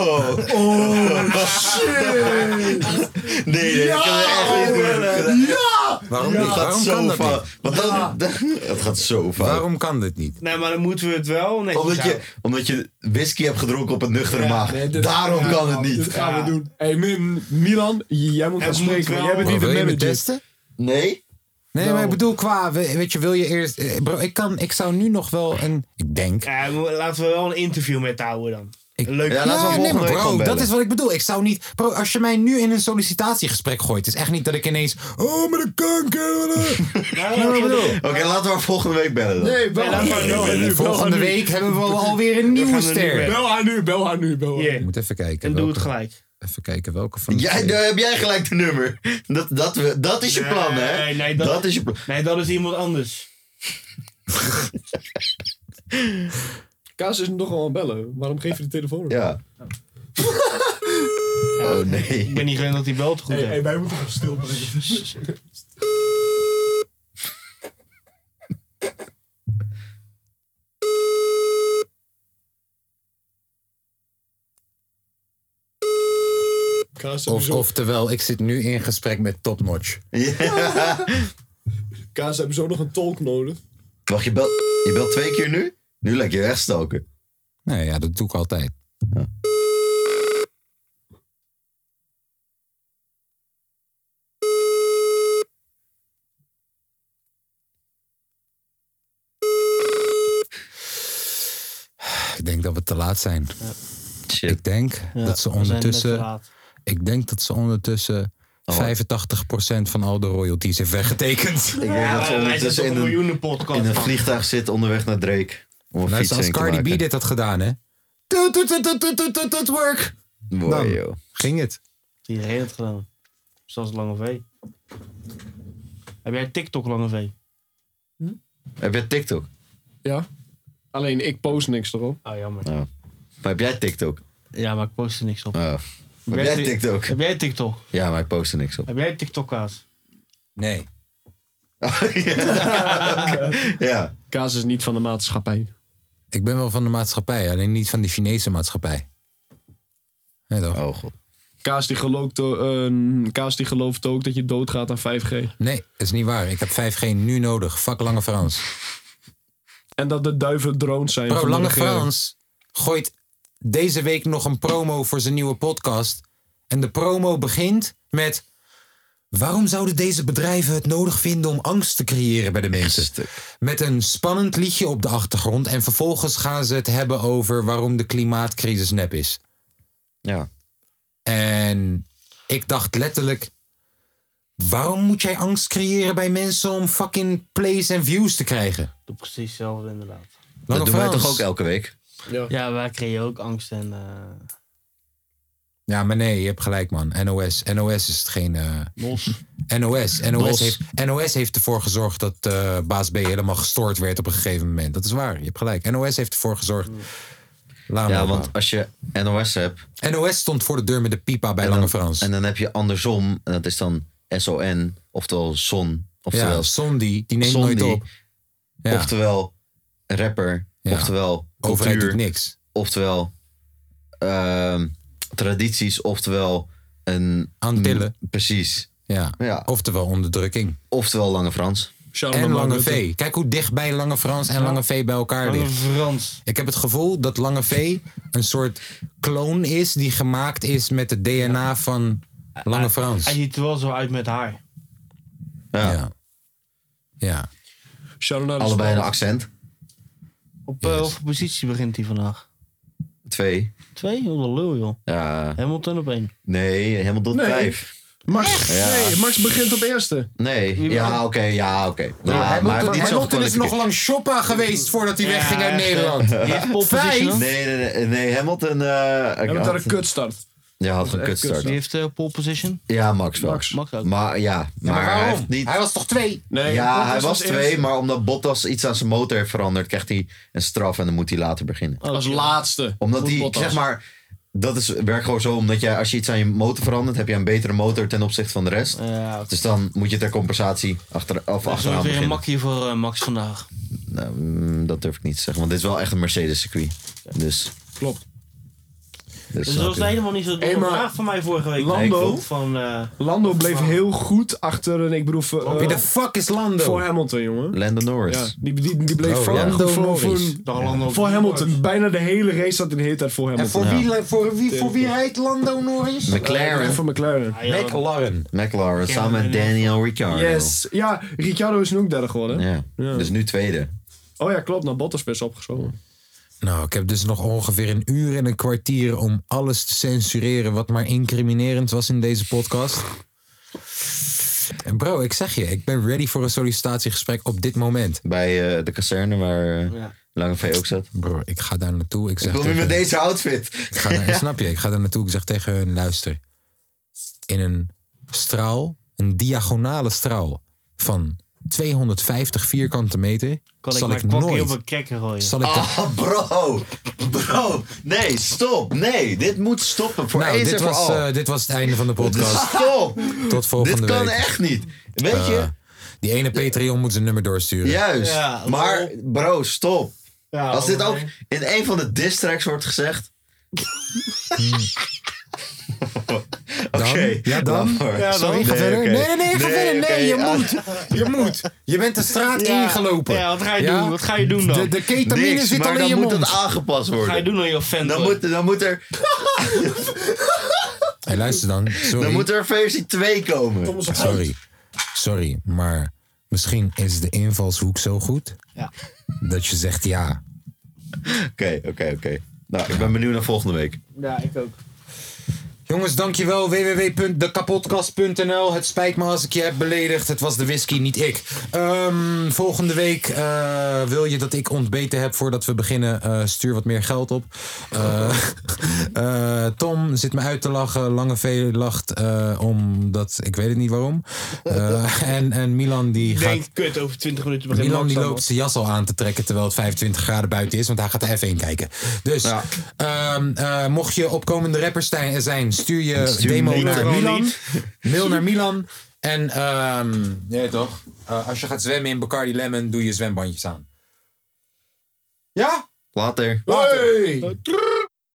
Speaker 4: Oh,
Speaker 5: shit! Nee, nee, ik kan er echt niet doen.
Speaker 1: Ja!
Speaker 5: Waarom
Speaker 4: Ja!
Speaker 5: niet?
Speaker 4: Het
Speaker 5: Waarom
Speaker 4: gaat zo
Speaker 5: kan dat
Speaker 4: fout.
Speaker 5: niet? Want dat- dat- Het gaat zo fout.
Speaker 1: Waarom kan dit niet?
Speaker 4: Nee, maar dan moeten we het wel. Nee,
Speaker 5: Omdat je, omdat je whisky hebt gedronken op een nuchtere maag. Daarom kan het niet.
Speaker 7: Dat gaan we doen. Hey, Mil- Milan, jij moet gaan spreken. want Jij bent hier de manager.
Speaker 5: Nee.
Speaker 1: Nee,
Speaker 6: Nou.
Speaker 4: Nou.
Speaker 1: maar ik bedoel qua, we- weet je, wil je eerst... eh, Bro, ik, kan, ik zou nu nog wel een... Ik denk...
Speaker 4: Ja, we- laten we wel een interview met haar houden dan. Een leuk
Speaker 1: Ja, nee, maar bro, dat is wat ik bedoel. Ik zou niet... Bro, als je mij nu in een sollicitatiegesprek gooit... is echt niet dat ik ineens... Oh, met een kanker...
Speaker 4: Ja,
Speaker 1: maar ik bedoel-
Speaker 5: Oké, laten we haar volgende week bellen dan.
Speaker 1: Nee,
Speaker 5: laten we haar nu bellen.
Speaker 1: Volgende
Speaker 5: Bel haar nu.
Speaker 1: week hebben we alweer een nieuwe
Speaker 5: gaan haar nu
Speaker 1: ster.
Speaker 5: bellen. Bel
Speaker 7: haar nu, bel haar nu, bel
Speaker 1: Ik moet even kijken.
Speaker 5: En doe
Speaker 1: welke-
Speaker 5: het
Speaker 4: gelijk.
Speaker 1: Even kijken welke van... de
Speaker 5: Jij,
Speaker 1: twee-
Speaker 5: daar heb jij gelijk de nummer. Dat, dat, we- dat is je plan, hè?
Speaker 4: Nee, nee,
Speaker 5: dat,
Speaker 4: dat,
Speaker 5: is je plan.
Speaker 4: Nee, dat is iemand anders.
Speaker 7: Kaas is nog wel aan bellen. Waarom geef je de telefoon?
Speaker 5: Ja. Oh nee. Ik
Speaker 4: ben niet gewend dat hij belt goed.
Speaker 7: Hey, hey, wij moeten gaan stil blijven.
Speaker 1: Of, oftewel, ik zit nu in gesprek met Topnotch.
Speaker 7: Kaas hebben zo nog een tolk nodig.
Speaker 5: Wacht, je belt, je belt twee keer nu? Nu lijkt je wegstoken.
Speaker 1: Nee, ja, dat doe ik altijd. Ik denk dat we te laat zijn. Ik denk
Speaker 4: Ja,
Speaker 1: dat ze
Speaker 4: we zijn net te
Speaker 1: ondertussen.
Speaker 4: laat.
Speaker 1: Ik denk dat ze
Speaker 5: Oh,
Speaker 1: ondertussen. 85% van al de royalties heeft weggetekend.
Speaker 5: Ik denk dat ze ondertussen in een, in een vliegtuig zit onderweg naar Drake. Om een
Speaker 1: Luister, als
Speaker 5: fietsheen te
Speaker 1: Nou, Cardi
Speaker 5: maken.
Speaker 1: B dit had gedaan, hè? Tut, tut, tut, tut, tut, tut, tut, work.
Speaker 5: Mooi, joh.
Speaker 1: Ging het?
Speaker 4: Iedereen had het gedaan. Zoals Lange V. Heb jij TikTok, Lange V?
Speaker 5: Heb jij TikTok?
Speaker 6: Ja. Alleen ik post niks erop.
Speaker 4: Ah, jammer.
Speaker 5: Ja. Nou. Maar heb jij TikTok? Oh.
Speaker 4: Ja, maar ik post er niks op.
Speaker 5: Heb jij TikTok?
Speaker 4: Heb jij TikTok?
Speaker 5: Ja, maar ik post er niks op.
Speaker 4: Heb jij TikTok, Kaas?
Speaker 1: Nee.
Speaker 5: Ja.
Speaker 6: Kaas is niet van de maatschappij.
Speaker 1: Ik ben wel van de maatschappij, alleen niet van die Chinese maatschappij. Nee toch?
Speaker 5: Oh god.
Speaker 6: Kaas die, gelooft, o- eh, Kaas die gelooft ook dat je doodgaat aan 5G.
Speaker 1: Nee, dat is niet waar. Ik heb 5G nu nodig. Fuck Lange Frans.
Speaker 6: En dat de duiven drones zijn.
Speaker 1: Bro,
Speaker 6: van de
Speaker 1: Lange
Speaker 6: regering.
Speaker 1: Frans gooit deze week nog een promo voor zijn nieuwe podcast. En de promo begint met... Waarom zouden deze bedrijven het nodig vinden om angst te creëren bij de mensen? Met een spannend liedje op de achtergrond. En vervolgens gaan ze het hebben over waarom de klimaatcrisis nep is.
Speaker 5: Ja.
Speaker 1: En ik dacht letterlijk... Waarom moet jij angst creëren bij mensen om fucking plays en views te krijgen?
Speaker 4: Doe precies hetzelfde, inderdaad.
Speaker 1: Dat Lange doen wij Frans.
Speaker 5: Toch ook elke week?
Speaker 4: Ja, wij creëren ook angst en... eh,
Speaker 1: Ja, maar nee, je hebt gelijk, man. NOS, NOS is het geen. eh, NOS, NOS,
Speaker 4: Los.
Speaker 1: Heeft, NOS heeft ervoor gezorgd dat eh, baas B helemaal gestoord werd op een gegeven moment. Dat is waar, je hebt gelijk. NOS heeft ervoor gezorgd. Laat
Speaker 5: ja,
Speaker 1: maar.
Speaker 5: want als je NOS hebt.
Speaker 1: NOS stond voor de deur met de pipa bij Lange Frans.
Speaker 5: En dan heb je andersom, en dat is dan SON, oftewel Son. Oftewel
Speaker 1: Ja, Sondi, die neemt
Speaker 5: Sondi,
Speaker 1: nooit op. Ja.
Speaker 5: Oftewel rapper,
Speaker 1: Ja.
Speaker 5: oftewel
Speaker 1: Overheid
Speaker 5: cultuur,
Speaker 1: doet niks.
Speaker 5: Oftewel ehm, tradities, oftewel een...
Speaker 1: Antillen.
Speaker 5: Precies.
Speaker 1: Ja. Oftewel onderdrukking.
Speaker 5: Oftewel Lange Frans.
Speaker 1: en Lange V. Kijk hoe dichtbij Lange Frans en Lange V bij elkaar
Speaker 5: Lange
Speaker 1: liggen. Ik heb het gevoel dat Lange V een soort kloon is die gemaakt is met het DNA van Lange Frans.
Speaker 4: Hij ziet er wel zo uit met haar.
Speaker 5: Ja.
Speaker 1: ja.
Speaker 5: Allebei een accent.
Speaker 4: Op eh, welke positie begint hij vandaag?
Speaker 5: Twee.
Speaker 4: Twee? Wat een lul, joh.
Speaker 5: Ja.
Speaker 4: Hamilton op één.
Speaker 5: Nee, helemaal tot
Speaker 4: Nee.
Speaker 5: vijf.
Speaker 6: Max,
Speaker 5: Ja.
Speaker 6: nee, Max begint op eerste.
Speaker 5: Nee, ja, oké, ja, oké. Nou, maar hij wordt
Speaker 1: Hamilton,
Speaker 5: niet zo
Speaker 1: Hamilton is
Speaker 5: gekwalificeerd.
Speaker 1: nog lang shoppa geweest voordat hij
Speaker 5: Ja,
Speaker 1: wegging uit
Speaker 5: echt, hè.
Speaker 1: Nederland. Vijf?
Speaker 5: Nee, nee, nee, nee, Hamilton... eh
Speaker 4: Hamilton had een
Speaker 6: kutstart.
Speaker 5: Ja, had
Speaker 4: Echt
Speaker 5: een kutstart.
Speaker 4: Die heeft eh, pole position.
Speaker 5: Ja, Max wel.
Speaker 4: Max. Max ook.
Speaker 5: Maar ja, maar, hij heeft niet...
Speaker 1: Hij was toch twee?
Speaker 5: ja, hij was
Speaker 4: eerste.
Speaker 5: twee, maar omdat Bottas iets aan zijn motor heeft veranderd, krijgt hij een straf en dan moet hij later beginnen.
Speaker 6: Als
Speaker 4: Oh,
Speaker 6: laatste.
Speaker 5: Omdat
Speaker 6: Voor
Speaker 5: die,
Speaker 6: Bottas.
Speaker 5: zeg maar, dat is, werkt gewoon zo, omdat jij, als je iets aan je motor verandert, heb je een betere motor ten opzichte van de rest. Dus dan moet je ter compensatie achter, of
Speaker 4: Dat is ook
Speaker 5: achteraan
Speaker 4: weer een
Speaker 5: beginnen.
Speaker 4: makkie voor eh, Max vandaag.
Speaker 5: Nou, mm, dat durf ik niet te zeggen, want dit is wel echt een Mercedes-circuit. Dus.
Speaker 6: Klopt.
Speaker 5: Dus
Speaker 4: Dus dat was
Speaker 5: natuurlijk-
Speaker 4: helemaal niet zo
Speaker 6: Hey,
Speaker 4: domme
Speaker 6: maar-
Speaker 4: vraag van mij vorige week.
Speaker 6: Lando?
Speaker 4: Ik vond Van, eh,
Speaker 6: Lando bleef heel goed achter. En ik bedoel, eh,
Speaker 4: Wie de
Speaker 1: fuck is Lando?
Speaker 6: Voor Hamilton, jongen.
Speaker 5: Lando Norris.
Speaker 6: Ja, die, die, die bleef
Speaker 5: Oh,
Speaker 6: voor,
Speaker 5: ja.
Speaker 6: voor,
Speaker 5: Lando
Speaker 6: voor, voor,
Speaker 5: Norris.
Speaker 4: Dag, Lando
Speaker 6: voor Hamilton. Bijna de hele race zat in de hele tijd voor Hamilton.
Speaker 1: voor wie, voor, wie, voor wie rijdt Lando Norris?
Speaker 5: McLaren.
Speaker 6: voor McLaren.
Speaker 1: McLaren.
Speaker 5: McLaren, samen met Daniel Ricciardo.
Speaker 6: Yes. Ja, Ricciardo is nu ook derde geworden.
Speaker 5: Ja. Dus nu tweede.
Speaker 6: Oh ja, klopt. Nou, Bottas best opgeschoven.
Speaker 1: Nou, ik heb dus nog ongeveer een uur en een kwartier om alles te censureren wat maar incriminerend was in deze podcast. En bro, ik zeg je, ik ben ready voor een sollicitatiegesprek op dit moment.
Speaker 5: Bij eh, de kazerne waar eh,
Speaker 1: Ja.
Speaker 5: Lange V ook zat.
Speaker 1: Bro, ik ga daar naartoe. Ik, zeg
Speaker 5: wil nu
Speaker 1: tegen-
Speaker 5: met deze outfit.
Speaker 1: Ik ga daar, Snap je? Ik ga daar naartoe. Ik zeg tegen hun, luister. In een straal, een diagonale straal van 250 vierkante meter...
Speaker 4: kan ik
Speaker 1: zal
Speaker 4: mijn
Speaker 1: ik
Speaker 4: kwakkie
Speaker 1: nooit...
Speaker 4: op een cracker gooien.
Speaker 1: Zal ik
Speaker 5: Ah, bro! Bro! Nee, stop! Nee, dit moet stoppen. Voor
Speaker 1: nou,
Speaker 5: eens
Speaker 1: dit
Speaker 5: en voor
Speaker 1: was,
Speaker 5: al.
Speaker 1: eh, dit was het einde van de podcast.
Speaker 5: Stop!
Speaker 1: Tot volgende
Speaker 5: Dit
Speaker 1: week.
Speaker 5: kan echt niet. Weet je-
Speaker 1: Eh, die ene Patreon moet zijn nummer doorsturen.
Speaker 5: Juist. maar bro, stop. Als dit ook
Speaker 1: oké.
Speaker 5: in een van de distracks wordt gezegd. Oké.
Speaker 1: Ja, dan.
Speaker 5: laat maar.
Speaker 1: Ja, dan. Sorry, ga
Speaker 5: Nee,
Speaker 1: verder.
Speaker 5: oké.
Speaker 1: Nee, nee, nee, ga verder. Nee,
Speaker 5: oké, Ah.
Speaker 1: je
Speaker 5: ja.
Speaker 1: moet. Je moet. Je bent de straat
Speaker 4: Ja.
Speaker 1: ingelopen.
Speaker 4: Ja, wat ga je doen? Wat ga je doen dan?
Speaker 1: De, de ketamine
Speaker 4: Niks,
Speaker 1: zit
Speaker 4: maar
Speaker 1: al in
Speaker 4: dan
Speaker 1: je
Speaker 4: moet
Speaker 1: mond.
Speaker 4: het aangepast worden. Ga je doen aan je fan, Dan hoor. moet-
Speaker 5: dan moet er...
Speaker 1: hey, luister dan. Sorry.
Speaker 5: Dan moet er versie 2 komen.
Speaker 1: Sorry. Sorry, maar misschien is de invalshoek zo goed... dat je zegt ja.
Speaker 5: Oké, oké, oké. Nou, ik ben benieuwd naar volgende week.
Speaker 4: Ja, ik ook.
Speaker 1: Jongens, dankjewel. www.dekapotkast.nl Het spijt me als ik je heb beledigd. Het was de whisky, niet ik. Ehm, volgende week eh, wil je dat ik ontbeten heb voordat we beginnen. eh, stuur wat meer geld op. Eh, eh, Tom zit me uit te lachen. Lange V lacht eh, omdat... Ik weet het niet waarom. Eh, en, en Milan die
Speaker 4: Ik
Speaker 1: gaat...
Speaker 4: denk, kut, over 20 minuten begint
Speaker 1: Milan die
Speaker 4: Max
Speaker 1: loopt zijn jas al aan te trekken terwijl het 25 graden buiten is, want hij gaat er even in kijken. Dus ehm, eh, mocht je opkomende rappers tij- zijn, stuur je
Speaker 5: Stuur
Speaker 1: demo
Speaker 5: mail
Speaker 1: naar
Speaker 5: vooral
Speaker 1: Milan.
Speaker 5: niet.
Speaker 1: Mail naar Milan. En ehm ja, toch? Eh, als je gaat zwemmen in Bacardi Lemon, doe je zwembandjes aan. Ja?
Speaker 5: Later.
Speaker 1: Later.